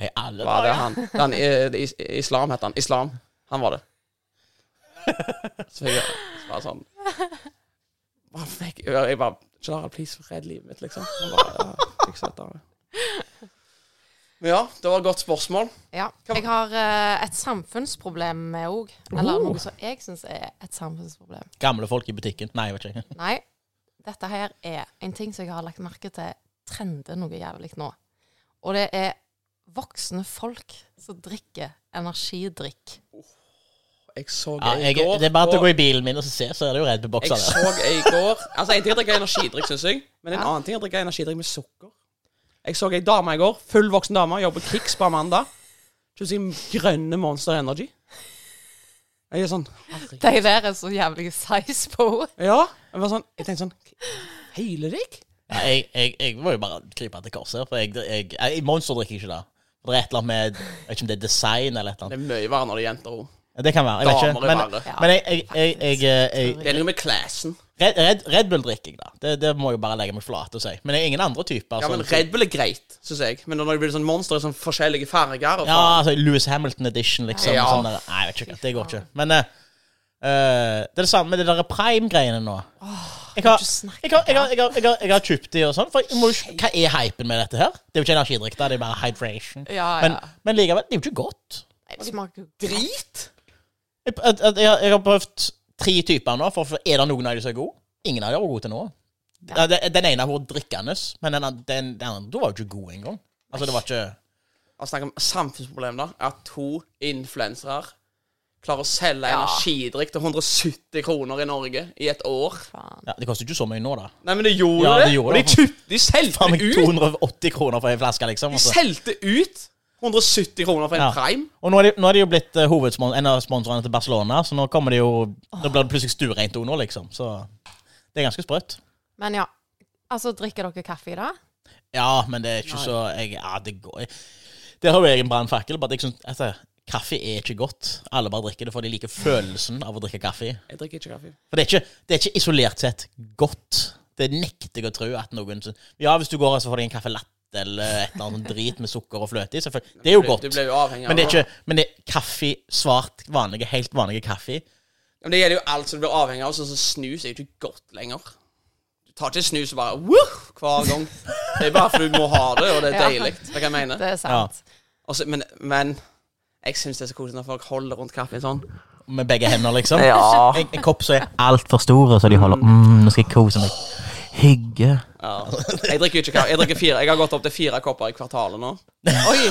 [SPEAKER 3] Jeg er alle
[SPEAKER 1] Var det
[SPEAKER 3] dager.
[SPEAKER 1] han? Den, eh, det is, islam heter han. Islam. Han var det. Så jeg så bare sånn Hva fikk Jeg bare Kjell please, redd livet mitt, liksom. Han bare, ja, fikser dette. Men ja, det var et godt spørsmål.
[SPEAKER 4] ja. Jeg har eh, et samfunnsproblem med òg.
[SPEAKER 3] Oh.
[SPEAKER 4] Eller noe som jeg syns er et samfunnsproblem.
[SPEAKER 3] Gamle folk i butikken. Nei, jeg vet ikke.
[SPEAKER 4] Nei, dette her er en ting som jeg har lagt merke til trender noe jævlig nå. Og det er voksne folk som drikker energidrikk.
[SPEAKER 1] Jeg så
[SPEAKER 3] Ja,
[SPEAKER 1] jeg i
[SPEAKER 3] jeg,
[SPEAKER 1] går
[SPEAKER 3] det er bare til å
[SPEAKER 1] på-
[SPEAKER 3] gå i bilen min og så se, så er det jo Red Bull
[SPEAKER 1] Jeg
[SPEAKER 3] bokser der.
[SPEAKER 1] så ei i går Altså, en ting er å drikke energidrikk, syns jeg, men en
[SPEAKER 4] Ja.
[SPEAKER 1] annen ting er å drikke energidrikk med sukker. Jeg så ei dame i går, full voksen dame, jobber på Kicks på Amanda. Kjøper seg grønne Monster Energy. Jeg er sånn herregud.
[SPEAKER 4] De der er så jævlig size på henne.
[SPEAKER 1] Ja. Jeg var sånn Jeg tenkte sånn Hele deg?
[SPEAKER 3] Ja, jeg, jeg, jeg må jo bare krype til korset, for jeg, jeg, jeg, Monster drikker ikke det. Det er et eller annet med Jeg vet ikke om det er design eller et eller
[SPEAKER 1] Det
[SPEAKER 3] annet.
[SPEAKER 1] er mye verre når det er jenter òg.
[SPEAKER 3] Det kan være. Jeg vet
[SPEAKER 1] Damer
[SPEAKER 3] ikke.
[SPEAKER 1] er
[SPEAKER 3] Men,
[SPEAKER 1] verre.
[SPEAKER 4] Ja.
[SPEAKER 3] men jeg, jeg, jeg, jeg, eh, jeg,
[SPEAKER 1] Det er noe med classen.
[SPEAKER 3] Red, Red, Red Bull drikker jeg, da. Det, det må jeg bare legge meg flat og si. Men det er ingen andre typer.
[SPEAKER 1] Ja, men
[SPEAKER 3] sånn-
[SPEAKER 1] Red Bull er greit, syns jeg. Men når det blir sånn monster i sånn forskjellige farger og
[SPEAKER 3] Ja,
[SPEAKER 1] faen.
[SPEAKER 3] altså Louis Hamilton edition, liksom.
[SPEAKER 1] Ja.
[SPEAKER 3] Sånn der. Nei, jeg vet ikke. Det går ikke. Men eh, eh, det er det samme med de der prime-greiene nå. Jeg har,
[SPEAKER 4] snakke
[SPEAKER 3] jeg, har, jeg, har, jeg, har, jeg, har, jeg har kjøpt de og sånn. For jeg må, jo- hva er hypen med dette her? Det er jo ikke energidrikk, da. Det er bare hydration.
[SPEAKER 4] Ja, ja.
[SPEAKER 3] Men, men likevel, det er jo ikke godt.
[SPEAKER 4] Nei, det smaker jo
[SPEAKER 1] Drit!
[SPEAKER 3] Jeg, jeg, jeg, har- jeg har prøvd tre typer nå, for for er det noen av dem som er gode? Ingen av dem var gode til nå. Ja, det- Den ene har vært drikkende, men den, an- den, den andre var jo ikke god engang. Altså, det var ikke
[SPEAKER 1] Altså, Snakk om samfunnsproblem, da. At to influensere klarer å selge
[SPEAKER 4] Ja.
[SPEAKER 1] energidrikk til 170 kroner i Norge i et år.
[SPEAKER 4] faen.
[SPEAKER 3] ja, Det koster jo ikke så mye nå, da.
[SPEAKER 1] Nei, men det gjorde
[SPEAKER 3] Ja,
[SPEAKER 1] det.
[SPEAKER 3] det
[SPEAKER 1] Og
[SPEAKER 3] gjorde
[SPEAKER 1] de,
[SPEAKER 3] det.
[SPEAKER 1] kjøp, de solgte
[SPEAKER 3] Faen meg
[SPEAKER 1] ut.
[SPEAKER 3] 280 kroner for ei flaske, liksom.
[SPEAKER 1] De
[SPEAKER 3] altså.
[SPEAKER 1] solgte ut 170 kroner for en
[SPEAKER 3] Ja.
[SPEAKER 1] prime.
[SPEAKER 3] Og nå er, de, nå er de jo blitt eh, hovedspons- en av sponsorene til Barcelona, så nå kommer de jo Nå blir det plutselig stuereint òg nå, liksom. Så det er ganske sprøtt.
[SPEAKER 4] Men ja. Altså, drikker dere kaffe i dag?
[SPEAKER 3] Ja, men det er ikke så jeg, Ja, det går Der har jo jeg en brannfakkel, bare at jeg syns altså, Kaffe er ikke godt. Alle bare drikker det fordi de liker følelsen av å drikke kaffe.
[SPEAKER 1] Jeg drikker ikke kaffe.
[SPEAKER 3] For det er ikke, det er ikke isolert sett godt. Det nekter jeg å tro at noen syns- Ja, hvis du går og så får deg en kaffe latte eller et eller annet drit med sukker og fløte i, selvfølgelig. Det er jo
[SPEAKER 1] Du
[SPEAKER 3] godt.
[SPEAKER 1] blir jo avhengig av
[SPEAKER 3] Men det er ikke Men det er kaffe, svart, vanlige, helt vanlige kaffe.
[SPEAKER 1] Ja, men det gjelder jo alt som du blir avhengig av. Sånn som snus er jo ikke godt lenger. Du tar ikke snus og bare woof, hver gang. Det er bare fordi du må ha det, og det er
[SPEAKER 4] Ja.
[SPEAKER 1] deilig. Det er hva jeg mener.
[SPEAKER 4] Det er sant.
[SPEAKER 1] Og så- men, men jeg syns det er så koselig når folk holder rundt kaffen sånn.
[SPEAKER 3] Med begge hender, liksom.
[SPEAKER 1] Ja.
[SPEAKER 3] En, en kopp som er altfor stor, så de holder mm, Nå skal jeg kose meg. Hygge.
[SPEAKER 1] Jeg drikker jo ikke kaffe. Jeg drikker fire. Jeg har gått opp til fire kopper i kvartalet nå. Oi!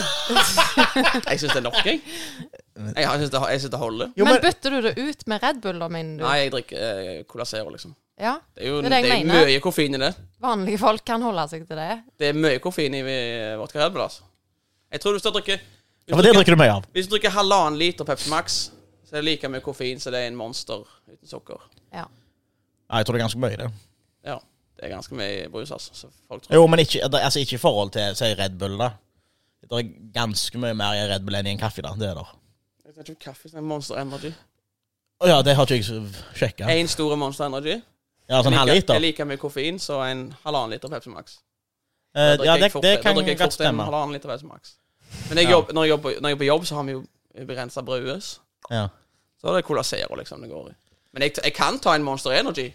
[SPEAKER 1] Jeg syns det er nok, jeg. Jeg syns det, jeg synes det holder.
[SPEAKER 3] Jo,
[SPEAKER 4] men,
[SPEAKER 3] men,
[SPEAKER 4] bytter du det ut med Red Bull, da, mener du?
[SPEAKER 1] Nei, jeg drikker eh, Cola Zero, liksom.
[SPEAKER 4] Ja.
[SPEAKER 1] Det er jo, det
[SPEAKER 4] Det er det
[SPEAKER 1] er
[SPEAKER 4] jeg
[SPEAKER 1] jo
[SPEAKER 4] mener.
[SPEAKER 1] mye koffein i det.
[SPEAKER 4] Vanlige folk kan holde seg til det.
[SPEAKER 1] Det er mye koffein i eh, vodka Red Bull, altså. Jeg tror du skal drikke
[SPEAKER 3] ja, for det drikker du mye av.
[SPEAKER 1] Hvis du drikker halvannen liter Pepsi Max, så er det like mye koffein som det er en monster uten sukker.
[SPEAKER 4] Ja.
[SPEAKER 3] Ja, jeg tror det er ganske mye, det.
[SPEAKER 1] Ja, det er ganske mye brus, altså. Så folk tror
[SPEAKER 3] Jo, men ikke, altså, ikke i forhold til si Red Bull, da. Det er ganske mye mer i Red Bull enn i en kaffe, da. Det er der.
[SPEAKER 1] Jeg vet ikke om kaffe er sånn Monster Energy.
[SPEAKER 3] Å ja, det har ikke jeg sjekka.
[SPEAKER 1] Én stor Monster Energy.
[SPEAKER 3] Ja,
[SPEAKER 1] like,
[SPEAKER 3] sånn
[SPEAKER 1] det
[SPEAKER 3] halvliter?
[SPEAKER 1] er like mye koffein som en halvannen liter Pepsi Max.
[SPEAKER 3] Eh,
[SPEAKER 1] Da drikker
[SPEAKER 3] Ja, det,
[SPEAKER 1] jeg fort-
[SPEAKER 3] det
[SPEAKER 1] da
[SPEAKER 3] kan
[SPEAKER 1] drikker jeg
[SPEAKER 3] godt
[SPEAKER 1] fort en
[SPEAKER 3] stemme.
[SPEAKER 1] halvannen liter Pepsi Max. Men jeg
[SPEAKER 3] Ja.
[SPEAKER 1] jobb, når, jeg jobber, når jeg er på jobb, så har vi jo begrensa brus.
[SPEAKER 3] Ja.
[SPEAKER 1] Så er det Cola Zero liksom det går i. Men jeg, jeg kan ta en Monster Energy.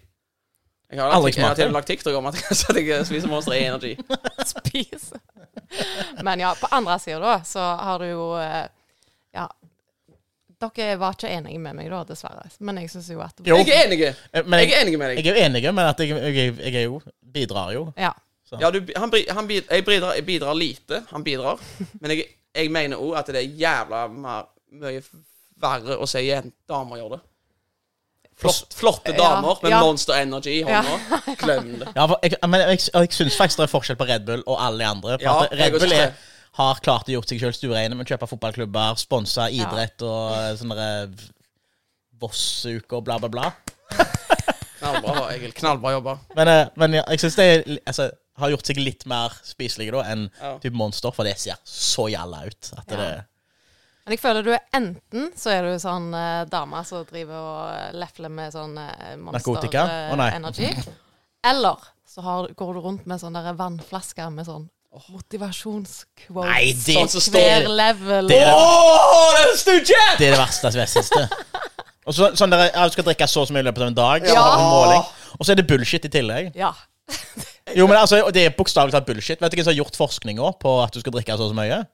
[SPEAKER 1] Jeg har,
[SPEAKER 3] Aldri
[SPEAKER 1] lagt, jeg har til og
[SPEAKER 3] smakt det.
[SPEAKER 1] med lagt TikTok om at jeg, at jeg spiser Monster Energy.
[SPEAKER 4] Spise. Men ja, på andre sida, da, så har du jo eh, Ja. Dere var ikke enige med meg, da, dessverre. Men jeg syns jo at
[SPEAKER 3] Jo.
[SPEAKER 1] Jeg er enig!
[SPEAKER 3] Eh, Men
[SPEAKER 1] Jeg
[SPEAKER 3] jeg,
[SPEAKER 1] er enig med deg.
[SPEAKER 3] jeg er jo enig, men at jeg, jeg, jeg er jo Bidrar jo.
[SPEAKER 4] Ja.
[SPEAKER 1] Ja, du, han, bri- han, bid- jeg, bidrar, jeg bidrar lite. Han bidrar. Men jeg, jeg mener òg at det er jævla mer, mye verre å se jen- damer gjør det. Flott, flotte
[SPEAKER 4] Ja,
[SPEAKER 1] damer med
[SPEAKER 4] ja.
[SPEAKER 1] Monster Energy i hånda. Glem det.
[SPEAKER 3] Ja, for jeg, men jeg, jeg syns faktisk det er forskjell på Red Bull og alle de andre. For
[SPEAKER 1] Ja,
[SPEAKER 3] at
[SPEAKER 1] jeg
[SPEAKER 3] Red Bull
[SPEAKER 1] også
[SPEAKER 3] er,
[SPEAKER 1] det.
[SPEAKER 3] har klart å gjort seg sjøl stuereine med å kjøpe fotballklubber, sponse idrett og eh, sånne der, eh, Voss-uke og bla, bla, bla.
[SPEAKER 1] Knallbra, Egil. Knallbra jobba.
[SPEAKER 3] Men, eh, men ja, jeg syns det er, altså, har gjort seg litt mer spiselige da enn
[SPEAKER 1] Ja.
[SPEAKER 3] type Monster, for det ser så jalla ut. At det,
[SPEAKER 4] Men jeg føler du er enten så er du sånn eh, dame som driver og lefler med sånn eh, monster
[SPEAKER 3] Narkotika?
[SPEAKER 4] eh,
[SPEAKER 3] Å, nei.
[SPEAKER 4] energy. Eller så har, går du rundt med sånne der vannflasker med sånn motivasjonsquote.
[SPEAKER 3] Nei, det,
[SPEAKER 1] Sånn som står-
[SPEAKER 4] Hver level.
[SPEAKER 3] Det er-
[SPEAKER 1] Å, det er Stooges!
[SPEAKER 3] det er det verste som jeg syns det. Og så, sånn der, ja, du skal drikke så og så mye i løpet av en dag, så
[SPEAKER 1] Ja.
[SPEAKER 3] har du en måling. og så er det bullshit i tillegg.
[SPEAKER 4] Ja.
[SPEAKER 3] Jo, men altså, og Det er bokstavelig talt bullshit. Vet du hvem som har gjort forskninga på at du skal drikke så og så mye?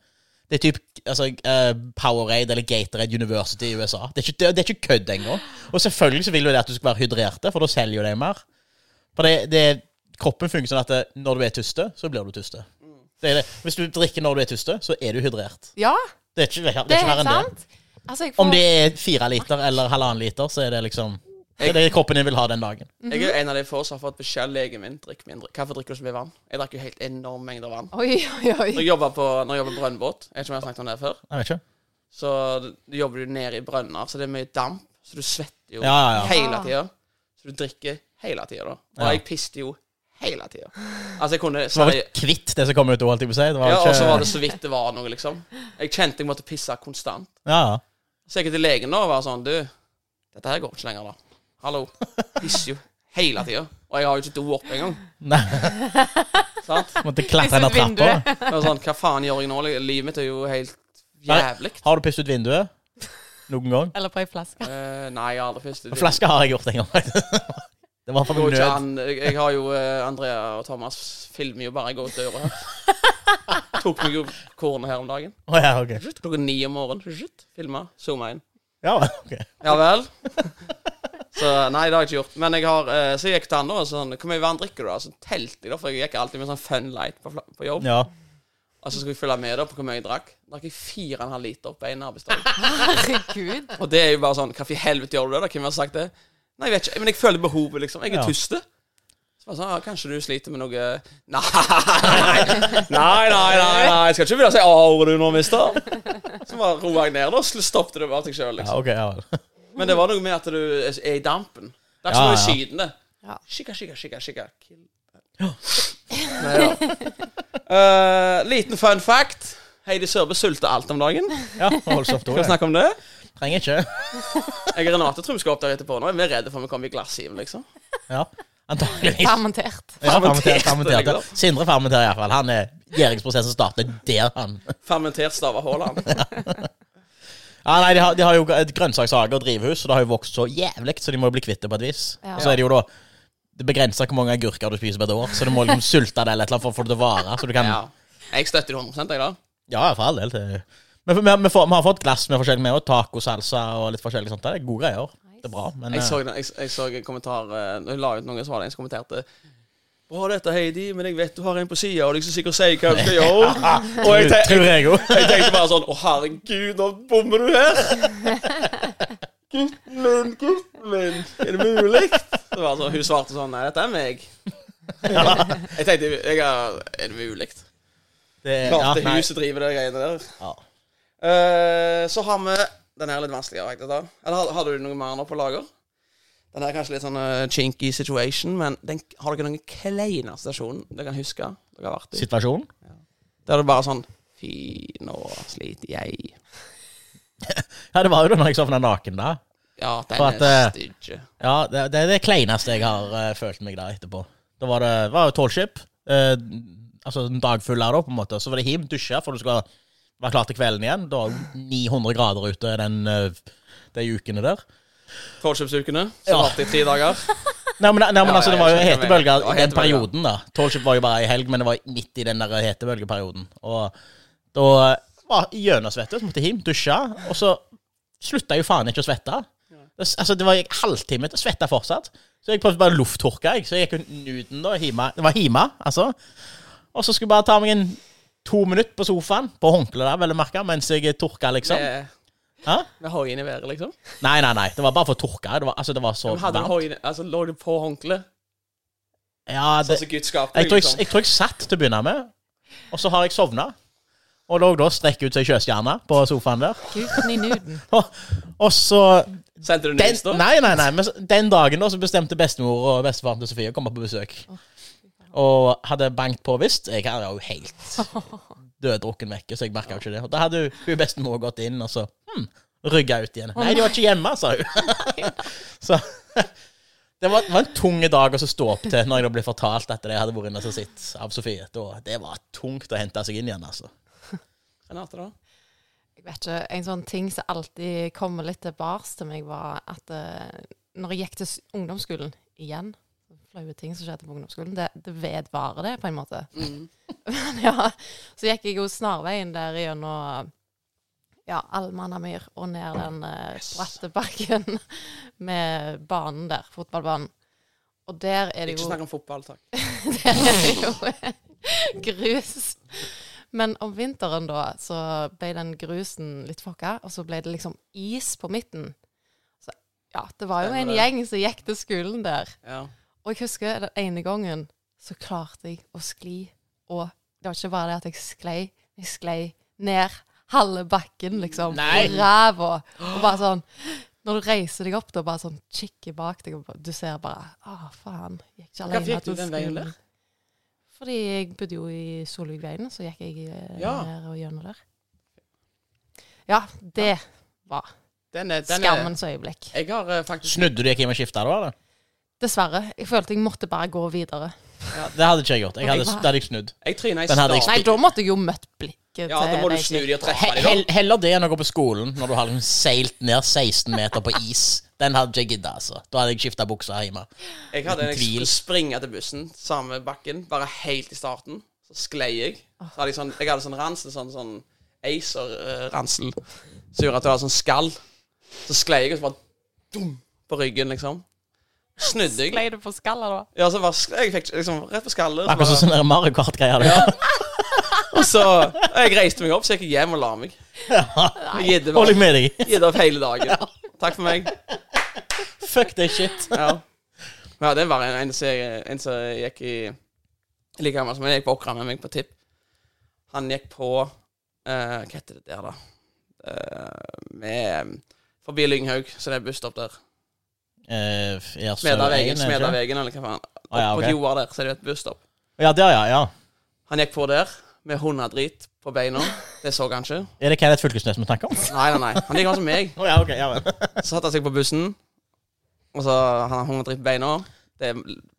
[SPEAKER 3] Det er typ altså, eh, Powerade eller Gatorade University i USA. Det er ikke, det, det er ikke kødd engang. Og selvfølgelig så vil jo det at du skal være hydrerte, for da selger jo de mer. For det, det, Kroppen fungerer sånn at det, når du er tuste, så blir du tuste. Det er det. Hvis du drikker når du er tuste, så er du hydrert.
[SPEAKER 4] ja,
[SPEAKER 3] Det er ikke, det er
[SPEAKER 4] det
[SPEAKER 3] ikke
[SPEAKER 4] er
[SPEAKER 3] verre
[SPEAKER 4] helt
[SPEAKER 3] enn det.
[SPEAKER 4] sant. Altså, jeg får,
[SPEAKER 3] Om det er fire liter eller halvannen liter, så er det liksom Det er det kroppen din vil ha den dagen.
[SPEAKER 1] Jeg er en av de få som har fått beskjed av legen min drikk mindre. Hvorfor drikker du så mye vann? Jeg drakk jo helt enorme mengder vann.
[SPEAKER 4] Oi, oi,
[SPEAKER 1] Når
[SPEAKER 4] oi.
[SPEAKER 1] jeg jobber på, når jeg jobber på brønnbåt, jeg vet ikke om jeg har snakket om det før,
[SPEAKER 3] Jeg vet ikke.
[SPEAKER 1] så jobber du nede i brønner, så det er mye damp, så du svetter jo.
[SPEAKER 3] Ja, ja, ja.
[SPEAKER 1] hele tida. Så du drikker hele tida, da. Og
[SPEAKER 3] Ja.
[SPEAKER 1] jeg piste jo hele tida. Altså, jeg kunne
[SPEAKER 3] Så var
[SPEAKER 1] seri-
[SPEAKER 3] det kvitt det som kom ut, holdt jeg på å si. Det var
[SPEAKER 1] ja,
[SPEAKER 3] ikke
[SPEAKER 1] Og så var det så vidt det var noe, liksom. Jeg kjente jeg måtte pisse konstant.
[SPEAKER 3] Ja, ja.
[SPEAKER 1] Så gikk jeg til legen da og var sånn Du, dette her går ikke lenger, da. Hallo. Hisser jo hele tida. Og jeg har jo ikke do opp engang.
[SPEAKER 3] Nei,
[SPEAKER 1] Sant?
[SPEAKER 3] måtte klatre ned
[SPEAKER 4] Pisset ut vinduet.
[SPEAKER 3] trappa.
[SPEAKER 1] Jeg var sånn, Hva faen gjør jeg nå? Livet mitt er jo helt jævlig.
[SPEAKER 3] Har du pisset ut vinduet? Noen gang?
[SPEAKER 4] Eller på ei flaske.
[SPEAKER 1] Eh, nei, jeg har aldri først. Det
[SPEAKER 3] Flaske har jeg gjort en gang. faktisk. Det var for
[SPEAKER 1] går ikke
[SPEAKER 3] nød.
[SPEAKER 1] an. Jeg, jeg har jo eh, Andrea og Thomas filmer jo bare jeg går ut døra her. Tok meg jo kornet her om dagen.
[SPEAKER 3] Å ja, ok.
[SPEAKER 1] Klokka ni om morgenen. Filma. Zooma inn.
[SPEAKER 3] Ja, ok.
[SPEAKER 1] Ja vel. Så nei, det har jeg ikke gjort. Men jeg har eh, Så jeg gikk til han da, og sånn Hvor mye vann drikker du? da? Så telte jeg, da, for jeg gikk alltid med sånn fun light på, fla- på jobb.
[SPEAKER 3] Ja.
[SPEAKER 1] Og så skulle jeg følge med da på hvor mye jeg drakk. Drakk jeg fire og en halv liter på én arbeidsdag.
[SPEAKER 4] Herregud.
[SPEAKER 1] Og det er jo bare sånn Hva i helvete gjør du det? da? Hvem har sagt det? Nei, jeg vet ikke. Men jeg føler behovet, liksom. Jeg er
[SPEAKER 3] Ja.
[SPEAKER 1] tuste. Så bare sånn, ah, Kanskje du sliter med noe Nei, nei, nei, nei, nei. Jeg skal ikke begynne å si «Ah, Au, du nå, mister. Så bare roa jeg ned, da. Så stoppet det av seg sjøl, liksom.
[SPEAKER 3] ja, ok. Ja, vel.
[SPEAKER 1] Men det var noe med at du er i dampen. Det er
[SPEAKER 3] Ja,
[SPEAKER 1] ikke
[SPEAKER 3] ja.
[SPEAKER 1] som i Syden, det.
[SPEAKER 4] Ja.
[SPEAKER 1] Skikka, skikka, skikka, skikka. Kill that. Nei, ja. Eh, liten fun fact. Heidi Sørbø sulter alt om dagen. Skal
[SPEAKER 3] ja voldsomt
[SPEAKER 1] vi
[SPEAKER 3] ord.
[SPEAKER 1] snakke om det?
[SPEAKER 3] Trenger ikke.
[SPEAKER 1] Jeg og Renate tror vi skal opp der etterpå. Nå er vi redde for at vi kommer i glasshiven, liksom.
[SPEAKER 3] Ja, antageligvis.
[SPEAKER 4] Fermentert.
[SPEAKER 3] Ja, fermentert, fermentert.
[SPEAKER 1] liksom.
[SPEAKER 3] Sindre fermenterer iallfall. Han er gjæringsprosessen starter der, han.
[SPEAKER 1] Fermentert stava Haaland.
[SPEAKER 3] Ja, nei, de har, de har jo et grønnsakshage og drivhus, og det har jo vokst så jævlig, så de må jo bli kvitt det på et vis.
[SPEAKER 4] Ja.
[SPEAKER 3] Og så er det jo da det begrenser hvor mange agurker du spiser på et år, så du må liksom sulte det eller et eller annet for å få det til å vare. Så du kan
[SPEAKER 1] Ja. Jeg støtter det 100 jeg, da.
[SPEAKER 3] Ja, for all del. det- Men vi, vi, får, vi har fått glass med forskjellig med, og tacosalsa og litt forskjellig sånt. Det er gode greier. Det er bra. Men
[SPEAKER 1] Jeg
[SPEAKER 3] eh,
[SPEAKER 1] så, den- jeg, jeg så en kommentar eh, Når jeg la ut noen svar, en som kommenterte Bra dette, Heidi, men jeg vet du har en på sida, og du er ikke så sikker på å si hva du skal gjøre. Og jeg,
[SPEAKER 3] eh, tror-
[SPEAKER 1] te
[SPEAKER 3] tror jeg òg.
[SPEAKER 1] Jeg tenkte bare sånn Å, herregud, nå bommer du her! Gutten min, gutten min, er det mulig? Så var det sånn, hun svarte sånn Nei, dette er meg. Jeg tenkte jeg er, Er det mulig?
[SPEAKER 3] Ja,
[SPEAKER 1] Klarte
[SPEAKER 3] nei.
[SPEAKER 1] huset driver de greiene der.
[SPEAKER 3] Ja.
[SPEAKER 1] Eh, så har vi Den her er litt vanskeligere, faktisk. da. Eller har, har du noe mer nå på lager? Den her er kanskje litt sånn eh, chinky situation, men den, har dere noen kleine situasjonen dere kan huske? Dere har vært i?
[SPEAKER 3] Situasjonen?
[SPEAKER 1] Der er det bare sånn Fy, nå sliter jeg.
[SPEAKER 3] Ja, det var jo da når jeg sovna naken, da.
[SPEAKER 1] Ja, den
[SPEAKER 3] For at, eh,
[SPEAKER 1] er stygge.
[SPEAKER 3] Ja, det, det er det kleineste jeg har eh, følt meg da etterpå. Da var det var jo tolvskip. eh, altså en dag full her, da, på en måte. Så var det hjem, dusje, for du skal være klar til kvelden igjen. Da var det 900 grader ute den, eh, de ukene der.
[SPEAKER 1] Trollskipsukene, eh, som
[SPEAKER 3] Ja.
[SPEAKER 1] varte i tre dager.
[SPEAKER 3] Nei, men, nei, men
[SPEAKER 1] Ja,
[SPEAKER 3] altså, det
[SPEAKER 1] ja,
[SPEAKER 3] var jo
[SPEAKER 1] jeg skjønner hva jeg mener.
[SPEAKER 3] hete bølger
[SPEAKER 1] Det var
[SPEAKER 3] i den
[SPEAKER 1] hete bølger.
[SPEAKER 3] perioden, da. Tolvskip var jo bare i helg, men det var midt i den der hete bølgeperioden. Og da var jeg gjennomsvettet, så måtte jeg hjem, dusje, og så slutta jeg jo faen ikke å svette. Det, altså, det var jeg halvtime til å svette fortsatt. Så jeg prøvde bare å lufttørke, jeg. Så jeg gikk nuten, da. Hjemme. Det var hjemme, altså. Og så skulle jeg bare ta meg en to minutter på sofaen, på håndkleet der, vel å merke, mens jeg tørka, liksom.
[SPEAKER 1] Med,
[SPEAKER 3] Hæ?
[SPEAKER 1] med hoien i været, liksom.
[SPEAKER 3] Nei, nei, nei. Det var bare for å tørke. Det var, altså, det var så
[SPEAKER 1] Men hadde du
[SPEAKER 3] varmt.
[SPEAKER 1] hoien, altså, lå du på håndkleet?
[SPEAKER 3] Ja, det,
[SPEAKER 1] Sånn som Gud skapte
[SPEAKER 3] Jeg
[SPEAKER 1] deg,
[SPEAKER 3] tror jeg,
[SPEAKER 1] liksom?
[SPEAKER 3] jeg tror jeg satt til å begynne med, og så har jeg sovna. Og lå da og strekk ut seg sjøstjerne på sofaen der.
[SPEAKER 4] Gutten i nuden.
[SPEAKER 3] Og, og så
[SPEAKER 1] Sendte du
[SPEAKER 3] den,
[SPEAKER 1] nys, da?
[SPEAKER 3] nei, nei, nei, men så- den dagen da så bestemte bestemor og bestefaren til Sofie å komme på besøk. Og hadde bankt på, visst. Jeg var jo helt døddrukken vekke, så jeg merka jo ikke det. Og da hadde hun- hun bestemor gått inn, og så hm, rygga ut igjen. Nei, de var ikke hjemme, sa hun. Så det var, var en tung dag å så stå opp til når jeg da ble fortalt at jeg hadde vært inne og sett av Sofie. Da, det var tungt å hente seg inn igjen, altså.
[SPEAKER 1] Renate, da?
[SPEAKER 4] Jeg vet ikke, En sånn ting som alltid kommer litt til bars til meg, var at eh, når jeg gikk til s- ungdomsskolen igjen Flaue ting som skjedde på ungdomsskolen. Det, det vedvarer det, på en måte.
[SPEAKER 1] Mm.
[SPEAKER 4] Men ja, så gikk jeg jo snarveien der gjennom ja, Almannamyr og ned den eh, bratte bakken med banen der, fotballbanen. Og der er det
[SPEAKER 1] Ikke
[SPEAKER 4] jo
[SPEAKER 1] snakk om fotball, takk.
[SPEAKER 4] det er jo grus. Men om vinteren, da, så ble den grusen litt fucka, og så ble det liksom is på midten. Så ja, det var jo
[SPEAKER 1] Stemmer
[SPEAKER 4] en
[SPEAKER 1] det.
[SPEAKER 4] gjeng som gikk til skolen der.
[SPEAKER 1] Ja.
[SPEAKER 4] Og jeg husker den ene gangen så klarte jeg å skli, og det var ikke bare det at jeg sklei, jeg sklei ned halve bakken, liksom.
[SPEAKER 3] Nei.
[SPEAKER 4] Og ræva. Og bare sånn Når du reiser deg opp, da bare sånn kikker bak deg, og bare- du ser bare Å, faen. Jeg gikk ikke alene
[SPEAKER 1] Hvorfor gikk du
[SPEAKER 4] til
[SPEAKER 1] den veien
[SPEAKER 4] skolen.
[SPEAKER 1] der?
[SPEAKER 4] Fordi jeg bodde jo i Solvikveien, så gikk jeg eh,
[SPEAKER 1] Ja.
[SPEAKER 4] ned og gjennom der. Ja, det var
[SPEAKER 1] Den er, den er,
[SPEAKER 4] Skammens øyeblikk.
[SPEAKER 1] jeg har eh, faktisk
[SPEAKER 3] Snudde du deg hjem og skifta da? Eller?
[SPEAKER 4] Dessverre. Jeg følte jeg måtte bare gå videre.
[SPEAKER 3] Det hadde ikke jeg gjort. Jeg hadde,
[SPEAKER 4] Ok.
[SPEAKER 3] da hadde jeg snudd.
[SPEAKER 1] Jeg tryna i
[SPEAKER 3] Den hadde jeg
[SPEAKER 1] starten.
[SPEAKER 4] Nei, da måtte jeg jo møtt blikket
[SPEAKER 1] Ja, da må du
[SPEAKER 4] de
[SPEAKER 1] snu
[SPEAKER 4] guttene.
[SPEAKER 1] de og treffe
[SPEAKER 3] He-
[SPEAKER 1] de da.
[SPEAKER 3] hell- Heller det enn å gå på skolen når du har liksom seilt ned 16 meter på is. Den hadde ikke jeg gidda, altså. Da hadde jeg skifta buksa hjemme.
[SPEAKER 1] Jeg hadde
[SPEAKER 3] Uten
[SPEAKER 1] jeg skulle
[SPEAKER 3] tvil.
[SPEAKER 1] springe til bussen samme bakken, bare helt i starten. Så sklei jeg. Så hadde jeg, sånn, jeg hadde sånn ransel, sånn, sånn Acer-ransel, som gjorde at du hadde sånn skall. Så sklei jeg, og så bare dum på ryggen, liksom. Snudde jeg.
[SPEAKER 4] Sklei du på skallet da?
[SPEAKER 1] Ja, så bare, sk- jeg fikk liksom rett på skallet. så
[SPEAKER 3] Akkurat
[SPEAKER 1] bare-
[SPEAKER 3] som sånn der Mario Kart-greier. Ja.
[SPEAKER 1] Og så og Jeg reiste meg opp, så gikk jeg hjem og la meg. Jeg Gidde
[SPEAKER 3] Hold deg
[SPEAKER 1] bare-
[SPEAKER 3] med deg.
[SPEAKER 1] gidde opp hele dagen. Takk for meg.
[SPEAKER 3] Fuck det shit.
[SPEAKER 1] Ja, ja det var en, en, som jeg- en som gikk i Like gammel som meg, jeg gikk på Åkra med meg på tipp. Han gikk på eh, Hva heter det der, da? Eh, med Forbi Lynghaug, så det er busstopp der.
[SPEAKER 3] Eh, ja, så
[SPEAKER 1] Smedavegen,
[SPEAKER 3] en, er det ikke?
[SPEAKER 1] Smedavegen eller hva faen. Opp
[SPEAKER 3] Å, ja, ok.
[SPEAKER 1] På Joa der, så er det jo et busstopp.
[SPEAKER 3] Ja, der, ja. ja.
[SPEAKER 1] Han gikk på der med hundedrit på beina. Det så han ikke.
[SPEAKER 3] Er det Kenneth Fylkesnes vi snakker om?
[SPEAKER 1] Nei, nei, nei. Han gikk altså meg.
[SPEAKER 3] Å ja, ok, ja vel.
[SPEAKER 1] Så satte han seg på bussen, og så han har hundedritt på beina. Det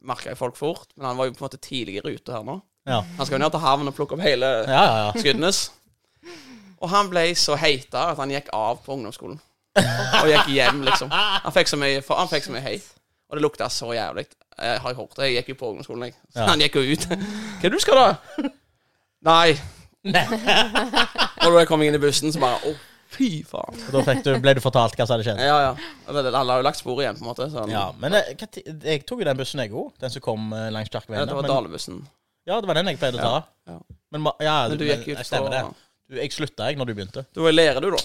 [SPEAKER 1] merka jo folk fort, men han var jo på en måte tidlig i rute her nå.
[SPEAKER 3] Ja.
[SPEAKER 1] Han skal jo ned til havnen og plukke opp hele
[SPEAKER 3] Ja, ja, ja.
[SPEAKER 1] Skudenes. Og han ble så heita at han gikk av på ungdomsskolen. Og gikk hjem, liksom. Han fikk så mye, for han fikk så mye heit. Og det lukta så jævlig. Jeg har hørt det. Jeg gikk jo på ungdomsskolen, jeg. Så
[SPEAKER 3] Ja.
[SPEAKER 1] han gikk jo ut. Hva er det du skal, da? Nei. Og da jeg kom inn i bussen, så bare Å, fy faen.
[SPEAKER 3] Og Da fikk du, ble du fortalt hva som hadde skjedd?
[SPEAKER 1] Ja, ja. Alle alle har jo lagt sporet igjen, på en måte. Så han,
[SPEAKER 3] Ja, men eh, hva ti- jeg tok jo den bussen jeg òg, den som kom eh, langs
[SPEAKER 1] Ja,
[SPEAKER 3] Kjerkeveien.
[SPEAKER 1] det
[SPEAKER 3] der,
[SPEAKER 1] var
[SPEAKER 3] men-
[SPEAKER 1] Dalebussen.
[SPEAKER 3] Ja, det var den jeg pleide å ta.
[SPEAKER 1] Ja, ja.
[SPEAKER 3] Men, ma- ja,
[SPEAKER 1] Men du gikk ut
[SPEAKER 3] jeg stemmer
[SPEAKER 1] for-
[SPEAKER 3] det. Du, jeg slutta jeg når du begynte.
[SPEAKER 1] Du var i lære, du, da?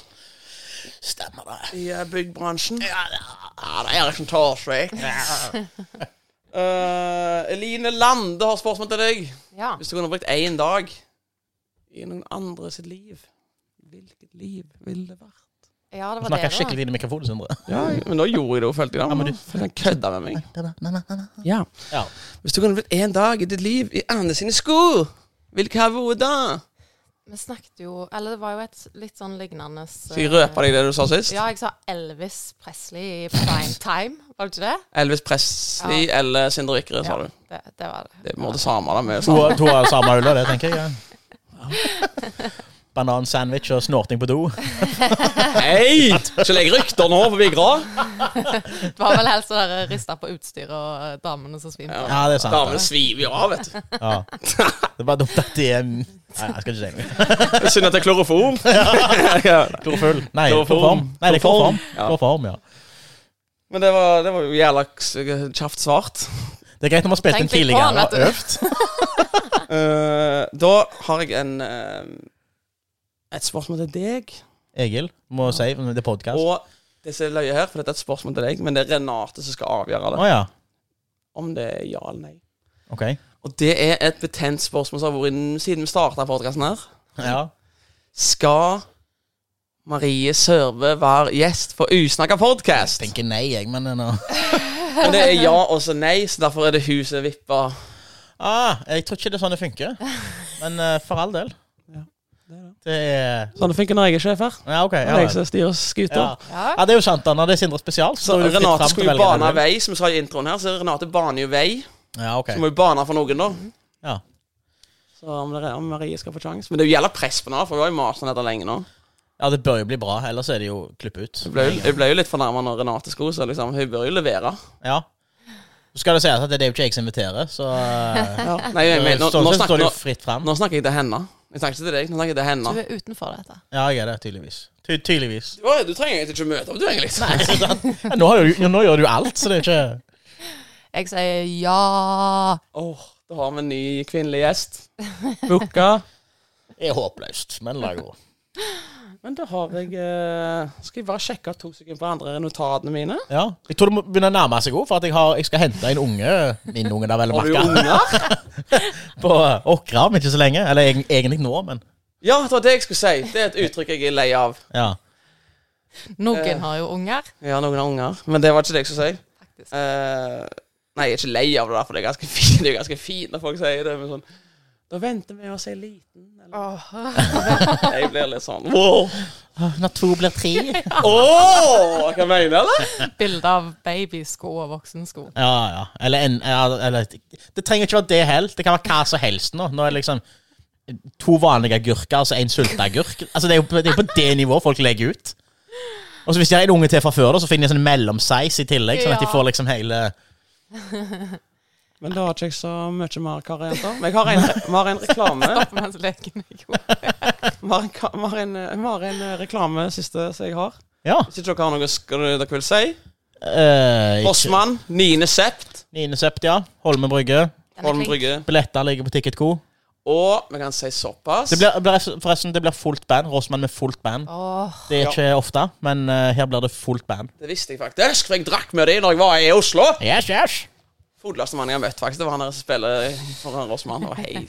[SPEAKER 3] Stemmer det.
[SPEAKER 1] I eh, byggbransjen. Ja, det er liksom ikke en tarsvek. Eh, Eline Lande har spørsmål til deg.
[SPEAKER 4] Ja.
[SPEAKER 1] Hvis du kunne brukt én dag i noen andre sitt liv, hvilket liv ville det vært?
[SPEAKER 4] ja, det var det.
[SPEAKER 3] Snakker
[SPEAKER 4] da.
[SPEAKER 3] skikkelig inn i mikrofonen, Sindre.
[SPEAKER 1] Ja, men da gjorde jeg det, og følte jeg det.
[SPEAKER 3] men du-
[SPEAKER 1] For han kødda med meg. Ja.
[SPEAKER 3] Ja.
[SPEAKER 1] Hvis du kunne brukt én dag i ditt liv i andre sine sko, hvilke har vært da?
[SPEAKER 4] Vi snakket jo Eller det var jo et litt sånn lignende eh,
[SPEAKER 1] Så jeg røpa deg det du sa sist?
[SPEAKER 4] Ja, jeg sa Elvis Presley i prime time, var det ikke det?
[SPEAKER 1] Elvis Presley eller Sindre Ykre, sa du.
[SPEAKER 4] Det, det var det.
[SPEAKER 1] Det er på en måte samme, da. Med
[SPEAKER 3] To, to av samme hullet, det tenker jeg. Ja. Banansandwich og snorting på do.
[SPEAKER 1] Hei! Ikke legg rykter nå på Vigra.
[SPEAKER 4] Det var vel helt sånn rista på utstyret og eh, damene som svimte.
[SPEAKER 3] Ja, det er sant.
[SPEAKER 1] Damene sviver jo av, vet du.
[SPEAKER 3] Ja. Det er bare dumt at de er Nei, jeg skal ikke si noe.
[SPEAKER 1] Synd at det er kloroform. Men
[SPEAKER 3] Klorofull. Nei,
[SPEAKER 1] Kloroform.
[SPEAKER 3] kloroform. Nei, det er kloroform.
[SPEAKER 1] Ja.
[SPEAKER 3] Kloroform, ja.
[SPEAKER 1] det var, det var jo jævla k- kjapt svart.
[SPEAKER 3] Det er greit når vi har spilt inn
[SPEAKER 4] Tenk litt på
[SPEAKER 3] tidligere
[SPEAKER 4] han,
[SPEAKER 3] og
[SPEAKER 4] vet du.
[SPEAKER 3] øvd.
[SPEAKER 1] Eh, da har jeg en eh, et spørsmål til deg.
[SPEAKER 3] Egil, må si det er podkast.
[SPEAKER 1] Og det som er løye her, for dette er et spørsmål til deg, men det er Renate som skal avgjøre
[SPEAKER 3] Å
[SPEAKER 1] det.
[SPEAKER 3] ja.
[SPEAKER 1] Om det er ja eller nei.
[SPEAKER 3] Ok.
[SPEAKER 1] Og det er et betent spørsmål som har vært inn- siden vi starta podkasten her.
[SPEAKER 3] Ja.
[SPEAKER 1] Skal Marie Sørve være gjest for Usnakka podkast?
[SPEAKER 3] Tenker nei, jeg, men eh, nå
[SPEAKER 1] Men det er ja og så nei, så derfor er det hun som vipper.
[SPEAKER 3] ah, Jeg tror ikke det er sånn det funker. Men eh, for all del.
[SPEAKER 1] Ja, det er det.
[SPEAKER 3] Det er
[SPEAKER 1] Sånn det funker når jeg er sjef her.
[SPEAKER 3] Ja, OK.
[SPEAKER 1] Det
[SPEAKER 3] Ja,
[SPEAKER 1] er jeg
[SPEAKER 3] vel.
[SPEAKER 1] som styrer skuta.
[SPEAKER 3] ja. ja, det er jo sant, da. Når det er Sindre spesial,
[SPEAKER 1] Så
[SPEAKER 3] så er det fritt
[SPEAKER 1] Renate
[SPEAKER 3] frem til å
[SPEAKER 1] skulle jo
[SPEAKER 3] velge hva du
[SPEAKER 1] bane
[SPEAKER 3] vil.
[SPEAKER 1] vei, som vi sa i introen her. Så Renate baner jo vei.
[SPEAKER 3] Ja, OK.
[SPEAKER 1] Så må jo bane for noen, da.
[SPEAKER 3] Ja.
[SPEAKER 1] Så om, det er, om Marie skal få sjanse. Men det gjelder press på henne, for hun har jo mast om dette lenge nå.
[SPEAKER 3] Ja, det bør jo bli bra. Ellers er det jo klipp ut.
[SPEAKER 1] Hun ble, jo- hun ble jo litt fornærma når Renate skulle, så liksom, hun bør jo levere.
[SPEAKER 3] Ja. Så skal det sies at det er jo ikke jeg som inviterer, så eh,
[SPEAKER 1] Nei, jeg, mener, nå,
[SPEAKER 3] Sånn
[SPEAKER 1] nå, snakker,
[SPEAKER 3] sett står det jo
[SPEAKER 1] nå,
[SPEAKER 3] fritt frem.
[SPEAKER 1] nå snakker jeg til henne. Jeg snakker ikke til deg, nå snakker jeg til henne.
[SPEAKER 4] Du er utenfor dette.
[SPEAKER 3] Ja, jeg er det, tydeligvis. Ty tydeligvis.
[SPEAKER 1] Oi, du trenger egentlig ikke møte opp, du, egentlig.
[SPEAKER 3] Nei, så da- ja, nå, har du, nå gjør du alt, så det er ikke
[SPEAKER 4] Jeg sier ja.
[SPEAKER 1] Åh, da har vi en ny kvinnelig gjest. Booka.
[SPEAKER 3] Det er håpløst, men la gå.
[SPEAKER 1] Men da har jeg eh, Skal jeg bare sjekke to sekunder på andre notatene mine?
[SPEAKER 3] Ja. Jeg tror det må begynne å nærme seg òg, for at jeg, har, jeg skal hente en unge Min unge der, vel å
[SPEAKER 1] Har du
[SPEAKER 3] merke.
[SPEAKER 1] unger?
[SPEAKER 3] På Åkra om ikke så lenge. Eller egen- egentlig nå, men
[SPEAKER 1] Ja, det var det jeg skulle si. Det er et uttrykk jeg er lei av.
[SPEAKER 3] ja.
[SPEAKER 1] Eh.
[SPEAKER 4] Noen har jo unger.
[SPEAKER 1] Ja, noen har unger, men det var ikke det jeg skulle si.
[SPEAKER 4] Faktisk.
[SPEAKER 1] Eh, nei, jeg er ikke lei av det, der, for det er ganske fint, det er ganske fint når folk sier det. Men sånn Da venter vi oss ei liten eller.
[SPEAKER 4] Åh.
[SPEAKER 1] Jeg blir litt sånn wow.
[SPEAKER 3] Når to blir tre.
[SPEAKER 1] Åh, Hva mener du, eller?
[SPEAKER 4] Bilde av babysko og voksensko.
[SPEAKER 3] Ja, ja. Eller, en, ja, eller Det trenger ikke være det heller. Det kan være hva som helst nå. Nå er det liksom to vanlige agurker og så en sulteagurk. Altså, det er jo på det, er på det nivået folk legger ut. Og så hvis de har en unge til fra før, da, så finner de en sånn mellomsize i tillegg. Sånn at de
[SPEAKER 4] Ja.
[SPEAKER 3] får liksom hele
[SPEAKER 1] Men da har ikke jeg så mye mer, Kari. jenter. Men jeg har en, vi har en reklame.
[SPEAKER 4] Stopp mens leken er god.
[SPEAKER 1] Vi har en, ka- vi har en, vi har en eh, reklame siste som jeg har.
[SPEAKER 3] Ja.
[SPEAKER 1] Hvis ikke dere har noe sk- dere vil si.
[SPEAKER 3] Eh, ikke-
[SPEAKER 1] Bossmann, 9. sept,
[SPEAKER 3] 9. sept, ja. Holme Brygge.
[SPEAKER 4] Den
[SPEAKER 1] Holm
[SPEAKER 4] er flink.
[SPEAKER 1] Brygge.
[SPEAKER 3] Billetter ligger på Ticket Co.
[SPEAKER 1] Og vi kan si såpass.
[SPEAKER 3] Det blir, blir- forresten, det blir fullt band. Rossmann med fullt band.
[SPEAKER 4] Åh.
[SPEAKER 3] Det er
[SPEAKER 1] Ja.
[SPEAKER 3] ikke ofte, men eh, her blir det fullt band.
[SPEAKER 1] Det visste jeg faktisk, for jeg drakk med dem når jeg var i Oslo.
[SPEAKER 3] Yes, yes.
[SPEAKER 1] Fodleste mannen jeg har møtt, faktisk. Det var han der som spiller for Rossmann. Og hei.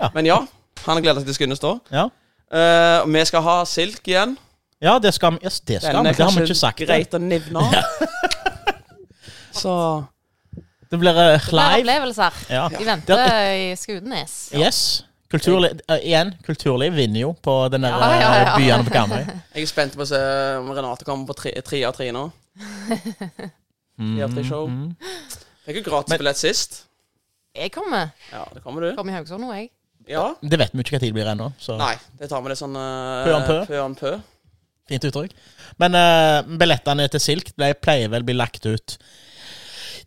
[SPEAKER 3] Ja.
[SPEAKER 1] Men ja, han gleder seg til Skundes da.
[SPEAKER 3] Ja.
[SPEAKER 1] Eh, og vi skal ha Silk igjen.
[SPEAKER 3] Ja, det skal vi. Yes, det, skal
[SPEAKER 1] Den
[SPEAKER 3] vi.
[SPEAKER 1] er
[SPEAKER 3] det har vi
[SPEAKER 1] kanskje
[SPEAKER 3] ikke sagt.
[SPEAKER 1] greit å nevne. Så
[SPEAKER 3] Det blir eh,
[SPEAKER 4] Flere
[SPEAKER 3] live.
[SPEAKER 4] opplevelser.
[SPEAKER 3] Ja.
[SPEAKER 4] De venter i Skudenes.
[SPEAKER 3] Yes. Kulturliv, eh, igjen, kulturliv vinner jo på den der
[SPEAKER 4] Ja, ja, ja.
[SPEAKER 3] eh, byen på Karmøy.
[SPEAKER 1] jeg er spent på å se om Renate kommer på tre- tre av tre nå. Tre av tre show. Fikk jo gratis
[SPEAKER 3] Mhm. Men-
[SPEAKER 1] billett sist.
[SPEAKER 4] Jeg kommer.
[SPEAKER 1] Ja, det kommer du.
[SPEAKER 4] Kommer i Haugesund nå, jeg.
[SPEAKER 1] Ja.
[SPEAKER 3] Det vet vi jo ikke hva tid det blir ennå, så
[SPEAKER 1] Nei, det tar vi litt sånn eh,
[SPEAKER 3] Pø om pø.
[SPEAKER 1] pø om pø.
[SPEAKER 3] fint uttrykk. Men eh, billettene til Silk ble, pleier vel å bli lagt ut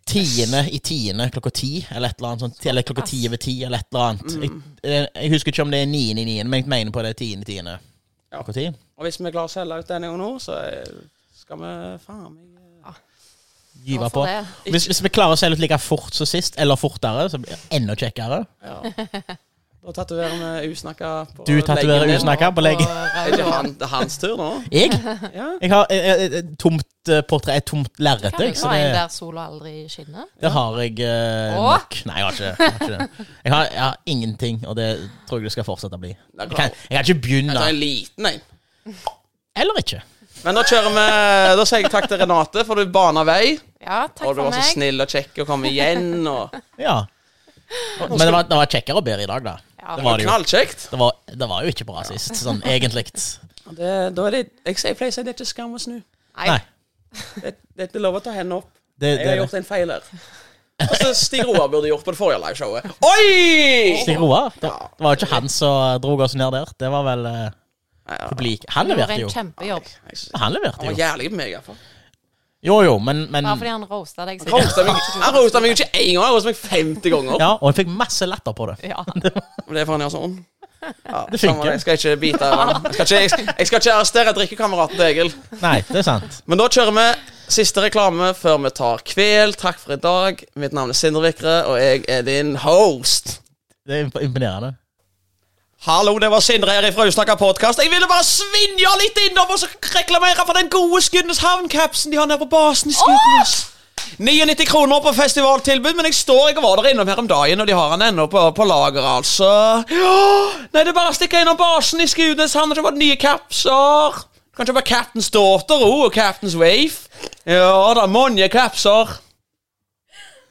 [SPEAKER 3] tiende i tiende klokka ti, eller et eller annet sånt. Eller klokka ti over ti, eller et eller annet. Jeg, eh, jeg husker ikke om det er niende i niende, men jeg mener på det er tiende i tiende.
[SPEAKER 1] Ja.
[SPEAKER 3] Klokka ti.
[SPEAKER 1] Og hvis vi klarer å selge ut denne gangen nå, så eh, skal vi faen meg
[SPEAKER 3] Gyve på.
[SPEAKER 4] Hvorfor det?
[SPEAKER 3] Hvis, hvis vi klarer å selge ut like fort som sist, eller fortere, så blir det enda kjekkere.
[SPEAKER 1] Ja. Da tatoverer vi usnakka på
[SPEAKER 3] Du tatoverer
[SPEAKER 1] leggen din.
[SPEAKER 3] usnakka. på leggen.
[SPEAKER 1] Er ikke han, det er hans tur nå?
[SPEAKER 3] Jeg?
[SPEAKER 1] Ja.
[SPEAKER 3] Jeg har eh, eh, et tomt eh, portrett, et tomt lerret.
[SPEAKER 4] Kan du
[SPEAKER 3] jeg,
[SPEAKER 4] ikke
[SPEAKER 3] så
[SPEAKER 4] ha en
[SPEAKER 3] det-
[SPEAKER 4] der sola aldri skinner?
[SPEAKER 3] Det har jeg eh,
[SPEAKER 4] Åh?
[SPEAKER 3] nok. Nei, jeg har ikke, jeg har ikke det. Jeg har, jeg har ingenting, og det tror jeg det skal fortsette å bli.
[SPEAKER 1] Det er
[SPEAKER 3] Jeg
[SPEAKER 1] bra.
[SPEAKER 3] kan, jeg kan ikke
[SPEAKER 1] Jeg tar
[SPEAKER 3] begynne.
[SPEAKER 1] en liten en.
[SPEAKER 3] Eller ikke.
[SPEAKER 1] Men da kjører vi Da sier jeg takk til Renate, for du bana vei.
[SPEAKER 4] Ja, takk
[SPEAKER 1] Og du
[SPEAKER 4] for
[SPEAKER 1] var så
[SPEAKER 4] meg.
[SPEAKER 1] snill og kjekk og kom igjen. Og
[SPEAKER 3] Ja. Men det var, det var kjekkere og bedre i dag, da.
[SPEAKER 4] Ja.
[SPEAKER 3] Det var det jo.
[SPEAKER 1] knallkjekt.
[SPEAKER 3] Det var, det var jo ikke bra sist, sånn egentlig.
[SPEAKER 1] Og Det, da er det, jeg sier pleier å si det er ikke skam å snu.
[SPEAKER 4] Nei.
[SPEAKER 3] Nei.
[SPEAKER 1] Det, det er ikke lov å ta hendene opp.
[SPEAKER 3] Det,
[SPEAKER 1] Jeg
[SPEAKER 3] det,
[SPEAKER 1] har gjort en feil her. Altså, Stig Roar burde gjort på det forrige liveshowet. Oi!
[SPEAKER 3] Stig Roar. Det, det var jo ikke han som dro oss ned der. Det var vel eh,
[SPEAKER 1] Ja.
[SPEAKER 3] publik. Han
[SPEAKER 4] Du gjorde
[SPEAKER 3] leverte
[SPEAKER 4] en
[SPEAKER 3] jo. Mm.
[SPEAKER 4] kjempejobb.
[SPEAKER 1] Han
[SPEAKER 3] Han leverte
[SPEAKER 1] var
[SPEAKER 3] jo.
[SPEAKER 1] jævlig på meg, iallfall.
[SPEAKER 3] Jo, jo, men, men
[SPEAKER 4] Bare fordi han roasta deg.
[SPEAKER 1] Han roasta meg, han roastet meg jo ikke én gang, han roasta meg 50 ganger.
[SPEAKER 3] Ja, og jeg fikk masse latter på det.
[SPEAKER 4] Ja.
[SPEAKER 1] Men Det er for han gjør sånn. Ja,
[SPEAKER 3] Det
[SPEAKER 1] samme
[SPEAKER 3] funker.
[SPEAKER 1] det. Jeg skal ikke bite av han. Jeg skal ikke, jeg, skal- jeg skal ikke arrestere drikkekameraten til Egil.
[SPEAKER 3] Nei, det er sant.
[SPEAKER 1] Men da kjører vi siste reklame før vi tar kveld. Takk for i dag. Mitt navn er Sindre Vikre, og jeg er din host.
[SPEAKER 3] Det er imp- imponerende.
[SPEAKER 1] Hallo, det var Sindre her fra Usnakka podkast. Jeg ville bare svinja litt innom og så reklamere for den gode Skudeneshavn-kapsen de har nede på basen i Skudenes. 99 kroner på festivaltilbud, men jeg står jeg var der innom her om dagen, og de har han ennå på, på lager, altså. Ja, nei, det er bare å stikke innom basen i Skudeneshavn og kjøpe nye kapser. Du kan kjøpe Captain's Daughter òg, og Captain's Wave. Ja, det er mange kapser.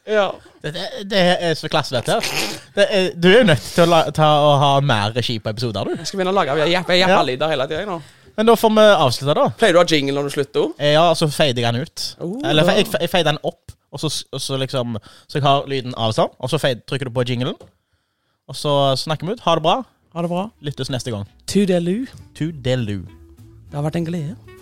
[SPEAKER 1] Ja.
[SPEAKER 3] Det, det, det er så klasse, dette. her. Det er, du er jo nødt til å, la, ta, å ha mer regi på episoder, du.
[SPEAKER 1] Jeg skal begynne å lage
[SPEAKER 3] Ja.
[SPEAKER 1] jappa-lyder hele tida nå.
[SPEAKER 3] Men da får vi avslutte, da.
[SPEAKER 1] Pleier du å ha jingle når du slutter?
[SPEAKER 3] Eh, Ja, så feider jeg den ut.
[SPEAKER 1] Oh,
[SPEAKER 3] Eller fe-
[SPEAKER 1] ja.
[SPEAKER 3] jeg, fe- jeg feider den opp, og så, og så liksom Så jeg har lyden av sånn, og så fade, trykker du på jinglen. Og så snakker vi ut. Ha det bra.
[SPEAKER 1] Ha det bra.
[SPEAKER 3] Lyttes neste gang.
[SPEAKER 1] Tudelu.
[SPEAKER 3] Tudelu.
[SPEAKER 1] Det har vært en glede.